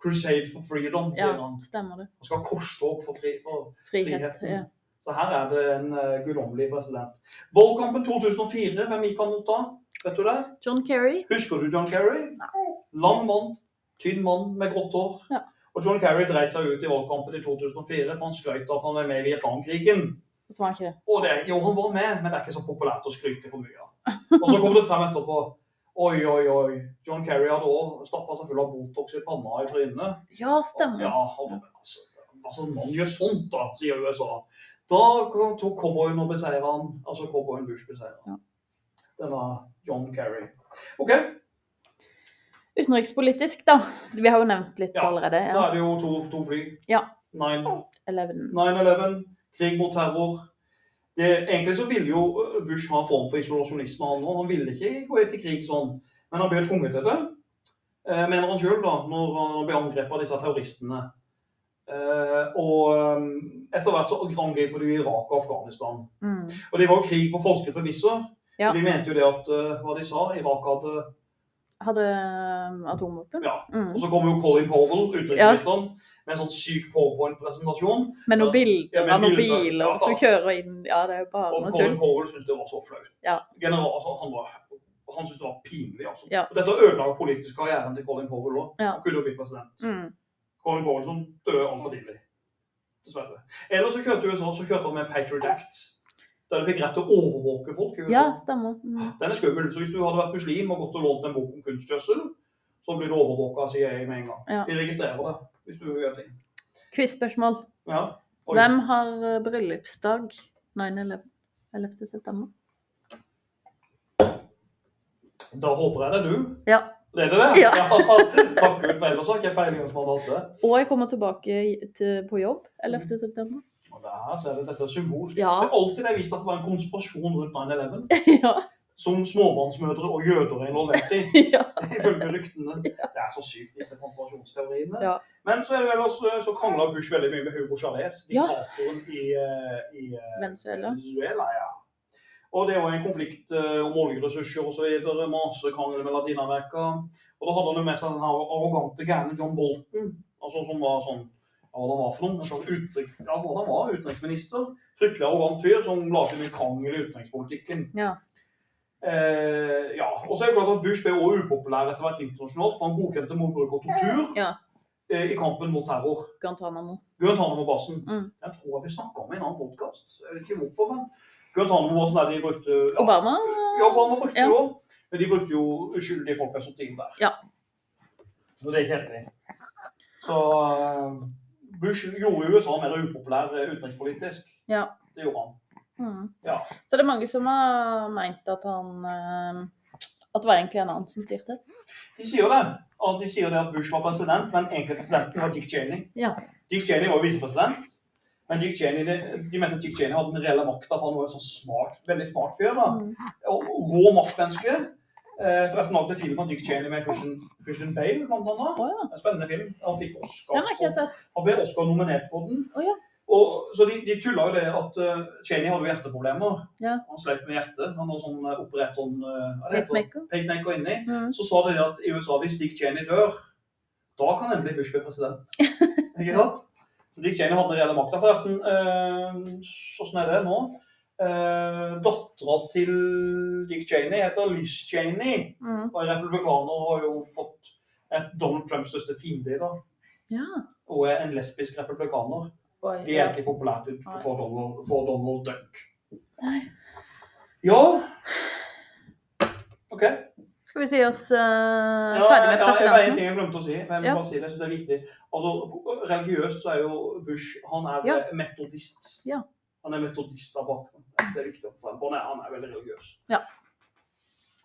Speaker 2: Crusade for freedom,
Speaker 1: ja.
Speaker 2: sier han.
Speaker 1: Stemmer det.
Speaker 2: Han skal ha korstog for, fri, for
Speaker 1: Frihet.
Speaker 2: Friheten.
Speaker 1: Ja.
Speaker 2: Så her er det en uh, guddommelig president. Valgkampen 2004, hvem gikk han mot da? Vet du det?
Speaker 1: John Kerry.
Speaker 2: Husker du John Kerry? Lang mann, tynn mann med grått hår.
Speaker 1: Ja.
Speaker 2: Og John Kerry dreit seg ut i valgkampen i 2004, for han skrøt av at han er med i Vietnamkrigen.
Speaker 1: Så var han ikke det.
Speaker 2: Og det, jo, han var med, men det er ikke så populært å skryte for mye av. Og så kommer det frem etterpå. Oi, oi, oi. John Kerry hadde òg stappa seg full av Botox i panna i trynet.
Speaker 1: Ja, stemmer.
Speaker 2: Ja, han, altså, altså, man gjør sånt, da, sier USA. Da kom- tok cowboyen og beseiret han. Altså cowboyen Bush beseiret han. Denne John Kerry. OK,
Speaker 1: Utenrikspolitisk, da. Vi har jo nevnt litt
Speaker 2: Ja,
Speaker 1: allerede.
Speaker 2: da
Speaker 1: Ja.
Speaker 2: er det jo to, to fly.
Speaker 1: Ja.
Speaker 2: Nine-
Speaker 1: 11.
Speaker 2: 9-11, krig mot terror. Det, egentlig så ville jo Bush ha en form for isolasjonisme, han òg. Han ville ikke gå til krig sånn, men han ble tvunget til det. Eh, mener han sjøl, da, når han ble angrepet av disse terroristene. Eh, og eh, etter hvert så angriper de Irak og Afghanistan.
Speaker 1: Mm.
Speaker 2: Og det var jo krig på falske premisser.
Speaker 1: Ja.
Speaker 2: De mente jo det at eh, hva de sa, Irak hadde
Speaker 1: hadde eh, atomvåpen.
Speaker 2: Ja.
Speaker 1: Mm.
Speaker 2: Og så kommer jo Colin Powell, utenriksministeren, med en sånn syk powerpoint-presentasjon.
Speaker 1: Men noen
Speaker 2: Ja,
Speaker 1: bilder
Speaker 2: men
Speaker 1: av noen
Speaker 2: bilder,
Speaker 1: biler
Speaker 2: ja.
Speaker 1: som kjører inn Ja, det er jo bare
Speaker 2: Og
Speaker 1: noe
Speaker 2: Colin
Speaker 1: tull.
Speaker 2: Powell syntes det var så flaut.
Speaker 1: Ja.
Speaker 2: General, altså, han var, han syntes det var pinlig, altså.
Speaker 1: Ja.
Speaker 2: Og dette ødela jo politisk karrieren til Colin Powell òg.
Speaker 1: Ja.
Speaker 2: Han kunne jo blitt president.
Speaker 1: Mm.
Speaker 2: Colin Powell som døde altfor tidlig. Dessverre. Ellers så kjørte USA så kjørte han med Patriot Act, der de fikk rett til å overvåke folk. i USA.
Speaker 1: Ja, stemmer. Mm.
Speaker 2: Den er skummel. Så hvis du hadde vært muslim og gått og lånt en bok om kunstgjødsel, så blir du overvåka av CIA med en gang.
Speaker 1: Ja.
Speaker 2: De registrerer det hvis du gjør ting.
Speaker 1: Quiz-spørsmål.
Speaker 2: Ja. Oi.
Speaker 1: Hvem har eh, bryllupsdag 9.11. 11. september?
Speaker 2: Da håper jeg det er du.
Speaker 1: Ja.
Speaker 2: Det er det det?
Speaker 1: Ja.
Speaker 2: <laughs> Takk Gud for ellers har ikke jeg peiling på hvem som hadde hatt det.
Speaker 1: Og jeg kommer tilbake i- til, på jobb 11.
Speaker 2: Mm.
Speaker 1: september.
Speaker 2: Og der ser du dette er symbolsk.
Speaker 1: Ja. <laughs>
Speaker 2: Det er alltid jeg visste at det var en konspirasjon rundt 9-11,
Speaker 1: ja.
Speaker 2: som småbarnsmødre og jøder
Speaker 1: <laughs>
Speaker 2: er involvert i,
Speaker 1: ja.
Speaker 2: ifølge ryktene. Det er så sykt, disse konspirasjonsteoriene.
Speaker 1: Ja.
Speaker 2: Men så er det vel også, så krangla Bush veldig mye med Hugo Chávez,
Speaker 1: Ja.
Speaker 2: diktatoren i, eh, i eh,
Speaker 1: Venezuela.
Speaker 2: Venezuela, ja. Og det var en konflikt eh, om oljeressurser osv. Masse krangel med Latin-Amerika. Og da hadde han jo med seg den her arrogante gærne John Bolton, altså som var sånn ja, hva det var for noe, en slags utenriks, ja, hva det var, utenriksminister. Fryktelig arrogant fyr som la til mye krangel i utenrikspolitikken.
Speaker 1: Ja.
Speaker 2: Eh, ja. Og så er det klart at Bush ble også upopulær etter hvert internasjonalt, for han godkjente mordbruk og tortur
Speaker 1: Ja.
Speaker 2: eh, i kampen mot terror.
Speaker 1: Guantánamo.
Speaker 2: Guantánamo-basen.
Speaker 1: Mm.
Speaker 2: Jeg tror vi snakka om i en annen podkast. Jeg vet ikke hvorfor, men Guantánamo-basen der de brukte ja,
Speaker 1: Obama?
Speaker 2: ja, Obama brukte
Speaker 1: Ja.
Speaker 2: jo også. Men de brukte jo uskyldige folk som til der.
Speaker 1: Ja.
Speaker 2: Så det er ikke helt enig. Så eh, Bush gjorde USA mer upopulær eh, utenrikspolitisk.
Speaker 1: Ja.
Speaker 2: Det gjorde han.
Speaker 1: Mm.
Speaker 2: Ja.
Speaker 1: Så det er mange som har meint at han eh, At det var egentlig en annen som styrte.
Speaker 2: De sier jo det. At de sier det at Bush var president, men egentlig presidenten var Dick Cheney.
Speaker 1: Ja.
Speaker 2: Dick Cheney var jo visepresident. Men Dick Cheney, de, de mente at Dick Cheney hadde den reelle makta, for han var jo sånn smart, veldig smart fyr. da.
Speaker 1: Mm.
Speaker 2: og rå maktmenneske. Eh, Forresten lagde film av Dick Cheney med Christian, Christian Bale, blant annet.
Speaker 1: Å, ja.
Speaker 2: En spennende film. Han fikk Oscar.
Speaker 1: Den har ikke jeg sett.
Speaker 2: Han ble Oscar-nominert på den.
Speaker 1: Å, ja.
Speaker 2: Og, så de, de tulla jo det at eh, Cheney hadde jo hjerteproblemer.
Speaker 1: Ja.
Speaker 2: Han slet med hjertet. Han hadde sånn eh, operert sånn eh, hva heter det?
Speaker 1: Pacemaker.
Speaker 2: pacemaker inni.
Speaker 1: Mm.
Speaker 2: Så sa de det at i USA, hvis Dick Cheney dør, da kan endelig Bush
Speaker 1: <laughs>
Speaker 2: bli president. Ikke sant? Så Dick Cheney hadde den reelle makta. Forresten, eh, sånn er det nå. Eh, Dattera til Dick Cheney heter Liz Cheney.
Speaker 1: Mm.
Speaker 2: Og republikaner har jo fått et Donald Trumps største fiende i dag.
Speaker 1: Ja.
Speaker 2: Og er en lesbisk republikaner.
Speaker 1: Oi,
Speaker 2: Det
Speaker 1: ja.
Speaker 2: er ikke populært ut for Donald, for Donald Duck.
Speaker 1: Nei.
Speaker 2: Ja OK.
Speaker 1: Skal vi si oss eh,
Speaker 2: Ja,
Speaker 1: ferdig med
Speaker 2: ja, jeg bare en
Speaker 1: presidenten?
Speaker 2: ting jeg glemte å si. for Jeg vil
Speaker 1: Ja.
Speaker 2: bare si det, jeg synes det er viktig. Altså, Religiøst så er jo Bush han er
Speaker 1: Ja.
Speaker 2: eh, metodist.
Speaker 1: Ja.
Speaker 2: Han er metodist av bakgrunn. Jeg synes Det er viktig å få frem. Han er, han er veldig religiøs.
Speaker 1: Ja.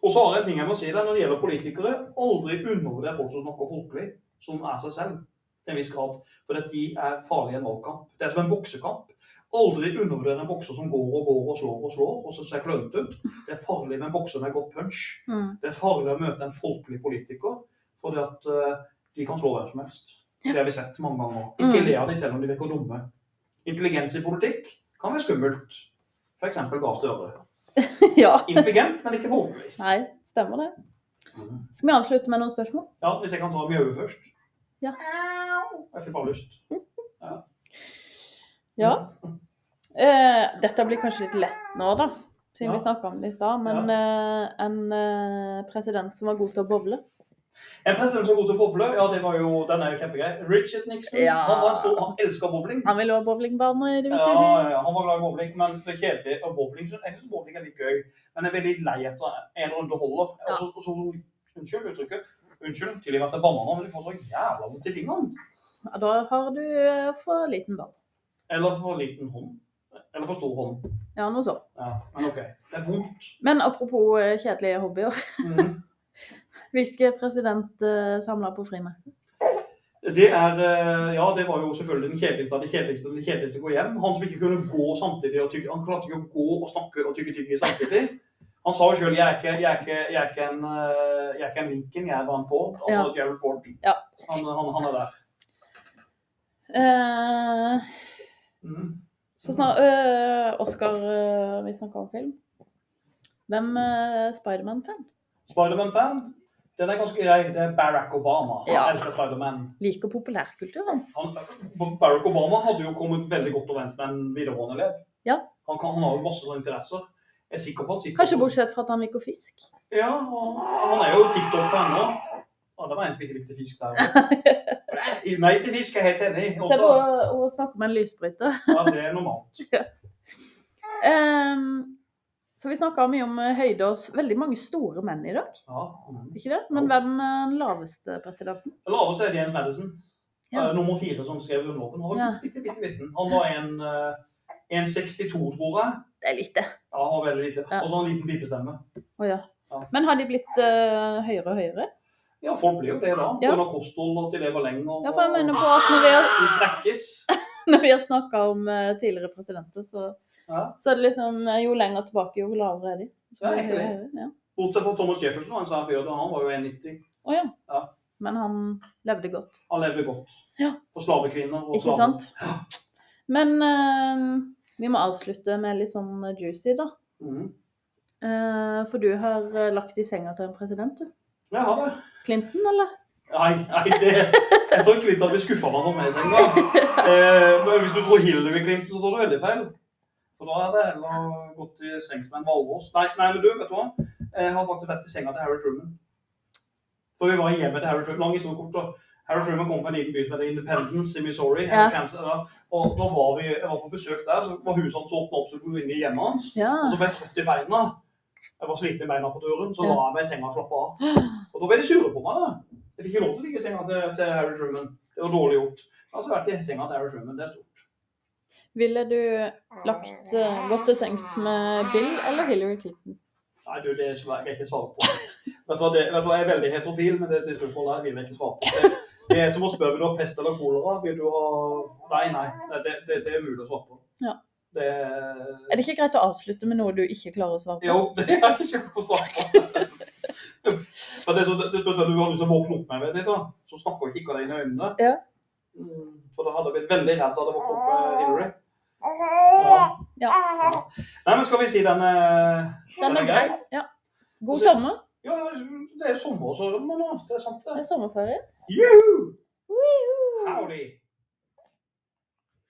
Speaker 2: Og så har jeg en ting jeg må si der, når det gjelder politikere. Aldri undervurder folk som snakker folkelig, som er seg selv til en viss grad. For at de er farlige i en valgkamp. Det er som en boksekamp. Aldri undervurder en bokser som går og går og slår og slår og som ser klønete ut. Det er farlig med en bokser med godt punch.
Speaker 1: Mm. <laughs>
Speaker 2: Det er farlig å møte en folkelig politiker, fordi at eh, de kan slå hvem som helst.
Speaker 1: Ja.
Speaker 2: Det har vi sett mange ganger. Ikke
Speaker 1: Mm.
Speaker 2: le av dem selv om de virker dumme. Intelligens i politikk kan være skummelt. F.eks. Gahr Støre.
Speaker 1: ja.
Speaker 2: Intelligent, men ikke folkelig.
Speaker 1: Nei, stemmer det.
Speaker 2: Mhm.
Speaker 1: Skal vi avslutte med noen spørsmål?
Speaker 2: Ja, Hvis jeg kan ta Mjøve først.
Speaker 1: Ja.
Speaker 2: Jeg fikk bare lyst.
Speaker 1: Ja. Eh, dette blir kanskje litt lett nå, da, siden
Speaker 2: Ja.
Speaker 1: vi snakka om det i stad. Men eh, en eh, president som var god til å boble.
Speaker 2: En president som er god til å boble, ja, det var jo, den er jo kjempegrei. Richard Nixon.
Speaker 1: Ja.
Speaker 2: Han var en stor, han elska bowling.
Speaker 1: Han ville ha bowlingbaner i Det
Speaker 2: Ja,
Speaker 1: hvite
Speaker 2: ja, ja,
Speaker 1: hus.
Speaker 2: han var glad i bowling, men det er kjedelig. Og bowling, så- jeg syns bowling er litt gøy, men jeg er veldig lei etter en runde holder. Og så, og så, unnskyld uttrykket. Unnskyld, tilgi meg at jeg banner nå, men du får så jævla vondt i fingeren.
Speaker 1: Ja, da har du eh, for liten ball.
Speaker 2: Eller for liten hånd. Eller for stor hånd.
Speaker 1: Ja, noe sånt.
Speaker 2: Ja, men OK. Det er vondt.
Speaker 1: Men apropos eh, kjedelige hobbyer. <laughs>
Speaker 2: Mhm.
Speaker 1: Hvilken president eh, samla på frimerker?
Speaker 2: Det er eh, Ja, det var jo selvfølgelig den kjedeligste av de kjedeligste av de kjedeligste å gå hjem. Han som ikke kunne gå samtidig og tygge. Han klarte ikke å gå og snakke og tygge tygge samtidig. Han sa jo sjøl 'jeg er ikke, jeg er ikke, jeg er ikke en, eh, jeg er ikke en Lincoln, jeg er bare en Ford'. Altså
Speaker 1: Ja.
Speaker 2: Gerald Ford.
Speaker 1: Ja.
Speaker 2: Han, han, han er der.
Speaker 1: Eh,
Speaker 2: Mm.
Speaker 1: så snart eh, Oscar eh, Vi snakka om film. Hvem er øh, Spiderman-fan?
Speaker 2: Spiderman-fan. Den er ganske grei. Det er Barack Obama. Han
Speaker 1: Ja.
Speaker 2: elsker Spiderman.
Speaker 1: Liker populærkulturen.
Speaker 2: Han- Barack Obama hadde jo kommet veldig godt overens med en videregående elev.
Speaker 1: Ja.
Speaker 2: Han, kan, han har jo masse sånne interesser. Jeg er sikker på at sikkert-
Speaker 1: Kanskje bortsett fra at han liker fisk.
Speaker 2: Ja, og han er jo TikTok-fan nå. Ja, det var en som ikke likte
Speaker 1: <laughs>
Speaker 2: fisk der. Nei, Nei til fisk, jeg er helt enig.
Speaker 1: Se på
Speaker 2: Også,
Speaker 1: å snakke med en lysbryter. <laughs>
Speaker 2: ja, det er normalt.
Speaker 1: Ehm, så vi snakka mye om eh, høyde og s- veldig mange store menn i dag,
Speaker 2: Ja. mm.
Speaker 1: ikke det? Men hvem er den laveste presidenten?
Speaker 2: Den laveste er James Madison.
Speaker 1: Ja.
Speaker 2: Eh, Nummer fire som skrev grunnloven. Han var
Speaker 1: Ja.
Speaker 2: bitte, bitte, bitte liten. Han var en, eh, 1,62, tror jeg.
Speaker 1: Det er lite.
Speaker 2: Ja, han var veldig lite.
Speaker 1: Ja.
Speaker 2: Og så en liten pipestemme.
Speaker 1: Å ja.
Speaker 2: Ja.
Speaker 1: Men har de blitt eh, høyere og høyere?
Speaker 2: Ja, folk blir jo det da.
Speaker 1: Ja.
Speaker 2: På grunn av kosthold og at de lever lenger.
Speaker 1: Ja, for jeg mener på at når vi har, <laughs>
Speaker 2: De strekkes.
Speaker 1: når vi har snakka om eh, tidligere presidenter, så,
Speaker 2: Ja.
Speaker 1: så er det liksom eh, jo lenger tilbake, jo lavere er de. Så
Speaker 2: Ja,
Speaker 1: jo
Speaker 2: egentlig.
Speaker 1: høyere er de, ja.
Speaker 2: Bortsett fra Thomas Jefferson, han svær fyr. da. Han var jo 1,90.
Speaker 1: Å ja.
Speaker 2: Ja.
Speaker 1: Men han levde godt.
Speaker 2: Han levde godt.
Speaker 1: Ja.
Speaker 2: For slavekvinner og
Speaker 1: Ikke
Speaker 2: slaver.
Speaker 1: sant? Men eh, vi må avslutte med litt sånn juicy, da.
Speaker 2: Mhm.
Speaker 1: Eh, for du har eh, lagt i senga til en president, du.
Speaker 2: Ja, Jeg har det.
Speaker 1: Clinton, eller?
Speaker 2: Nei, nei det, jeg tror Clinton hadde blitt skuffa meg noe med seg engang. Eh, men hvis du tror Hillary Clinton, så tar du veldig feil. For da hadde jeg heller gått i sengs med en valros. Nei, nei, men du, vet du hva? Jeg har faktisk vært i senga til Harry Truman. For vi var i hjemmet til Harry Truman. Lang historie kort. da. Harry Truman kom fra en liten by som heter Independence i Missouri.
Speaker 1: Ja.
Speaker 2: Kansas, da. Og da var vi jeg var på besøk der, så var huset hans åpnet opp, så vi kunne gå inn i hjemmet hans.
Speaker 1: Ja.
Speaker 2: Og så ble jeg trøtt i beina. Jeg var sliten i beina på døren, så
Speaker 1: Ja.
Speaker 2: la jeg meg i senga og slappa av. Og da ble de sure på meg, da. Jeg fikk ikke lov til å ligge i senga til, til Harry Truman. Det var dårlig gjort. Jeg har altså vært i senga til Harry Truman, det er stort.
Speaker 1: Ville du lagt eh, gått til sengs med Bill eller Hillary Clinton?
Speaker 2: Nei, du, det skal jeg ikke svare på. vet, du hva, det, vet du hva, Jeg er veldig heterofil, men det, det spørsmålet her vil jeg ikke svare på. Det, det er som å spørre vil du ha pest eller kolera. Vil du ha Nei, nei. nei, Det, det, det er mulig å svare på.
Speaker 1: Ja.
Speaker 2: Det
Speaker 1: Er det ikke greit å avslutte med noe du ikke klarer å svare på?
Speaker 2: Jo, <laughs> det er jeg ikke å svare på. For det, er så, det spørs hvem du har lyst til å våkne opp med, vet du, da. så snakker ikke deg inn i øynene.
Speaker 1: Ja.
Speaker 2: Mm, For da hadde jeg blitt veldig redd da det våknet opp med Hillary.
Speaker 1: Ja.
Speaker 2: Nei, men skal vi si den eh,
Speaker 1: Den er grei. Ja. God sommer.
Speaker 2: Ja, det er sommer, så men nå, det er sant
Speaker 1: Det
Speaker 2: det.
Speaker 1: er sommerferie.
Speaker 2: Juhu!
Speaker 1: Woohoo!
Speaker 2: Howdy!